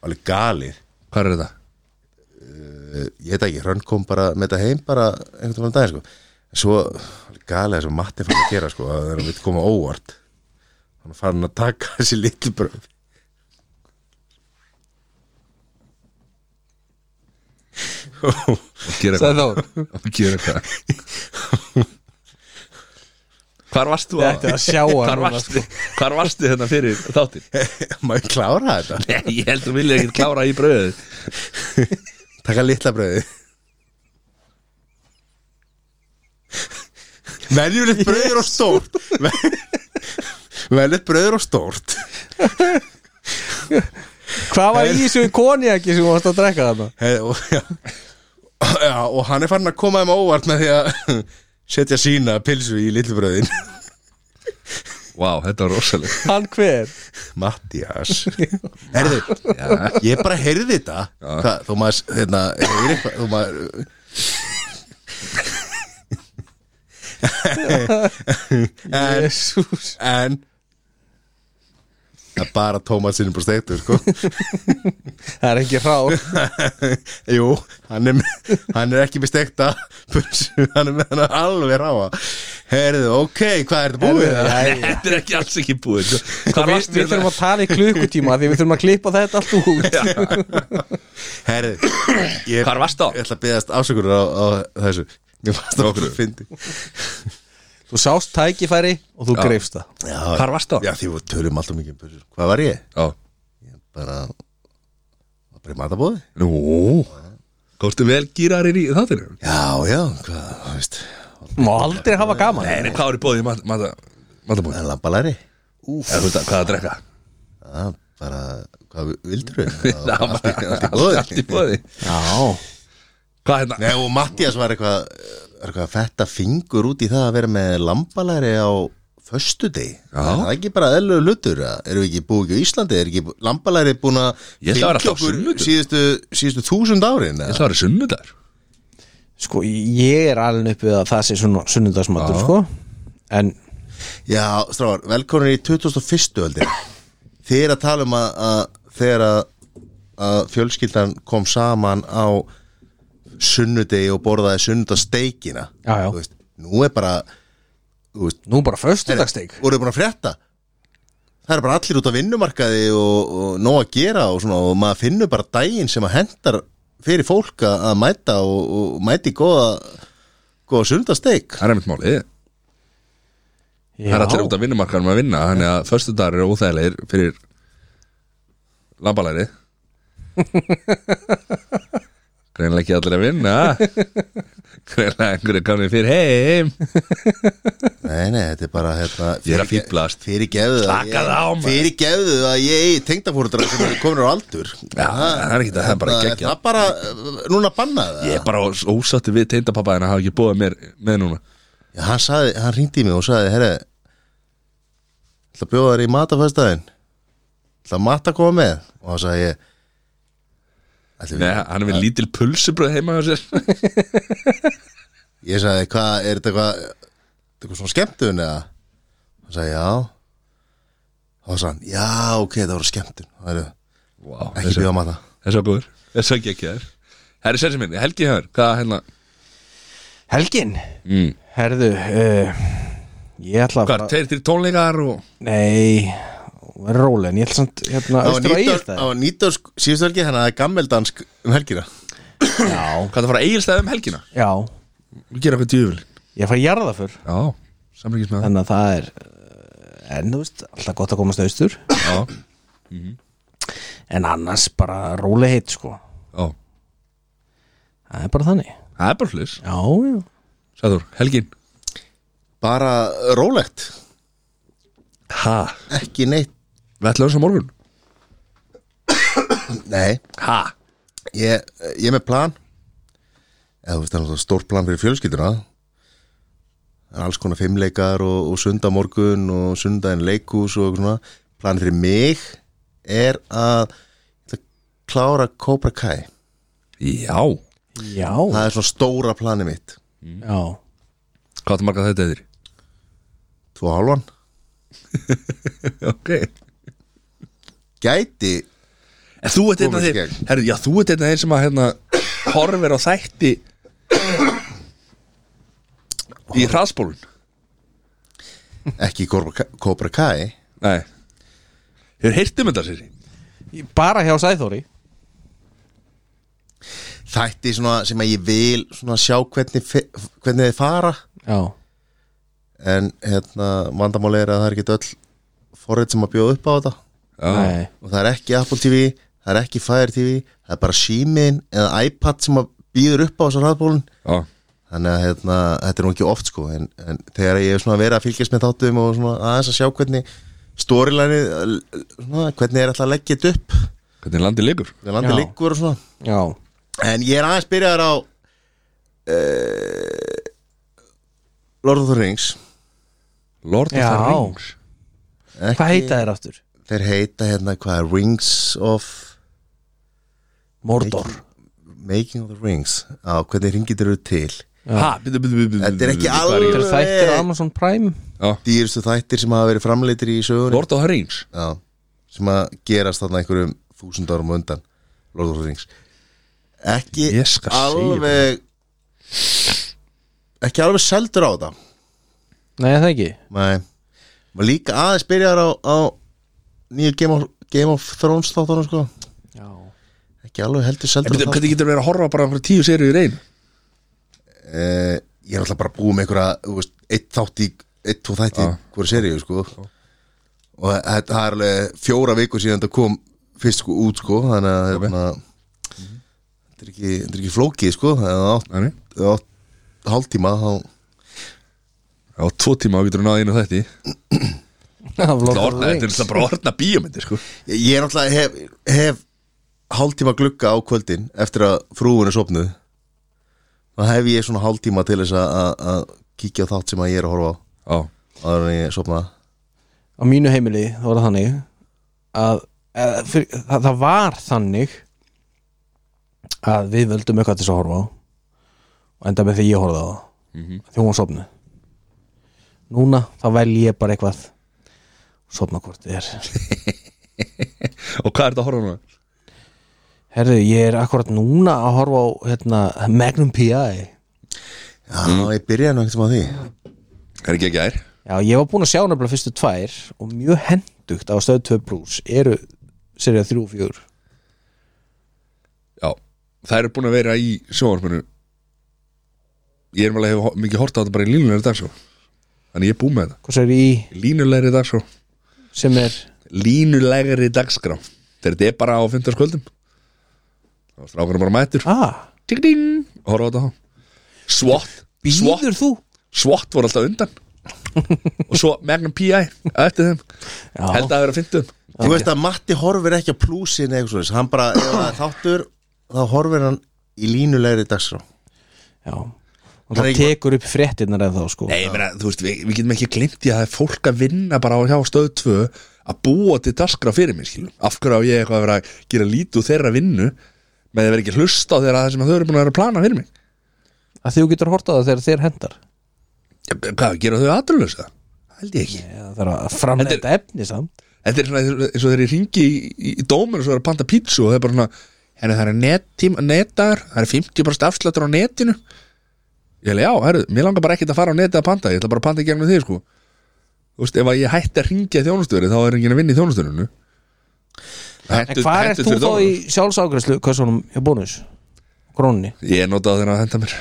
[SPEAKER 3] Alveg galið
[SPEAKER 1] Hvað er þetta?
[SPEAKER 3] Eh, Ég veit ekki, hrönn kom bara með þetta heim bara einhvern veginn daginn sko En Svo alveg galið sem Matti fann að gera sko að það er að við koma óvart Hann fann hann að taka þessi lítil brauð
[SPEAKER 1] Og gera
[SPEAKER 2] sagði
[SPEAKER 1] hvað?
[SPEAKER 2] þá
[SPEAKER 1] Og gera hvað? Hvar varstu
[SPEAKER 2] Ég ætti að sjá hann
[SPEAKER 1] Hvar
[SPEAKER 2] núna, sko.
[SPEAKER 1] varstu, hvar varstu hérna fyrir þáttinn?
[SPEAKER 3] Má ég klára þetta?
[SPEAKER 1] Nei, ég heldur vilja ekki klára í brauðið
[SPEAKER 3] Taka litla brauði Venjulegt brauð er á stórt Ven- Venjulegt brauð er á stórt
[SPEAKER 2] Hvað var í þessu konjaki sem þú varst að drekka þarna?
[SPEAKER 3] Hei, og, já. já, og hann er farin að koma þeim á óvart með því að setja sína pilsu í lillubröðin
[SPEAKER 1] Vá, þetta var rosaleg
[SPEAKER 2] Hann hver?
[SPEAKER 3] Mattias Herðu, ég bara heyrði þetta Hva, Þú maður, hérna, heyri eitthvað Þú maður En,
[SPEAKER 2] Jesús
[SPEAKER 3] en Það er bara Tómasinn bara steiktur, sko
[SPEAKER 2] Það er ekki rá
[SPEAKER 3] Jú, hann er, með- hann er ekki með stekta pulsu, hann er með hann alveg ráa Herðu, ok, hvað er þetta búið?
[SPEAKER 2] Jæja.
[SPEAKER 1] Þetta er ekki alls ekki búið Hvað
[SPEAKER 2] Við
[SPEAKER 1] varst hérna?
[SPEAKER 2] við
[SPEAKER 1] þér
[SPEAKER 2] þurfum að tala í klukkutíma því við þurfum að klippa þetta allt út
[SPEAKER 3] Herðu, ég,
[SPEAKER 1] Hvar varstu á?
[SPEAKER 3] Ég ætla að beðast afsökur á, á þessu Mér fannst það okkur að fyndi
[SPEAKER 2] Þú sást tækifæri og þú greifst það
[SPEAKER 1] Hvar varstu á?
[SPEAKER 3] Já, því við tölum alltaf mikið um pulsur Hvað var ég?
[SPEAKER 1] Já
[SPEAKER 3] Ég bara, bara í matabóði
[SPEAKER 1] Nú Kostu vel gýrarir í þáttinu?
[SPEAKER 3] Já, já, hvað, þú veist
[SPEAKER 2] Má aldrei hafa gaman
[SPEAKER 1] En hvað er í bóði í mat- mata- matabóð?
[SPEAKER 3] Það er lambalæri
[SPEAKER 1] Úf Hvað að drekka?
[SPEAKER 3] Já, bara, hvað vildur við?
[SPEAKER 1] Það var
[SPEAKER 3] allt í
[SPEAKER 1] allt-
[SPEAKER 3] boði.
[SPEAKER 1] allt í bóði
[SPEAKER 2] Já
[SPEAKER 1] Hvað hérna?
[SPEAKER 3] Nei og Mattias var eitthvað var eitthvað að fetta fingur út í það að vera með lambalæri á föstu deg
[SPEAKER 1] Já.
[SPEAKER 3] það er ekki bara eðlur hlutur eða? erum við ekki búið ekki á Íslandi, er ekki bú- lambalæri búin að
[SPEAKER 1] Ég ætla að vera alltaf á sunnudögum.
[SPEAKER 3] síðustu, síðustu þúsund árin
[SPEAKER 1] Það var sunnudagur
[SPEAKER 2] Sko ég er alveg upp við að það sé svona sunnundagsmatur sko En
[SPEAKER 3] Já, stráðar, velkomin í 2001. öldin Þið er að tala um að, að þegar að, að fjölskyldan kom saman á sunnudegi og borðaði sunnudasteikina
[SPEAKER 2] Já, já.
[SPEAKER 3] Þú veist, Nú er bara þú veist,
[SPEAKER 2] nú bara föstudagssteik
[SPEAKER 3] voruðu búin að frétta það er bara allir út á vinnumarkaði og, og nóg að gera og, svona, og maður finnur bara daginn sem að hendar fyrir fólk að að mæta og, og mæti góða góða sundasteik
[SPEAKER 1] Það er einmitt málið Það er allir út af vinnumarkanum að vinna Þannig að föstudagur eru óþægilegir fyrir lambalæri Greinlega ekki allir að vinna Greinlega einhverju komið fyrir heim
[SPEAKER 3] nei, nei, þetta er bara hérna,
[SPEAKER 1] Ég er að fíflast.
[SPEAKER 3] fyrir gefðu
[SPEAKER 1] Slakaðu á, maður.
[SPEAKER 3] fyrir gefðu að ég eigi tengdafóruðra sem eru komin á aldur
[SPEAKER 1] Já, það er ekki það, það er bara geggjað.
[SPEAKER 3] það er bara, uh, núna bannað
[SPEAKER 1] Ég er bara ós- ósáttur við teindapappa En að hafa ekki búið mér með núna
[SPEAKER 3] Já, hann, sagði, hann ringdi í mig og sagði Herre, ætla að bjóða þér í matafæstaðin ætla að matta koma með og hann sagði ég ætli,
[SPEAKER 1] Nei, hann er við lítil pulsubröð heima á sér
[SPEAKER 3] ég sagði, hvað, er þetta eitthvað þetta eitthvað svona skemmtun eða hann sagði, já og hann sagði, hann, já, ok, það voru skemmtun það eru
[SPEAKER 1] Vá,
[SPEAKER 3] ekki
[SPEAKER 1] þessi
[SPEAKER 3] bjóða að mata
[SPEAKER 1] þessi var góður Þessi var geggjaður Herri Sersi minn, Helgi hefur, hvað hérna
[SPEAKER 2] Helgin
[SPEAKER 1] mm.
[SPEAKER 2] Herðu uh, Ég ætla að
[SPEAKER 1] Hvað,
[SPEAKER 2] fara-
[SPEAKER 1] tveir, þrjir tónleikar og
[SPEAKER 2] Nei Verður róleg En ég ætla samt hérna
[SPEAKER 3] Það var
[SPEAKER 2] austur á
[SPEAKER 3] nýtdöl-
[SPEAKER 2] Egilsstaði.
[SPEAKER 3] það var nýtdölsk síðustu helgi, þannig að það er gammeldansk um helgina
[SPEAKER 1] Hvað það fara eigilstæði um helgina?
[SPEAKER 2] Já
[SPEAKER 1] Við gerum eitthvað djúvel
[SPEAKER 2] Ég fæ jarða fyrr
[SPEAKER 1] Já, samlíkis með það
[SPEAKER 2] Þannig að það er eh, En þú veist Alltaf gott að komast austur
[SPEAKER 1] Já,
[SPEAKER 2] En annars bara róleg heitt sko
[SPEAKER 1] já
[SPEAKER 2] Það er bara þannig
[SPEAKER 1] Það er bara hlis
[SPEAKER 2] Já, já
[SPEAKER 1] Sæður, Helgin
[SPEAKER 3] bara rólegt,
[SPEAKER 1] Ha?
[SPEAKER 3] ekki neitt
[SPEAKER 1] Við ætlum þess að morgun
[SPEAKER 3] nei,
[SPEAKER 1] Ha?
[SPEAKER 3] ég, ég er með plan eða þú veist það er náttúrulega stórt plan fyrir fjölskylduna það er alls konar fimmleikar og, og sundamorgun og sundaginn leikhús og eitthvað svona plan fyrir mig er að ég ætla að klára Cobra Kai
[SPEAKER 1] Já
[SPEAKER 2] Já
[SPEAKER 3] það er svona stóra planið mitt
[SPEAKER 2] Já
[SPEAKER 1] Hvað það marga þetta eðir?
[SPEAKER 3] tvo og hálfan
[SPEAKER 1] ok En
[SPEAKER 3] gæti
[SPEAKER 1] þú ert einn af
[SPEAKER 3] Komist í
[SPEAKER 1] þeir
[SPEAKER 3] gegn.
[SPEAKER 1] Herri, já, þú ert einn af þeir sem að hérna Horfir á þætti Í hraðspólun
[SPEAKER 3] ekki Cobra Kai- Cobra Kai
[SPEAKER 1] Nei Hefur heyrt um þetta sér
[SPEAKER 2] Bara hjá Sæþóri
[SPEAKER 3] þætti svona sem að ég vil svona sjá hvernig, fe- hvernig þið fara
[SPEAKER 2] Já
[SPEAKER 3] en hérna vandamáli er að það er ekki öll forrið sem að bjóða upp á þetta
[SPEAKER 1] Já,
[SPEAKER 2] Nei
[SPEAKER 3] og það er ekki Apple TV, það er ekki Fire TV það er bara símin eða iPad sem að býður upp á þessar hraðbólun
[SPEAKER 1] já
[SPEAKER 3] þannig að hérna, þetta er nú ekki oft sko en, en þegar ég er svona verið að fylgjast með þáttum og svona aðeins að sjá hvernig storylæni hvernig er alltaf að leggja þetta upp
[SPEAKER 1] Hvernig landið liggur?
[SPEAKER 3] við landið
[SPEAKER 2] Já.
[SPEAKER 3] liggur og svona
[SPEAKER 2] já,
[SPEAKER 3] en ég er aðeins byrjaður á uh, Lord of the Rings
[SPEAKER 1] Lord of
[SPEAKER 2] Já.
[SPEAKER 1] the Rings
[SPEAKER 3] Ekki-
[SPEAKER 2] hvað heita þér aftur?
[SPEAKER 3] þeir heita hérna hvað er Rings of
[SPEAKER 2] Mordor
[SPEAKER 3] Making of the Rings á hvernig ringið eru til
[SPEAKER 1] Ha, byrju, byrju, byrju
[SPEAKER 3] Þetta er ekki
[SPEAKER 1] byrju, byrju.
[SPEAKER 3] alveg-
[SPEAKER 2] Þetta eru þættir á Amazon Prime
[SPEAKER 3] dýrustu þættir sem hafa verið framleitir í sögunni
[SPEAKER 1] Lord of the Rings
[SPEAKER 3] Já, sem að gerast þarna einhverjum þúsund árum á undan Lord of the Rings ekki
[SPEAKER 1] Ég skal segja
[SPEAKER 3] alveg ekki alveg seldur á þetta
[SPEAKER 2] Nei, það ekki
[SPEAKER 3] Nei, maður líka aðeins byrjar á, á nýju Game of, Game of Thrones þáttunum sko
[SPEAKER 2] Já,
[SPEAKER 3] ekki alveg heldur
[SPEAKER 1] En
[SPEAKER 3] seldur
[SPEAKER 1] byrju, Hvernig getur verið að horfa bara á einhverja tíu serið í reyn?
[SPEAKER 3] Eh, ég er alltaf bara búið með einhverja þú veist, eitt þátt í, eitt, tvo þætti ah.
[SPEAKER 1] Já.
[SPEAKER 3] hverju seríu sko og þetta það er alveg fjóra vikur síðan þetta kom fyrst sko út sko þannig að
[SPEAKER 1] Ok.
[SPEAKER 3] hérna, þetta er ekki, þetta er ekki flókið sko þannig að átt,
[SPEAKER 1] Þannig
[SPEAKER 3] átt hálftíma þá
[SPEAKER 1] Já, tvo tíma þá getur við náðið einu þætti
[SPEAKER 2] Af Lord
[SPEAKER 1] Það
[SPEAKER 2] of
[SPEAKER 1] orðna,
[SPEAKER 2] the
[SPEAKER 1] þetta er
[SPEAKER 2] Rings
[SPEAKER 1] alltaf bara orðna bíómyndir sko
[SPEAKER 3] ég ég er alltaf hef, hef hálftíma glugga á kvöldin eftir að frúin er sopnuð þá hef ég svona hálftíma til þess að- að að kíkja á þátt sem að ég er að horfa á
[SPEAKER 1] Já,
[SPEAKER 3] áður en ég sopna
[SPEAKER 2] Á mínu heimili það var það þannig að, að fyrir, það, það var þannig að við völdum eitthvað til þess að horfa á og enda með því ég horfði á það því hún var sofnu Núna þá vel ég bara eitthvað sofna hvort þið er
[SPEAKER 1] og hvað er þetta að horfa núna?
[SPEAKER 2] Herðu, ég er akkurat núna að horfa á hérna, Magnum P.I.
[SPEAKER 3] Já, ég byrjaði nú ekkert sem að því
[SPEAKER 1] Er ekki ekki ær?
[SPEAKER 2] Já, ég var búinn að sjá nefnilega fyrstu tvær og mjög hendugt á stöðu 2 plus eru serið 3 og 4
[SPEAKER 1] Já, það eru búin að vera í sjónvarpinu Ég er maður að hefa mikið horta á þetta bara í línulegri dagsjó Þannig ég er búið með þetta
[SPEAKER 2] Hvað sér í
[SPEAKER 1] Línulegri dagsjó
[SPEAKER 2] sem er
[SPEAKER 1] Línulegri dagskrá Þegar þetta er bara á fimmtarskvöldum Þá er strákurinn bara mættur
[SPEAKER 2] ah,
[SPEAKER 1] Tík ding, horfa á þetta þá SWAT, SWAT,
[SPEAKER 2] Býður þú?
[SPEAKER 1] SWAT voru alltaf undan Og svo Magnum P.I. á Eftir þeim,
[SPEAKER 2] Já,
[SPEAKER 1] held að það vera fimmtum
[SPEAKER 3] Þú veist að Matti horfir ekki á plúsin eða eitthvað svoleiðis, hann bara, ef það er þáttur þá horfir hann í línulegri dagskrá
[SPEAKER 2] já Og
[SPEAKER 3] Það er
[SPEAKER 2] það
[SPEAKER 3] ekki-
[SPEAKER 2] tekur upp fréttinnar eða þá sko
[SPEAKER 1] Nei, ég meina, þú veist, við, við getum ekki glimt í að það er fólk að vinna bara á hjá stöðu 2 að búa til daskra fyrir mér, skilum af hverju á ég eitthvað að vera að gera lítu þeirra vinnu með að vera ekki að hlusta á þeirra það sem þau eru búin að vera að plana fyrir mig
[SPEAKER 2] Að þú getur hortað það þegar þeir hendar
[SPEAKER 1] Ja, Hvað, gera þau aðröðlösa? Það held ég ekki
[SPEAKER 2] Já, það er að framlega þetta efni samt
[SPEAKER 1] Þetta er svona eins og þegar ég ringi í, í, í dómur og svo er að panta pítsu og það er bara svona herri, það er nettim, netar, það er 50% afslættur á netinu Ég hefði, já, herru, mér langar bara ekkert að fara á netið að panta ég ætla bara að panta í gegnum þig, sko Þú veist, ef að ég hætti að ringja þjónustöri þá er enginn að vinna í þjónustörinu
[SPEAKER 2] En hvað er þú þá í sjálfságræslu hversunum hjá bónus? Krónni
[SPEAKER 1] Ég notaði þeirna að henda mér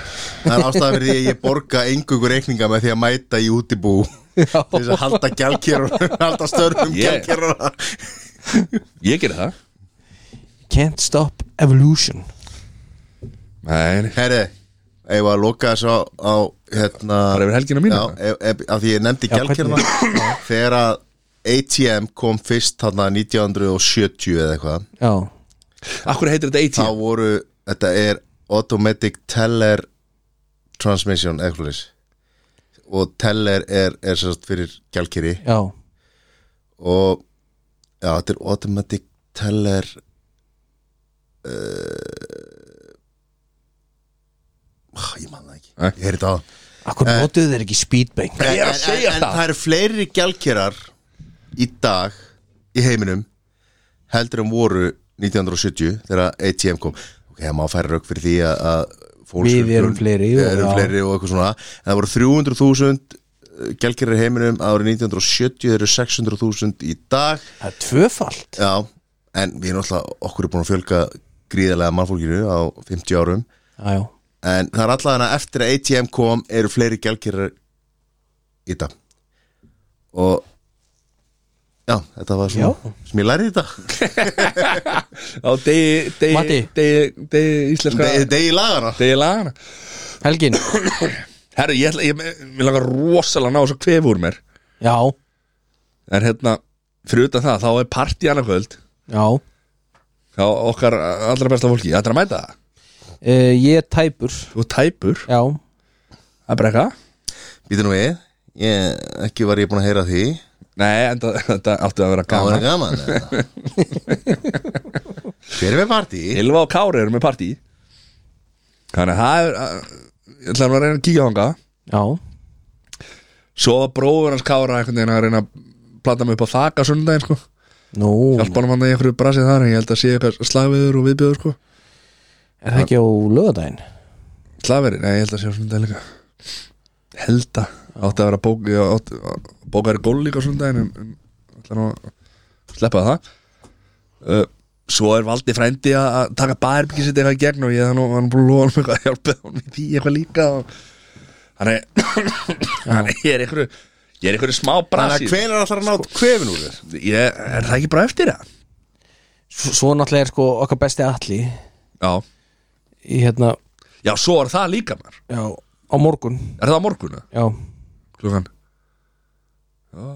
[SPEAKER 3] Það er ástæða fyrir því að ég borga engungu reikninga með því að mæta í útibú til
[SPEAKER 2] Já,
[SPEAKER 3] þess að halda gjaldkerur halda störfum
[SPEAKER 1] Ég-
[SPEAKER 3] gjaldkerur
[SPEAKER 1] Ég gerði það
[SPEAKER 2] Can't Stop Evolution
[SPEAKER 1] Nei,
[SPEAKER 3] Herri, ef að loka þess á, á hérna
[SPEAKER 1] bara yfir helgina mínu
[SPEAKER 3] Já, ef, ef, af því ég nefndi
[SPEAKER 2] Já,
[SPEAKER 3] gjaldkeruna þegar að ATM kom fyrst þarna 1970 eða eitthvað
[SPEAKER 2] Já,
[SPEAKER 1] Akkur heitir þetta
[SPEAKER 3] þá
[SPEAKER 1] ATM
[SPEAKER 3] voru, þetta er automatic teller transmission ekkurleis og teller er, er sérst fyrir gjaldkeri
[SPEAKER 2] já,
[SPEAKER 3] og já, þetta er automatic teller uh, ég man það ekki
[SPEAKER 1] Nei.
[SPEAKER 3] ég er þetta á
[SPEAKER 2] akkur
[SPEAKER 1] Eh.
[SPEAKER 2] notuðu þeir ekki speedbank
[SPEAKER 1] Ég er að
[SPEAKER 3] En-
[SPEAKER 1] segja
[SPEAKER 3] en, en,
[SPEAKER 1] það.
[SPEAKER 3] en það eru fleiri gjaldkerar í dag í heiminum heldur en voru 1970 þegar ATM kom ok, það má færa rauk fyrir því að, að fólks-
[SPEAKER 2] Við erum fleiri, jú,
[SPEAKER 3] erum
[SPEAKER 2] já.
[SPEAKER 3] fleiri og eitthvað svona en það voru 300.000 eh, gjaldkerar í heiminum árið 1970 þeir eru 600.000 í dag
[SPEAKER 2] Það er tvöfalt
[SPEAKER 3] já, en við erum alltaf okkur er búin að fjölga gríðarlega mannfólkinu á 50 árum
[SPEAKER 2] Já, já,
[SPEAKER 3] en það er allavega að eftir að ATM kom eru fleiri gjaldkerrar í dag og já, þetta var svona
[SPEAKER 2] Já.
[SPEAKER 3] sem ég lærði í dag
[SPEAKER 1] Á degi, degi,
[SPEAKER 2] Matti.
[SPEAKER 1] degi, degi íslenska
[SPEAKER 3] De- degi lagana
[SPEAKER 1] Degi lagana
[SPEAKER 2] Helgin
[SPEAKER 1] Herru, ég, ætla- ég, ég, ég langar rosalega að ná þess að kvefa úr mér
[SPEAKER 2] Já,
[SPEAKER 1] En hérna, fyrir utan það, þá er partí annað kvöld
[SPEAKER 2] Já,
[SPEAKER 1] hjá okkar allra besta fólki, þetta er að mæta það
[SPEAKER 2] uh, ég er tæpur
[SPEAKER 1] þú ert tæpur,
[SPEAKER 2] Já,
[SPEAKER 1] það er bara eitthvað
[SPEAKER 3] Býtu nú við ég, Ekki var ég búin að heyra því
[SPEAKER 1] nei, enda, þetta áttu að vera gaman
[SPEAKER 3] Gaman er gaman eða? Hver er með partí?
[SPEAKER 1] Ylva og Kári eru með partí þannig að það er að- ég ætla að reyna að kíkja þanga
[SPEAKER 2] já,
[SPEAKER 1] svo var bróður hans Kára einhvern veginn að reyna að plata mig upp á þaka sundaginn sko
[SPEAKER 2] nú
[SPEAKER 1] hjálpanum hann í einhverju brasið þar en ég held að sé eitthvað slagviður og viðbjöður sko
[SPEAKER 2] Er það ekki á lögadaginn?
[SPEAKER 1] slagveri, nei ég held að sé á sundaginn líka held að átti að vera bók, ég átti, bókar í gól líka á sundaginn en, en ætla nú að sleppa það uh, svo er Valdi frændi að að taka bærbyggi sitt eitthvað í gegn og ég þannig var nú búin að lofa hann eitthvað að hjálpa hann í því eitthvað líka og hann er hann er einhverju ég er einhverju smá
[SPEAKER 3] Þannig að
[SPEAKER 1] brasið
[SPEAKER 3] hvenær ætlar að ná Sko, kvefin úr þér?
[SPEAKER 1] ég, er það ekki bara eftir það?
[SPEAKER 2] S svo náttúrulega er sko okkar besti alli
[SPEAKER 1] Já,
[SPEAKER 2] í hérna,
[SPEAKER 1] já, svo er það líka mér
[SPEAKER 2] já, á morgun
[SPEAKER 1] Er það á morgunu?
[SPEAKER 2] Já,
[SPEAKER 1] Klukkan Ah.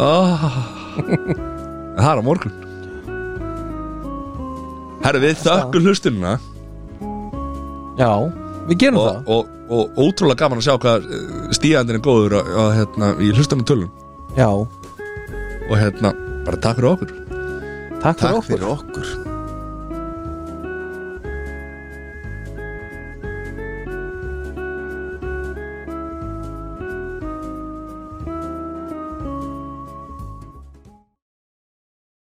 [SPEAKER 1] oh. Oh. Það er á morgun Herru, við þökkum hlustunina
[SPEAKER 2] já, við gerum
[SPEAKER 1] og,
[SPEAKER 2] það
[SPEAKER 1] og, og ótrúlega gaman að sjá hvað stíðandinn er góður á, á, hérna, í hlustunum tölum
[SPEAKER 2] Já,
[SPEAKER 1] og hérna, bara takk fyrir okkur
[SPEAKER 2] takk fyrir
[SPEAKER 3] Takk
[SPEAKER 2] okkur
[SPEAKER 3] fyrir okkur